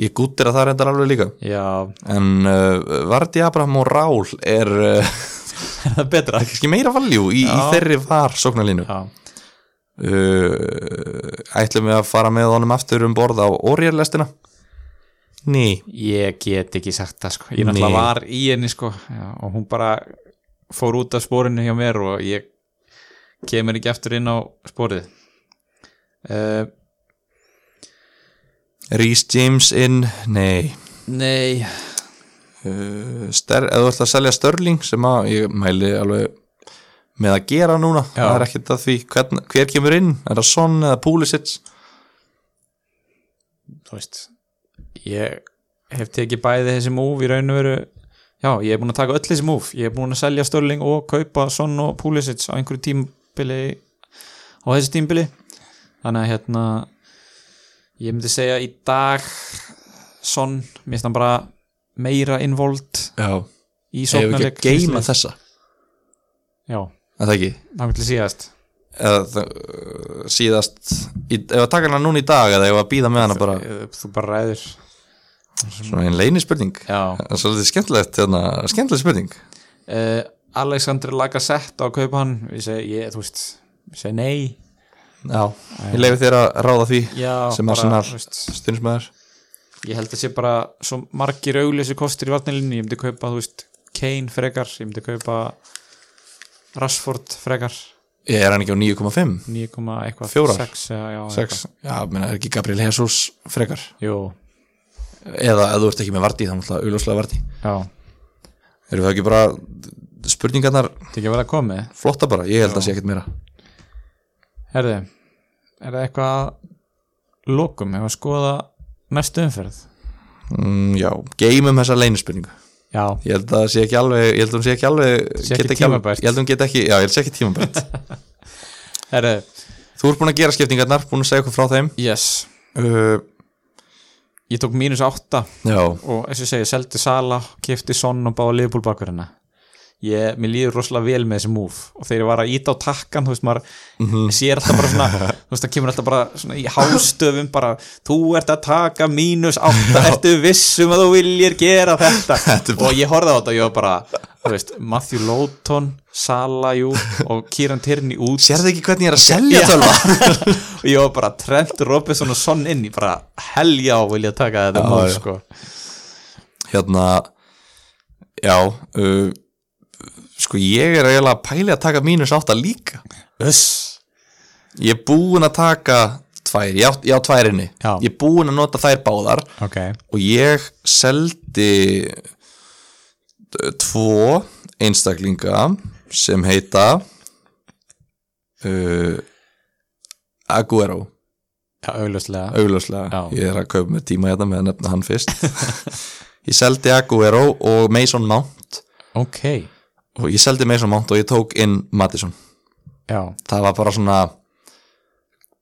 Speaker 2: ég gúttir að það reyndar alveg líka
Speaker 1: já,
Speaker 2: en uh, Vardi, Abraham og Rál er uh,
Speaker 1: er það betra?
Speaker 2: ekki meira valjú í, í
Speaker 1: Já.
Speaker 2: þeirri var sóknarlínu uh,
Speaker 1: Já,
Speaker 2: ætlum við að fara með honum aftur um borð á orjarlestina ný
Speaker 1: ég get ekki sagt það sko, ég
Speaker 2: Nei.
Speaker 1: náttúrulega var í henni sko já, og hún bara fór út af spórinu hjá mér og ég kemur ekki aftur inn á spórið uh,
Speaker 2: Rhys James inn, nei
Speaker 1: Nei,
Speaker 2: Ster, eða þú ætla að selja Störling sem að ég mæli alveg með að gera núna,
Speaker 1: Já.
Speaker 2: það er ekkert að því hvern, hver kemur inn, er það Son eða Pulisic
Speaker 1: þú veist ég hef tekið bæði þessi múf í raun og veru já, ég hef búin að taka öll þessi múf ég hef búin að selja Störling og kaupa Son og Pulisic á einhverju tímbili á þessi tímbili þannig að hérna ég myndi segja í dag Son, mér finnst hann bara meira involved
Speaker 2: Já,
Speaker 1: í
Speaker 2: hefur
Speaker 1: sóknarleik
Speaker 2: ekki að geima þessa
Speaker 1: já,
Speaker 2: en það ekki,
Speaker 1: þannig til síðast
Speaker 2: eða það, uh, síðast í, ef að taka hana núna í dag eða ef að býða með hana bara
Speaker 1: Eh, þú bara ræður
Speaker 2: svona einn leini spurning
Speaker 1: Já.
Speaker 2: það er svolítið skemmtilegt hérna, skemmtileg spurning
Speaker 1: uh, Alexander Lagasett á að kaupa hann ég segi, ég, þú veist, ég segi nei
Speaker 2: já, ég leifi þér að ráða því
Speaker 1: Já,
Speaker 2: sem
Speaker 1: bara,
Speaker 2: Arsenal
Speaker 1: þú veist.
Speaker 2: stundismæður
Speaker 1: ég held að sé bara svo margir auglýsi kostir í vatnilinni ég myndi kaupa, þú veist, Kane frekar ég myndi kaupa Rashford frekar
Speaker 2: ég er hann ekki á 9,5 Fjórar?
Speaker 1: 9,6 já, já,
Speaker 2: Sex. Já, meina, er ekki Gabriel Jesus frekar
Speaker 1: eitthvað. Jú,
Speaker 2: eða ef þú ert ekki með Vardí þá náttúrulega augljóslega Vardí
Speaker 1: já,
Speaker 2: eru það ekki bara spurningarnar
Speaker 1: þetta ekki að vera að komi
Speaker 2: flotta bara, ég held að sé ekkert meira
Speaker 1: Herði, er það eitthvað að lokum, hefur að skoða næstu umferð
Speaker 2: mm, já, geymum þessa leini spurningu
Speaker 1: Já,
Speaker 2: ég held að það sé ekki alveg ég held að hún sé ekki alveg
Speaker 1: Sé ekki
Speaker 2: geti alveg-
Speaker 1: tímabært.
Speaker 2: ég held að hún get ekki, já, ég held sé ekki tímabært
Speaker 1: herði,
Speaker 2: þú ert búin að gera skiptingarnar, búin að segja okkur frá þeim
Speaker 1: yes
Speaker 2: uh,
Speaker 1: Ég tók mínus átta
Speaker 2: já,
Speaker 1: og eins og ég segi, seldi Sala, kefti Son og báði Liverpool bakverðina ég, mér líður rosalega vel með þessi múf og þegar ég var að íta á takkan, þú veist maður
Speaker 2: Mhm.
Speaker 1: sér alltaf bara svona, þú veist það kemur alltaf bara svona í hástöfum bara þú ert að taka mínus átta ertu vissum að þú viljir gera þetta og ég horfði á þetta og ég var bara þú veist, Matthew Lowton Sala, jú, og Kieran Tierney út
Speaker 2: sérðu ekki hvernig ég er að selja
Speaker 1: Já.
Speaker 2: tölva
Speaker 1: og ég var bara Trent Robinson og Son inn í bara helja og vilja taka þetta
Speaker 2: Já,
Speaker 1: mál,
Speaker 2: já.
Speaker 1: sko
Speaker 2: hérna já uh, sko ég er eiginlega að pæli að taka mínus átta líka
Speaker 1: Uss.
Speaker 2: ég er búin að taka tvær, já, já tværinni
Speaker 1: Já.
Speaker 2: ég er búin að nota þær báðar
Speaker 1: ok,
Speaker 2: og ég seldi t- tvo einstaklinga sem heita uh, Aguero
Speaker 1: já, augljóslega
Speaker 2: augljóslega,
Speaker 1: Já.
Speaker 2: ég er að kaupa með tíma hérna með að nefna hann fyrst ég seldi Aguero og Mason Mount
Speaker 1: Ok,
Speaker 2: og ég seldi Mason Mount og ég tók inn Madison
Speaker 1: já,
Speaker 2: það var bara svona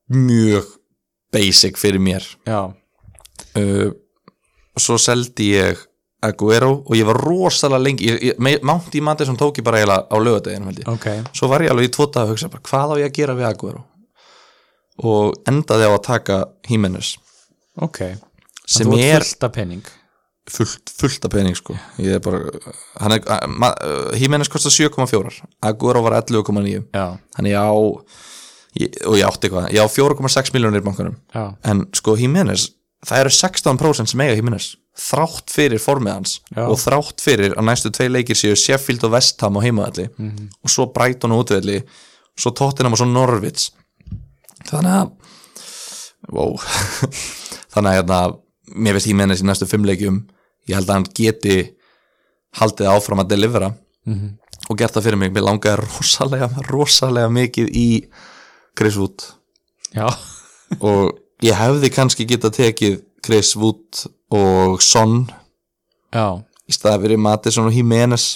Speaker 2: mjög basic fyrir mér
Speaker 1: já,
Speaker 2: uh, svo seldi ég Aguero og ég var rosalega lengi ég, ég, Me- Mount í Madison tók ég bara eiginlega á lögadeginu held ég
Speaker 1: ok
Speaker 2: svo var ég alveg í tvo dag að hugsa bara, hvað á ég að gera við Aguero og endaði á að taka Jimenez
Speaker 1: Ok,
Speaker 2: sem
Speaker 1: þú ert
Speaker 2: er
Speaker 1: fullt af penning
Speaker 2: fullt, fullt af pening sko ég er bara hann er, að- ma- uh, Jimenez kostar 7,4 Aguero var 11,9
Speaker 1: Já,
Speaker 2: þannig ég á ég, og ég átti eitthvað, ég á 4,6 miljónir í bankanum
Speaker 1: já,
Speaker 2: en sko Jimenez það eru 16% sem eiga Jimenez þrátt fyrir formið hans
Speaker 1: Já.
Speaker 2: og þrátt fyrir að næstu tvei leikir séu Sheffield og Vestham á heimaðalli og svo Brighton og útvelli svo Tottenham og svo Norvits þannig að wow. þannig að hérna, mér veist Jimenez í næstu fimm leikjum ég held að hann geti haldið áfram að delivera og gert það fyrir mig, mér langaði rosalega rosalega mikið í Chris Wood
Speaker 1: já,
Speaker 2: og ég hefði kannski geta tekið Chris Wood og Son
Speaker 1: já,
Speaker 2: í staði fyrir Matisson og Jimenez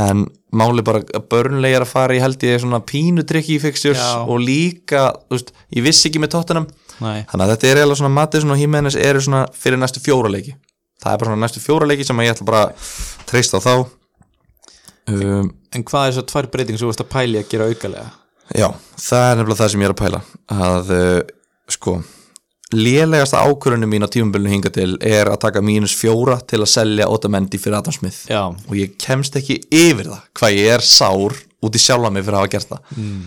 Speaker 2: en máli bara að Burnley er að fara í held ég svona pínu trikki í fixtures
Speaker 1: Já.
Speaker 2: og líka, þú veist, ég vissi ekki með Tottenham
Speaker 1: næ
Speaker 2: þannig að þetta er eiginlega svona Matisson og Jimenez eru svona fyrir næstu fjóra leiki það er bara svona næstu fjóra leiki sem að ég ætla bara að treysta á þá um,
Speaker 1: En hvað er þess að tvær breyting sem þú veist að pæli að gera aukalega?
Speaker 2: Já, það er nefnilega það sem ég er að pæla að uh, sko lélegasta ákvörunum mín á tímabölinu hinga til er að taka mínus fjóra til að selja Otamendi fyrir Adam Smith
Speaker 1: Já,
Speaker 2: og ég kemst ekki yfir það hvað ég er sár út í sjálfa mig fyrir að hafa gert það mm.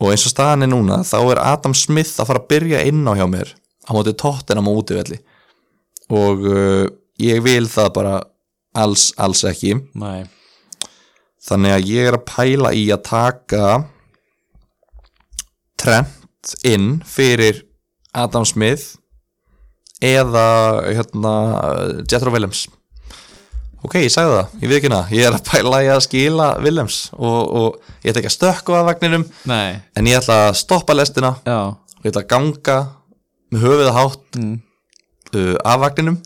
Speaker 2: og eins og staðan er núna þá er Adam Smith að fara að byrja inn á hjá mér á móti tóttina á útivelli og uh, ég vil það bara alls, alls ekki
Speaker 1: næ,
Speaker 2: þannig að ég er að pæla í að taka Trent inn fyrir Adam Smith eða hérna Jethro Williams ok, ég sagði það, ég veit ekki hana ég er að pæla í að skila Williams og, og ég ætla ekki að stökku að vagninum
Speaker 1: næ,
Speaker 2: en ég ætla að stoppa lestina
Speaker 1: já
Speaker 2: ég ætla að ganga með höfuð hátt mm. uh, af vagninum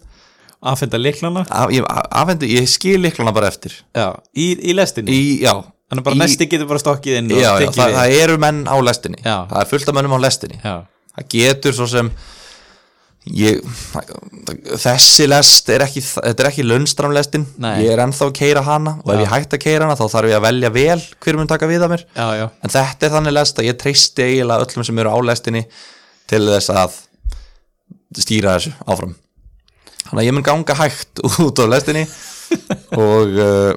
Speaker 1: Afhenda líklana?
Speaker 2: af, ég, af, afhendu, ég skil líklana bara eftir
Speaker 1: Já, í, í lestinni
Speaker 2: í, já,
Speaker 1: Þannig bara
Speaker 2: í-
Speaker 1: næsti getur bara stokkið inn og
Speaker 2: já, já,
Speaker 1: tekið
Speaker 2: það,
Speaker 1: við.
Speaker 2: það eru menn á lestinni
Speaker 1: Já.
Speaker 2: það er fullt af mönnum á lestinni
Speaker 1: Já,
Speaker 2: það getur svo sem ég, þessi lest er ekki, þetta er ekki lönnstramlestin
Speaker 1: Nei.
Speaker 2: ég er ennþá að keira hana og ef
Speaker 1: Já.
Speaker 2: ég hægt að keira hana þá þarf ég að velja vel hver mun taka við að mér
Speaker 1: já, já,
Speaker 2: en þetta er þannig lest að ég treysti eiginlega öllum sem eru á lestinni til þess að stýra þessu áfram þannig að ég mun ganga hægt út á lestinni og uh,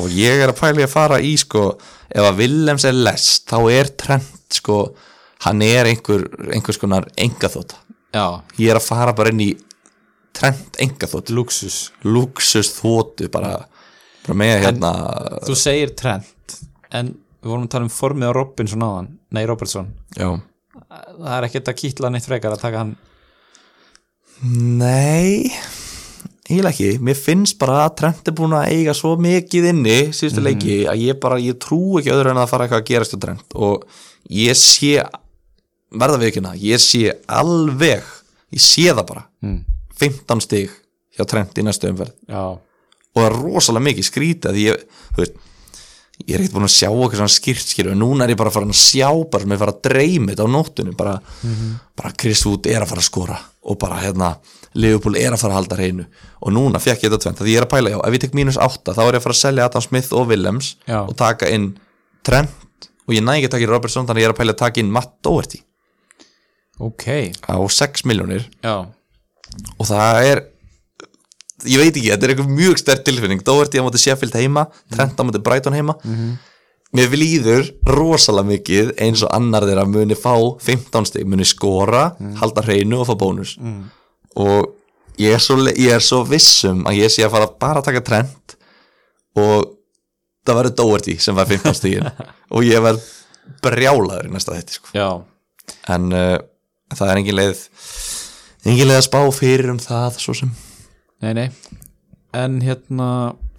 Speaker 2: og ég er að pæla í að fara í sko, ef að Willems er lest þá er trend sko, hann er einhver, einhvers konar engaþóta
Speaker 1: Já,
Speaker 2: ég er að fara bara inn í trend engaþót,
Speaker 1: luxus
Speaker 2: luxus þótu bara, bara með hérna
Speaker 1: Þú segir trend en við vorum að tala um formið á Robinson áðan Nei, Robertson
Speaker 2: já.
Speaker 1: Það er ekkert að kýtla neitt frekar að taka hann
Speaker 2: nei eiginlega ekki, mér finnst bara að trend er búin að eiga svo mikið inni síðustu leiki að ég bara, ég trú ekki öðru en að fara eitthvað að gerast á trend og ég sé verða við ekki hérna, ég sé alveg ég sé það bara
Speaker 1: mm.
Speaker 2: 15 stig hjá Trent í næstu umferð
Speaker 1: Já,
Speaker 2: og það er rosalega mikið skrítið að því ég, þú veist ég er ekkert búin að sjá okkur svona skýrt skýr og núna er ég bara farin að sjá bara sem er fara að dreyma þetta á nóttunum bara, bara Chris Wood er að fara að skora og bara hérna Liverpool er að fara að halda hreinu og núna fekk ég þetta tvent að ég er að pæla já, ef ég tek mínus 8 þá er ég að fara að selja Adam Smith og Willems
Speaker 1: Já.
Speaker 2: og taka inn Trent og ég næg ekki að taka inn Robertson þannig að ég er að pæla að taka inn Matt Doherty
Speaker 1: ok
Speaker 2: á 6 miljónir
Speaker 1: Já,
Speaker 2: og það er ég veit ekki, þetta er einhver mjög sterk tilfinning Doherty á móti Sheffield heima, Trent á móti Brighton heima mér líður rosalega mikið eins og annar þeirra muni fá 15 stig muni skora, halda hreinu og fá bónus og ég er, svo, le- ég er svo vissum að ég sé að fara bara að taka Trent og það verður Doherty sem var 15 stigin og ég verð brjálaður í næsta þetta sko
Speaker 1: já,
Speaker 2: en uh, það er engin leið engin leið að spá fyrir um það svo sem
Speaker 1: nei, nei En hérna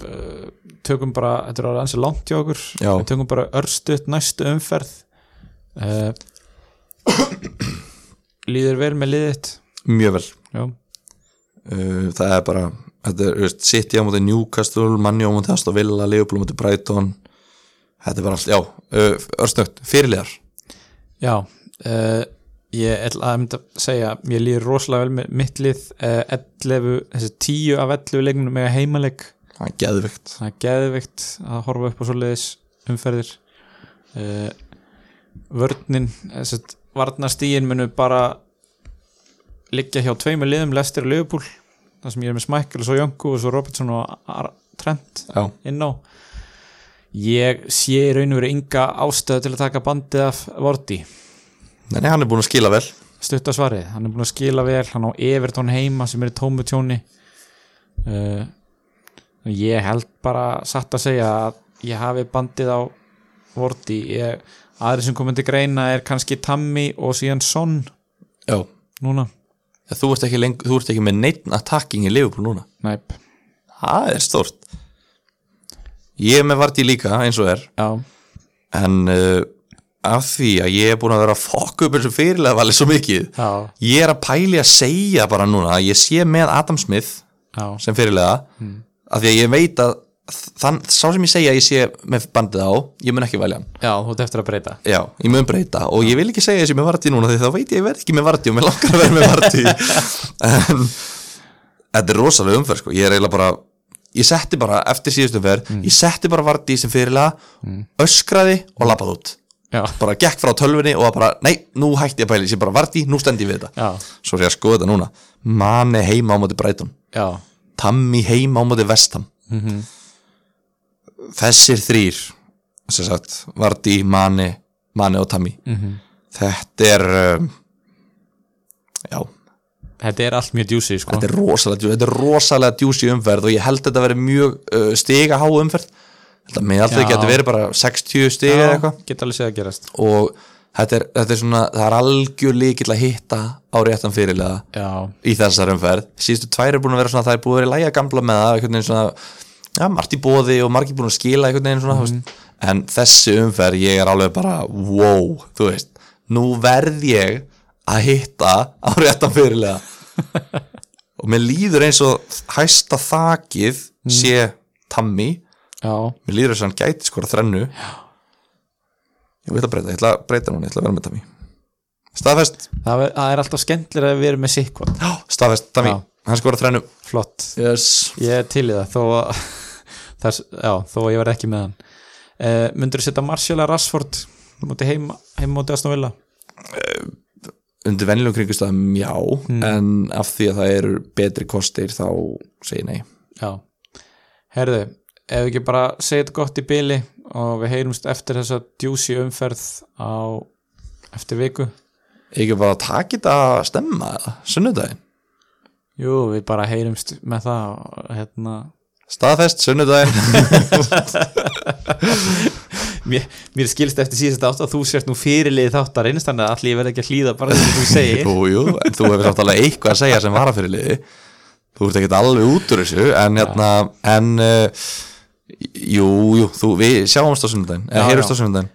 Speaker 1: uh, tökum bara, þetta er alveg ansið langt hjá okkur
Speaker 2: Já.
Speaker 1: Við tökum bara örstuðt næstu umferð uh, Líður vel með liðið
Speaker 2: mjög vel
Speaker 1: Já,
Speaker 2: uh, það er bara þetta er, þú veist, City á móti Newcastle manni á móti Aston Villa, Liverpool á móti Brighton þetta er bara allt, já uh, örstnögt, fyrirlegar
Speaker 1: já uh, Ég ætla að mynda að segja Mér líður rosalega vel með mitt lið uh, 11, þessi 10 af 11 leikmennum eiga heimaleg
Speaker 2: það er geðvikt
Speaker 1: það er geðvikt að horfa upp á svoleiðis umferðir uh, vörnin eh, varnastíin munu bara liggja hjá tveimur liðum lestir og liðbúl, það sem ég er með Smækkel og svo Jöngu og svo Robertson og Ar Trent
Speaker 2: já,
Speaker 1: inn á ég sé í raun og verið ynga ástöðu til að taka bandið af Vorti
Speaker 2: nei, nei, hann er búin að skila vel
Speaker 1: stutta svarið, hann er búin að skila vel hann á Evertón heima sem er í tómu tjóni uh, ég held bara satt að segja að ég hafi bandið á Vorti, ég, aðri sem komið til greina er kannski Tammy og síðan Son
Speaker 2: já,
Speaker 1: núna,
Speaker 2: þú ert ekki, leng, þú ert ekki með neitt attacking í Liverpool núna
Speaker 1: næp
Speaker 2: það er stort ég er með vart líka eins og er
Speaker 1: já,
Speaker 2: en uh, af því að ég er búin að vera að fokka upp eins og fyrirlega valið svo mikið
Speaker 1: já,
Speaker 2: ég er að pæli að segja bara núna að ég sé með Adam Smith
Speaker 1: já,
Speaker 2: sem fyrirlega af því að ég veit að þann, sá sem ég segja að ég sé með bandið á ég mun ekki velja hann,
Speaker 1: já þú ert eftir að breyta
Speaker 2: já, ég mun breyta og ég vil ekki segja þessi með Vardí núna því þá veit ég að ég verð ekki með Vardí og mér langar að vera með Vardí en þetta er rosalega umferð sko, ég er eiginlega bara ég setti bara eftir síðustum ferð ég setti bara Vardí sem fyrirlega öskraði og lappað út
Speaker 1: já,
Speaker 2: bara gekk frá tölvunni og var bara, nei, nú hætti ég að pæla ég sé bara Vardí, nú stend ég við þetta
Speaker 1: já,
Speaker 2: svo er ég að skoða þetta núna Mane heima á móti Brighton
Speaker 1: já
Speaker 2: Tammy heima á móti Vestam
Speaker 1: mm
Speaker 2: þessir þrýr sem sagt, Vardí, Mane Mane og Tammy
Speaker 1: Mhm.
Speaker 2: þetta er um, já,
Speaker 1: þetta er allt mjög djúsi sko.
Speaker 2: þetta er rosalega þetta er rosalega djúsi umferð og ég held að þetta verið mjög uh, stiga há umferð þetta meðaldið
Speaker 1: Já.
Speaker 2: getur verið bara 60 stiga eða
Speaker 1: já,
Speaker 2: eitthvað
Speaker 1: geta alveg séð að gerast
Speaker 2: og þetta er, þetta er svona það er algjör líkill að hitta á réttan fyrirlega
Speaker 1: já,
Speaker 2: í þessar umferð síðustu tvær er búin að vera svona það er búin að vera í lægja gamla með það einhvern veginn svona ja, margt í bóði og margir búin að skila einhvern veginn svona mm. en þessi umferð ég er alveg bara wow, þú veist nú verð ég að hitta á réttan fyrirlega og mér líður eins og hæsta þakið sé Tammy
Speaker 1: já,
Speaker 2: mér líður eins og hann gæti skora þrennu ég vil að breyta, ég ætla að breyta núna ég ætla að vera með Tammy staðfest,
Speaker 1: það er, það er alltaf skemmtilega að vera með sikkvart
Speaker 2: já, staðfest Tammy,
Speaker 1: Já.
Speaker 2: hann skora þrennu
Speaker 1: flott
Speaker 2: yes.
Speaker 1: Ég er til í það þó að, þess, já, þó að ég var ekki með hann Eh, uh, Mundur þú setja Marshall að Rashford móti heim, heim móti Aston Villa
Speaker 2: undir venjulegum kringustæðum já
Speaker 1: Hmm.
Speaker 2: en af því að það eru betri kostir þá segi ég nei
Speaker 1: Já, herðu ef við ekki bara segja þetta gott í byli og við heyrumst eftir þessa djúsi umferð á eftir viku
Speaker 2: ekki bara að taka þetta að stemma eða, sunnudaginn,
Speaker 1: Jú, við bara heyrumst með það og hérna
Speaker 2: staðfest sunnudaginn
Speaker 1: Mér, mér skilst eftir síðast átt að þú sért nú fyrirlið þáttar einnstann að allir ég verð ekki að hlýða bara því sem þú segir
Speaker 2: jú, jú, en þú hefur samt alveg eitthvað að segja sem vara fyrir liði þú ert ekkert alveg út úr þessu en, hérna, en uh, jú, jú, þú, við sjáumst á sunnudaginn
Speaker 1: Já,
Speaker 2: eða heyrumst
Speaker 1: já.
Speaker 2: á sunnudaginn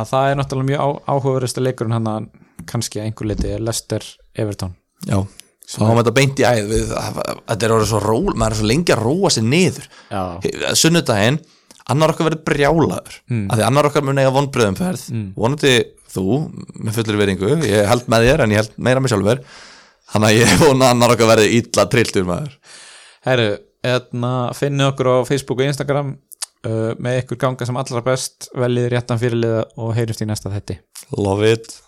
Speaker 1: að það er náttúrulega mjög á- áhugaverðasta leikurinn hann að kannski að einhver leiti er Lester Everton
Speaker 2: Já, þá hafa þetta beint í æð við, að- að- þetta er orðið svo ról, maður er svo lengi að róa sér niður
Speaker 1: Já.
Speaker 2: He- sunnudaginn, annar okkar verður brjálaður af því annar okkar mun eiga vonbröðumferð mm. vonandi þú, með fullur veringu ég held með þér en ég held meira mig sjálfur þannig að ég vona að annar okkar verði illa trilltur maður
Speaker 1: Herru, hérna, finni okkur á Facebook og Instagram uh, með ykkur ganga sem allra best veljið réttan fyrirliða og heyrumst í næsta þetti
Speaker 2: Love it